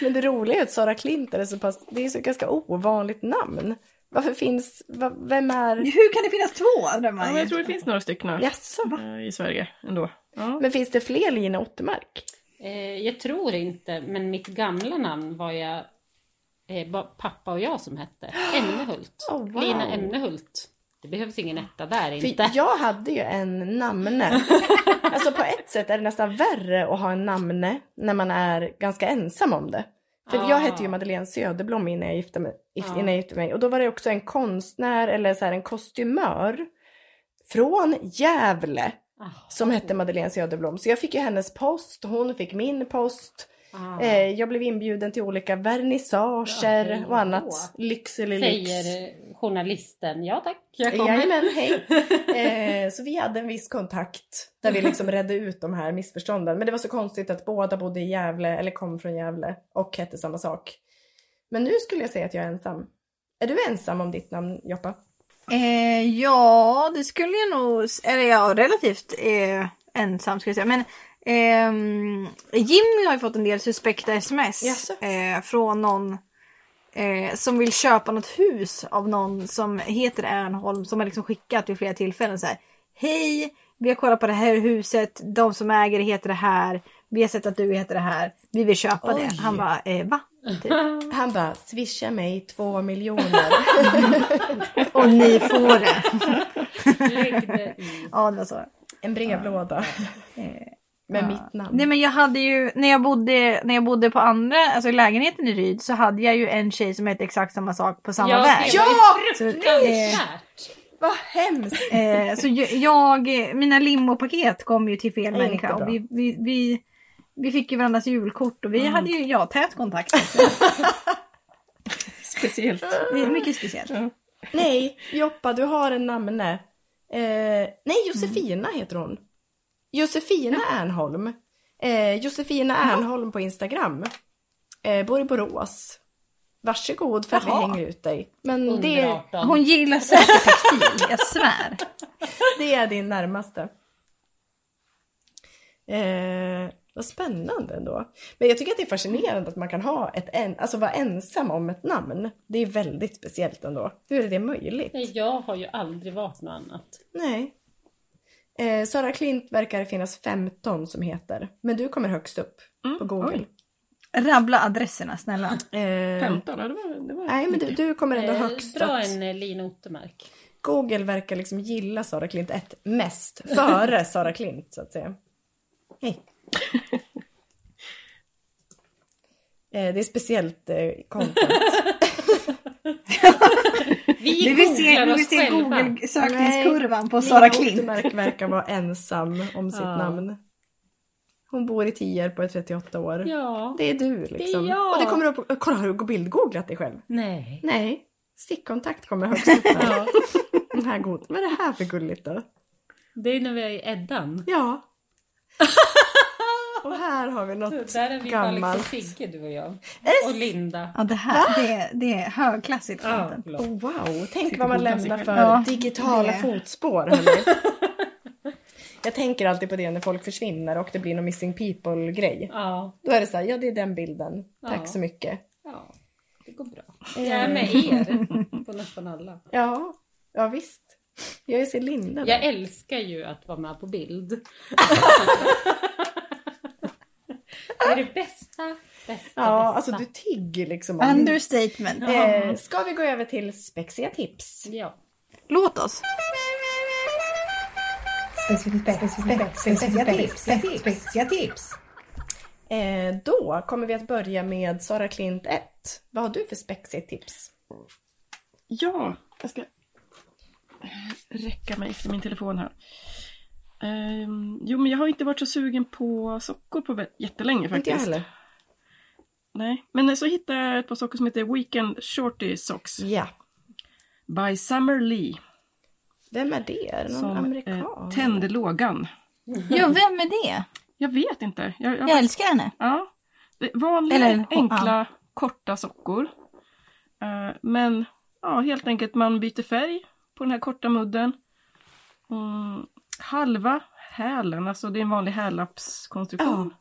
C: Men det roliga är att Sara Klint är så pass, det är så ganska ovanligt namn. Varför finns, va, vem är,
E: Hur kan det finnas två? undrar
B: Ja,
E: man
B: men
E: ju.
B: jag tror det finns några stycken här,
C: jaså?
B: eh, i Sverige ändå. Ja.
C: Men finns det fler Lina Ottermark?
D: Eh, jag tror inte, men mitt gamla namn var jag eh, var pappa och jag som hette. Ämnehult.
C: Oh, wow.
D: Lina Ämnehult. Det behövs ingen etta där inte.
C: För jag hade ju en namne. alltså på ett sätt är det nästan värre att ha en namne när man är ganska ensam om det. För
D: Ja.
C: jag hette ju Madeleine Söderblom innan jag gifte mig. if-
D: Ja.
C: Innan jag gifte mig. Och då var det också en konstnär eller så här en kostymör från Gävle
D: Ah,
C: som hette Madeleine Söderblom. Så jag fick ju hennes post, hon fick min post.
D: ah.
C: Eh, jag blev inbjuden till olika vernissager
D: Ja, hej
C: och annat.
D: då.
C: Lyx eller lyx.
D: Säger eh, journalisten. Ja tack, jag kommer.
C: Jajamän, hej! Eh, så vi hade en viss kontakt där
D: Mm.
C: vi liksom redde ut de här missförstånden. Men det var så konstigt att båda bodde i Gävle, eller kom från Gävle och hette samma sak. Men nu skulle jag säga att jag är ensam. Är du ensam om ditt namn, Joppa?
A: Eh, ja, det skulle jag nog... Eller ja, relativt eh, ensam skulle jag säga. Men ehm, Jimmy har ju fått en del suspekta sms
C: Jaså?
A: eh, från någon eh, som vill köpa något hus av någon som heter Ernholm som har liksom skickat vid flera tillfällen så här. Hej, vi har kollat på det här huset. De som äger det heter det här. Vi har sett att du heter det här. Vi vill köpa
C: Oj.
A: det. Han bara, eh, va? Typ.
C: Han bara, swisha mig två miljoner.
A: Och ni får det.
D: Lägg det i.
A: Ja, det var så.
C: En brevlåda. Med mitt namn.
A: Nej men jag hade ju, när jag bodde, när jag bodde på andra, alltså i lägenheten i Ryd så hade jag ju en tjej som hette exakt samma sak på samma
D: Ja,
A: väg.
D: det var
C: Ja,
D: ju
A: Så, eh,
D: fruktansvärt.
C: Vad hemskt!
A: eh, så ju- jag, eh, mina limopaket kom ju till fel
C: Inte
A: människa
C: bra.
A: och vi, vi, vi, vi fick ju varandras julkort och
D: Mm.
A: vi hade ju, ja, tät kontakt. också.
B: Speciellt.
A: Det är mycket speciellt.
C: Nej, Joppa, du har en namne. Eh, nej, Josefina heter hon. Josefina Ernholm. Eh, Josefina Ernholm på Instagram. Eh, bor i Borås. Varsågod för att
A: Jaha.
C: vi hänger ut dig. Men
D: Under
C: det,
D: 18.
A: Hon gillar säkert textil, jag svär.
C: det är din närmaste. Eh, vad spännande ändå. Men jag tycker att det är fascinerande att man kan ha ett en, alltså vara ensam om ett namn. Det är väldigt speciellt ändå. Hur är det möjligt?
D: Nej, jag har ju aldrig varit något annat.
C: Nej. Eh, Sara Klint verkar det finnas 15 som heter. Men du kommer högst upp på Google.
A: Rabbla adresserna snälla.
C: Eh,
B: 15, ja, det var, det var
C: Nej men du,
B: mycket.
C: du kommer ändå
D: Eh,
C: högst
D: Dra
C: att
D: en eh, Lina Ottermark.
C: Google verkar liksom gilla Sara Klint ett mest. Före Sara Klint så att säga. Hej. Eh, Det är speciellt eh, content.
D: Vi
E: Vi vill se,
D: googlar
E: vi vill
D: oss
E: se
D: själva.
E: Google-sökningskurvan på Sara Klint.
C: Ottermark verkar vara ensam om sitt
D: Ja.
C: namn. Hon bor i Tierp och är 38 år.
D: Ja.
C: Det är du liksom.
D: jag.
C: Och det kommer upp, kolla har du bildgooglat dig själv?
D: Nej.
C: Nej. Stickkontakt kommer högst upp här. Den här god. Vad är det här för gulligt då?
D: Det är när vi är i Eddan.
C: Ja. Och här har vi något
D: Där är vi på
C: gammalt.
D: Alex och Sigge du och jag.
C: S.
D: Typ. Och Linda.
A: Ja det här, det, är- det är högklassigt
D: Ja,
A: content.
D: förlåt.
C: Oh, wow, tänk vad man lämnar för
A: Ja,
C: digitala
A: det.
C: fotspår. hörni. Jag tänker alltid på det när folk försvinner och det blir någon missing people-grej.
D: Ja.
C: Då är det så här, ja det är den bilden.
D: Ja.
C: Tack så mycket.
D: ja. Det går bra. Jag är med er på nästan alla.
C: Ja, ja visst. Jag är Linda.
D: Jag älskar ju att vara med på bild. det är det bästa, bästa,
C: Ja,
D: bästa.
C: alltså du tigger liksom. om-
A: Understatement.
C: Eh, ska vi gå över till spexiga tips?
D: Ja.
A: Låt oss.
E: Spexiga tips, spexiga tips.
C: Eh, då kommer vi att börja med Sara Klint 1. Vad har du för spexiga tips?
B: Ja, jag ska räcka mig efter min telefon här. Ehm, jo, men jag har inte varit så sugen på sockor på vä- jättelänge
C: Inte jag
B: faktiskt.
C: heller.
B: Nej, men så hittade jag ett par sockor som heter Weekend Shorty Socks
C: Ja.
B: by Summer Lee.
C: Vem är det? Är det någon
B: Som eh,
C: amerikan?
B: tände lågan.
A: Ja, vem är det?
B: Jag vet inte. Jag, jag,
A: Jag älskar henne.
B: Ja. Det- Vanliga,
A: Eller-
B: enkla, korta sockor. Eh, men ja, helt enkelt man byter färg på den här korta mudden. Mm, halva hälen, alltså det är en vanlig hällappskonstruktion.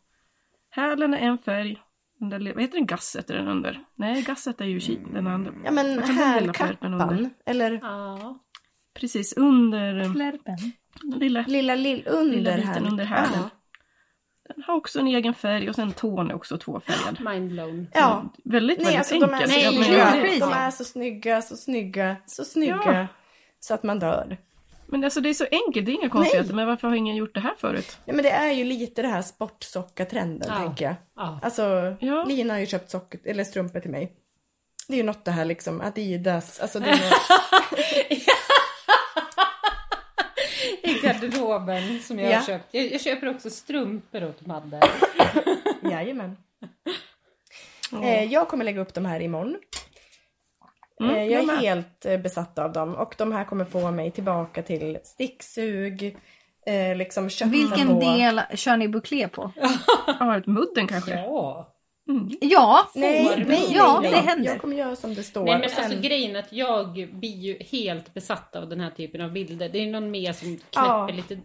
B: Hälen är en färg. Den där, le- vad heter den? Gasset är den under? Nej, gasset är ju ki- den andra.
C: Mm. Ja men
B: Jag kan dela skärpen under.
C: hälkappan. Eller
D: ja.
B: Precis, under eh, den lilla
C: lilla lill under
B: Lilla biten
C: här.
B: under hälen. Den har också en egen färg och sen tån är också tvåfärgad.
D: Mindblown.
C: Ja. ja.
B: Väldigt,
C: Nej
B: väldigt
C: alltså de
B: enkelt.
C: är,
D: Nej,
C: så
B: Jag
D: men
B: menar-
C: snygga.
D: det är crazy.
C: de är så snygga, så snygga, så snygga.
B: Ja.
C: så att man dör.
B: Men alltså det är så enkelt, det är inga konstigheter. Men varför har ingen gjort det här förut?
C: Ja, men det är ju lite det här sportsockatrenden
D: Ja.
C: tänker jag.
D: Ja.
C: Alltså,
B: Ja.
C: Lina har ju köpt socker, eller strumpor till mig. Det är ju något det här liksom, Adidas, alltså det är något...
D: I garderoben som jag
C: Ja.
D: har köpt. Jag, jag köper också strumpor åt Madde.
C: Jajamän. Eh, jag kommer lägga upp de här imorgon.
B: Mm,
C: eh,
B: jag
C: jag är
B: med.
C: helt eh, besatt av dem och de här kommer få mig tillbaka till sticksug, eh, liksom kötta
A: Vilken
C: på.
A: del kör ni bouclé på?
B: Ja, ett mudden kanske?
D: Ja.
A: Ja,
C: Nej,
A: får.
C: nej, nej,
A: ja
C: nej.
A: det händer.
C: Jag kommer göra som det står.
D: Nej men
C: och sen-
D: alltså grejen är att jag blir ju helt besatt av den här typen av bilder. Det är någon mer som knäpper
C: Ja.
D: lite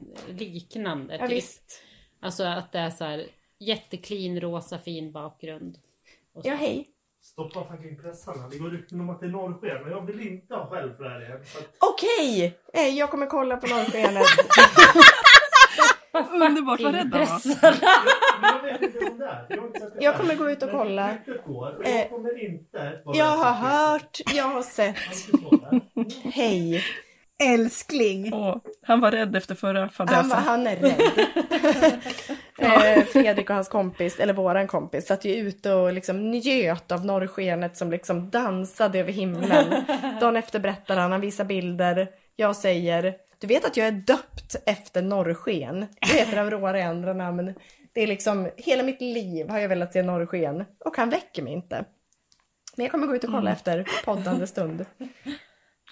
D: liknande.
C: ja,
D: typ.
C: visst.
D: Alltså att det är så här jätteklin, rosa, fin bakgrund. Och så.
C: Ja, hej.
F: Stoppa fucking pressarna. Det går rykten om att det är norrsken. Men jag vill inte ha skäll för det här igen. För att
C: Okej! Eh, jag kommer kolla på norrskenet.
B: Underbart, vad rädd han var.
F: jag vet inte om det är. för Jag, har inte sett det
C: Jag
F: här.
C: kommer gå ut och
F: Men
C: kolla.
F: ryktet går, och
C: Eh,
F: Jag kommer inte... vara-
C: jag har hört, jag har sett.
F: Jag ska stå där.
C: Hej!
A: Älskling.
B: Åh, han var rädd efter förra
C: Han, var-
B: fadäsen.
C: han är rädd. Eh, Fredrik och hans kompis, eller våran kompis, satt ju ute och liksom njöt av norrskenet som liksom dansade över himlen. Dagen efter berättar han, han visar bilder. Jag säger, du vet att jag är döpt efter norrsken. Du heter Aurora i andra namn. Det är liksom, hela mitt liv har jag velat se norrsken. Och han väcker mig inte. Men jag kommer gå ut och kolla
B: Mm.
C: efter poddande stund.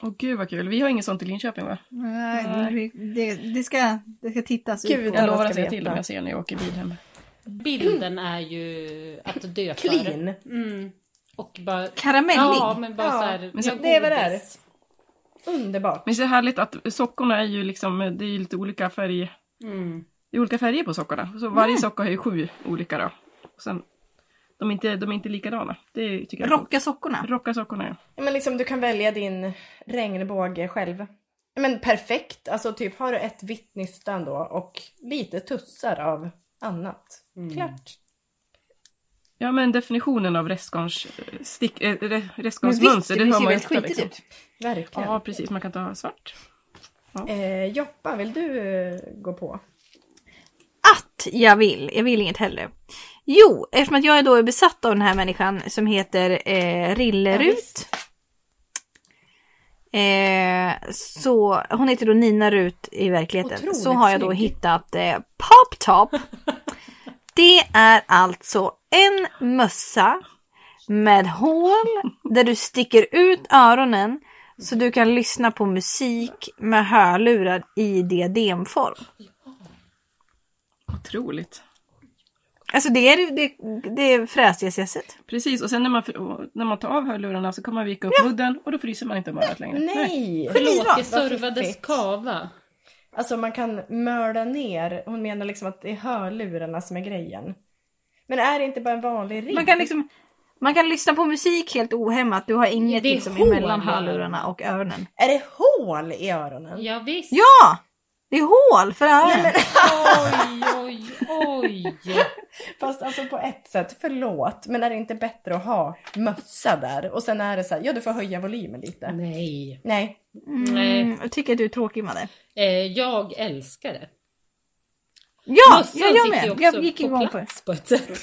B: Åh gud vad kul. Vi har inget sånt i Linköping va?
A: Nej, vi- det, det, ska, det ska tittas
C: Gud,
A: ut på.
B: Jag
C: Alla
B: lovar
C: ska
B: att jag
C: veta.
B: till om jag ser när jag åker bil hem.
D: Bilden är ju att dö för.
C: Clean.
D: Mm. Och bara...
A: Karamellig.
D: Ja men bara
C: Ja,
D: så här,
B: men så-
D: jag
C: det är vad det är.
D: godis.
C: Underbart.
B: Men det är härligt att sockorna är ju liksom, det är ju lite olika färg,
D: Mm.
B: det är olika färger på sockorna. Så varje socka har ju sju olika då. Och sen, de är inte, de är inte likadana. Det tycker jag är coolt.
A: Rocka sockorna.
B: Rocka sockorna ja.
C: Ja, Men liksom, du kan välja din regnbåge själv. Ja, Men perfekt, alltså typ har du ett vitt nystan då och lite tussar av annat. Klart.
B: Ja men definitionen av restgarns stick, äh,
A: Men visst,
B: restgarnsmönster,
A: det
B: det hör
A: ser
B: man ju
A: väldigt
B: ofta
A: skitigt
B: liksom.
A: ut.
C: Verkligen.
B: Ja precis, man kan ta svart.
C: Eh, Joppa, vill du eh, gå på?
A: att jag vill. Jag vill inget hellre. Jo, eftersom att jag då är besatt av den här människan som heter eh,
C: Ja,
A: Rillerut. Eh, så hon heter då Nina Rut i verkligheten.
C: Otroligt
A: så har jag då
C: snygg.
A: hittat eh, Pop Top. Det är alltså en mössa med hål där du sticker ut öronen så du kan lyssna på musik med hörlurar i diademform.
B: Otroligt.
A: Alltså det är det, det fräsigaste jag sett.
B: Precis, och sen när man, när man tar av hörlurarna så kan man vika upp mudden och då fryser man inte om örat längre.
C: Nej!
D: Förlåt, jag
C: Vad
D: servades
C: fiffigt.
D: kava.
C: Alltså man kan mörda ner, hon menar liksom att det är hörlurarna som är grejen. Men är det inte bara en vanlig rigg?
A: Man kan liksom man kan lyssna på musik helt ohämmat. Du har inget
D: Det är
A: liksom
D: hål.
A: emellan hörlurarna och öronen.
C: Är det hål i öronen?
D: Ja, visst.
A: Ja! Det är hål för öronen.
D: Oj, oj, oj.
C: Fast alltså på ett sätt, förlåt, men är det inte bättre att ha mössa där? Och sen är det så här, ja du får höja volymen lite.
D: Nej.
C: Nej.
A: Mm, jag tycker att du är tråkig med det.
D: Eh, jag älskar det.
A: Ja,
D: Mössan
A: jag, jag
D: sitter ju
A: med.
D: också
A: Jag gick
D: på
A: igång på det.
D: plats på ett sätt.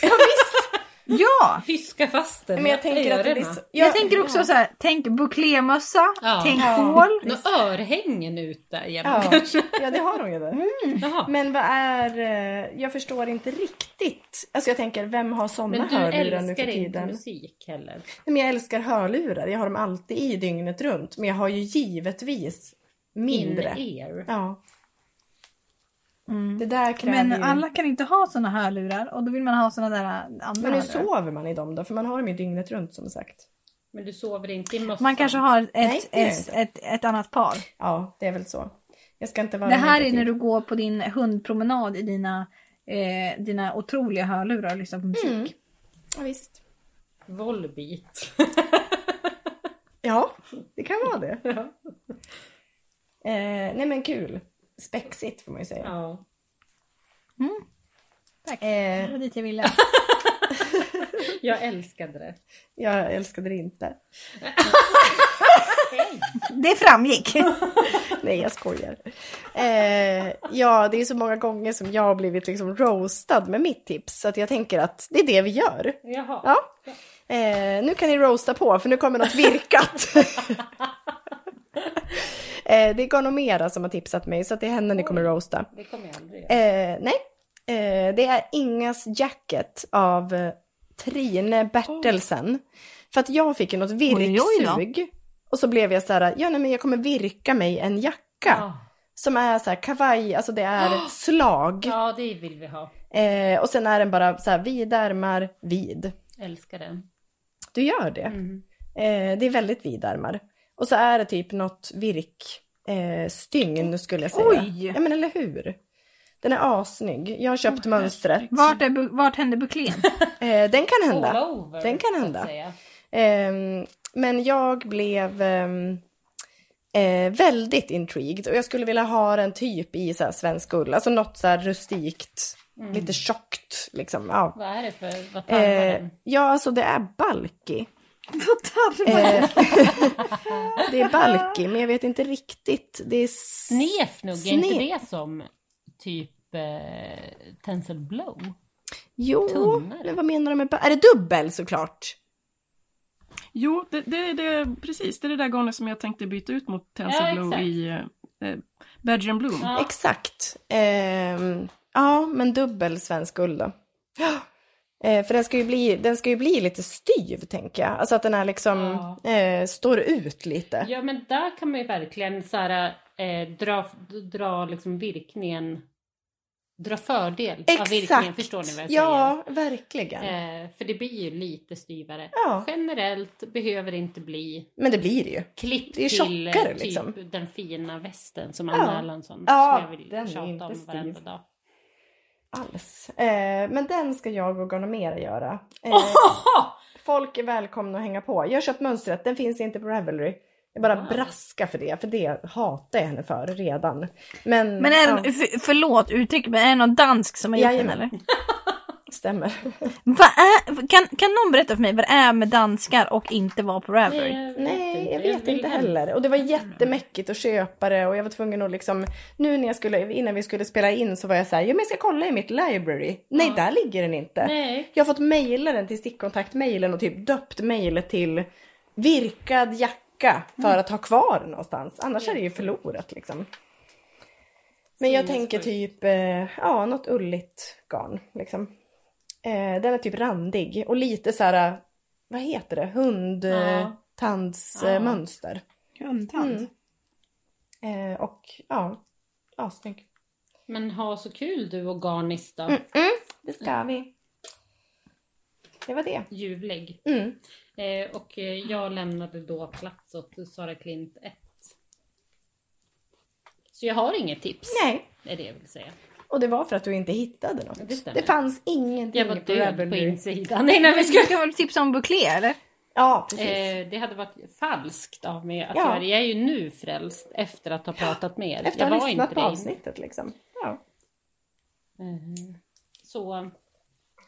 A: Ja!
D: Hyska fast den
C: Men jag tänker att det blir så...
A: Jag tänker också så här, tänk bouclémössa,
D: Ja.
A: tänk hål.
D: Några örhängen ut där jämt
C: Ja,
D: kanske. Mm.
C: ja det har hon ju där.
D: Jaha.
C: Men vad är... eh, Jag förstår inte riktigt. Alltså jag tänker, vem har sådana
D: Men du
C: hörlurar nu för
D: älskar inte
C: tiden? Nej,
D: musik heller.
C: men jag älskar hörlurar, jag har dem alltid i dygnet runt. Men jag har ju givetvis mindre.
D: In-ear.
C: Ja.
D: Mm.
C: Det där kräver
A: Men
C: ju...
A: alla kan inte ha såna hörlurar och då vill man ha såna där andra
C: Men hur
A: hörlurar.
C: sover man i dem då? För man har dem ju dygnet runt som sagt.
D: Men du sover inte i mössan.
A: Man kanske har ett,
C: Nej, det gör jag
A: ett, ett, ett annat par.
C: Ja, det är väl så. Jag ska inte vara
A: Det här är
C: negativ.
A: när du går på din hundpromenad i dina, eh, dina otroliga hörlurar liksom. och lyssnar på musik.
C: Mm. Ja, visst.
D: Volbeat.
C: Ja, det kan vara det.
D: Ja.
C: Eh, nej men kul. Spexigt får man ju säga.
D: ja.
A: Det
C: Eh,
A: var dit jag ville.
D: Jag älskade det.
C: jag älskade det inte.
A: Det framgick.
C: Nej, jag skojar. Eh, ja, det är så många gånger som jag har blivit liksom roastad med mitt tips. Så att jag tänker att det är det vi gör.
D: Jaha.
C: Ja. Eh, nu kan ni roasta på, för nu kommer något virkat. eh, det är Gonomera som har tipsat mig, så att det är henne ni kommer roasta.
D: Det kommer jag aldrig göra.
C: Eh, nej, eh, det är Ingas Jacket av eh, Trine Bertelsen. För att jag fick ju något
A: Oj, oj då.
C: virksug. Och så blev jag så här, ja nej, men jag kommer virka mig en jacka.
D: Ja.
C: Som är så här kavaj, alltså det är slag.
D: ja, det vill vi ha.
C: Eh, och sen är den bara så här vida ärmar, vid.
D: Älskar den.
C: Du gör det.
D: Mm.
C: Eh, det är väldigt vida ärmar. Och så är det typ något virk, eh, stygn skulle jag säga.
A: Oj!
C: Ja men eller hur? Den är assnygg. Jag har köpt mönstret.
A: Vart, är, bu- vart hände buklén?
C: Eh, den kan hända.
D: All over,
C: Den kan
D: så att
C: hända.
D: säga.
C: Ehm, men jag blev ehm, eh, väldigt intrigued och jag skulle vilja ha den typ i så här svensk ull, alltså något så här rustikt, lite tjockt liksom. Ja.
D: Vad är det för, vad tarvar
C: Eh,
D: den?
C: ja, alltså det är balky.
E: Tarvar.
C: Eh, det är balky, men jag vet inte riktigt. Det är s-
D: Snefnugg, är inte
C: Sne-
D: det som typ eh, Tencel Blow?
C: Jo,
D: tunnare.
C: men vad menar du med ba- Är det dubbel såklart?
B: Jo, det, det, det, precis. Det är det där garnet som jag tänkte byta ut mot Tencel
D: Ja,
B: Blue
D: exakt.
B: i eh, Badger and Bloom.
D: Ja.
C: Exakt. Ehm, ja, men dubbel svensk ull då. Ja. Eh, för den ska, ju bli, den ska ju bli lite styv, tänker jag. Alltså att den här liksom eh, står ut lite.
D: Ja men där kan man ju verkligen så här, eh, dra, dra liksom virkningen, dra fördel av virkningen, förstår ni vad jag säger?
C: Ja, verkligen.
D: Eh, för det blir ju lite styvare.
C: Ja.
D: Generellt behöver det inte bli
C: Men det blir det ju.
D: klipp
C: Det är
D: till eh,
C: tjockare,
D: typ
C: liksom.
D: den fina västen som
C: Ja.
D: Anna Erlandsson
C: Ja,
D: som jag vill
C: den är
D: tjata
C: inte
D: om
C: styv.
D: varenda dag.
C: Alls. Eh, men den ska jag och Gonomera göra. Eh, Folk är välkomna att hänga på. Jag har köpt mönstret, den finns inte på Ravelry. Jag bara
D: Wow.
C: braskar för det, för det hatar jag henne för redan. Men,
A: Men är
C: ja,
A: det, för, förlåt uttrycket, men är det någon dansk som har gjort den
C: Jajamän.
A: eller?
C: stämmer.
A: Vad är, kan, kan någon berätta för mig vad det är med danskar och inte vara på Ravelry?
D: Nej,
C: Nej, jag vet
D: vill
C: inte
D: hem.
C: heller. Och det var jättemäckigt att köpa det och jag var tvungen att liksom, nu när jag skulle, innan vi skulle spela in så var jag så här, ja men jag ska kolla i mitt library. Nej, där ligger den inte.
D: Nej.
C: Jag har fått mejla den till stickkontaktmejlen och typ döpt mejlet till virkad jacka för att ha kvar någonstans. Annars är det ju förlorat liksom. Men jag tänker typ, eh, ja något ulligt garn liksom. Eh, den är typ randig och lite så här, eh, vad heter det, eh,
D: Ja. Ja.
C: hundtandsmönster.
E: Hundtand.
C: Mm. Eh, och ja, assnygg.
D: Men ha så kul du och Garnis då.
C: Mm, Det ska vi. Det var det.
D: Ljuvlig.
C: Mm.
D: Eh, och eh, jag lämnade då plats åt Sara Klint 1. Så jag har inget tips.
C: Nej.
D: Är det jag vill säga.
C: Och det var för att du inte hittade något.
D: Det stämmer.
C: det fanns ingenting
D: Jag var
C: på
D: död på
C: Ravelry.
D: insidan innan vi
A: Men
D: skulle...
A: du kan väl tipsa om buklé eller?
C: Ja, precis.
D: Eh, det hade varit falskt av mig att
C: Ja.
D: göra det. Jag är ju nu frälst efter att ha pratat med er.
C: Efter att
D: jag
C: ha
D: var
C: lyssnat på
D: det.
C: avsnittet liksom. Ja.
D: Eh, Så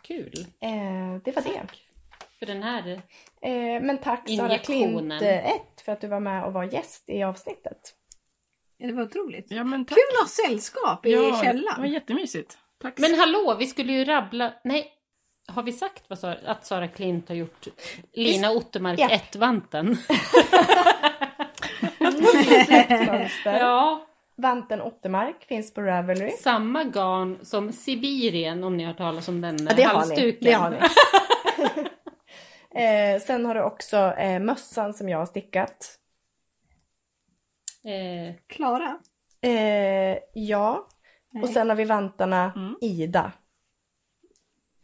D: kul.
C: Eh, det var det.
D: För den här
C: Eh, men tack Sara
D: Injektionen.
C: Klint 1 för att du var med och var gäst i avsnittet.
E: Det var otroligt.
B: Ja, men tack.
E: Kul att ha sällskap i
B: Ja, Det var
E: källaren.
B: jättemysigt. Tack.
D: Men hallå, vi skulle ju rabbla... Nej, har vi sagt vad Sara, att Sara Klint har gjort Lina Ottermark
C: Ja.
D: 1-vanten?
C: Släktmönster.
D: Ja.
C: Vanten Ottermark finns på Ravelry.
D: Samma garn som Sibirien, om ni har hört talas om den
C: Ja, det har ni.
D: halsduken.
C: Det har ni. eh, sen har du också eh, mössan som jag har stickat.
D: Eh,
E: Klara.
C: Eh, ja. Och sen har vi vantarna
B: Mm.
C: Ida.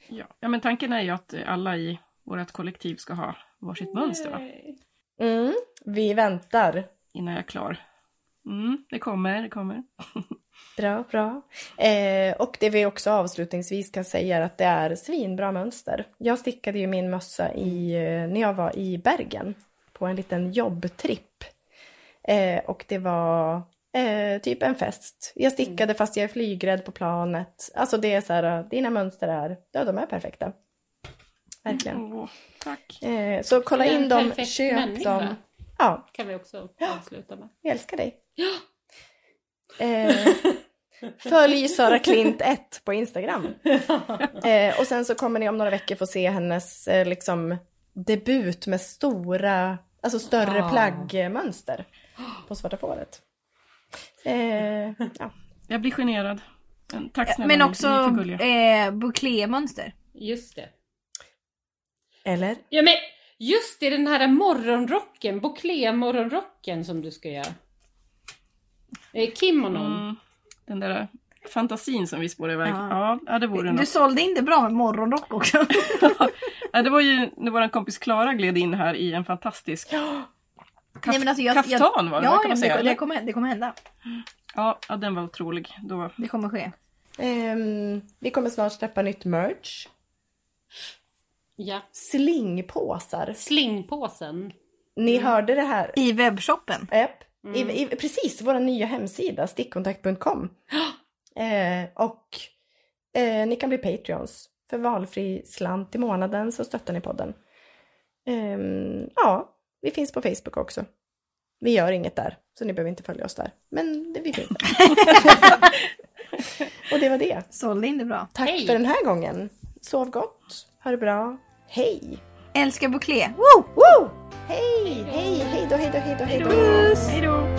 B: Ja. ja, men tanken är ju att eh, alla i vårt kollektiv ska ha varsitt mönster va?
C: Mm, vi väntar.
B: innan jag är klar. Mm, det kommer, det kommer.
C: Bra, bra. Eh, och det vi också avslutningsvis kan säga är att det är svinbra mönster. Jag stickade ju min mössa i, eh, när jag var i Bergen på en liten jobbtripp. Eh, och det var eh, typ en fest. Jag stickade fast jag är flygrädd på planet. Alltså det är så här, eh, dina mönster är, ja de är perfekta. Verkligen.
B: Åh, tack.
C: Eh, så kolla
D: Mm. Du är en
C: in dem,
D: perfekt
C: köp
D: människa.
C: dem. Ja,
D: kan vi också avsluta med.
C: vi älskar dig. Eh, följ Sara Klint 1 på Instagram. Eh, och sen så kommer ni om några veckor få se hennes eh, liksom, debut med stora, alltså större
D: Ah.
C: plaggmönster på svarta fåret. Eh, ja.
B: Jag blir generad. Men Tack snälla
A: Men
B: ni,
A: också
B: ni är för gulliga.
A: eh, bouclé-mönster.
D: Just det.
C: Eller?
D: Ja men just det, den här morgonrocken, Bouclé-morgonrocken som du ska göra. Eh, kimonon.
B: Mm, den där fantasin som vi spårar iväg.
A: Ja.
B: Ja, ja det vore
A: Du
B: något.
A: sålde in det bra med morgonrock också.
B: Ja, det var ju när vår kompis Klara gled in här i en fantastisk kaf-
A: Nej, men alltså jag- jag-
B: kaftan var det,
A: ja,
B: kan
A: ja,
B: man säga.
A: det, det,
B: eller?
A: kommer, det kommer hända.
B: Ja, ja, den var otrolig. Då,
A: Det kommer ske.
C: Ehm, vi kommer snart släppa nytt merch.
D: Ja.
C: Slingpåsar.
D: Slingpåsen.
C: Ni hörde det här.
A: I webbshoppen.
C: Japp. I, i, precis, vår nya hemsida stickkontakt.com. Eh, och eh, ni kan bli Patreons för valfri slant i månaden så stöttar ni podden. Ehm, ja, vi finns på Facebook också. Vi gör inget där, så ni behöver inte följa oss där. Men det, vi finns där. och det var det.
A: Sålde in det bra.
C: Tack
D: Hej.
C: för den här gången. Sov gott, ha det bra. Hej!
A: Älskar bouclé. Woo!
C: Woo! Hej, hej, hej då, hej då, hej då, hej då.
B: Hej då!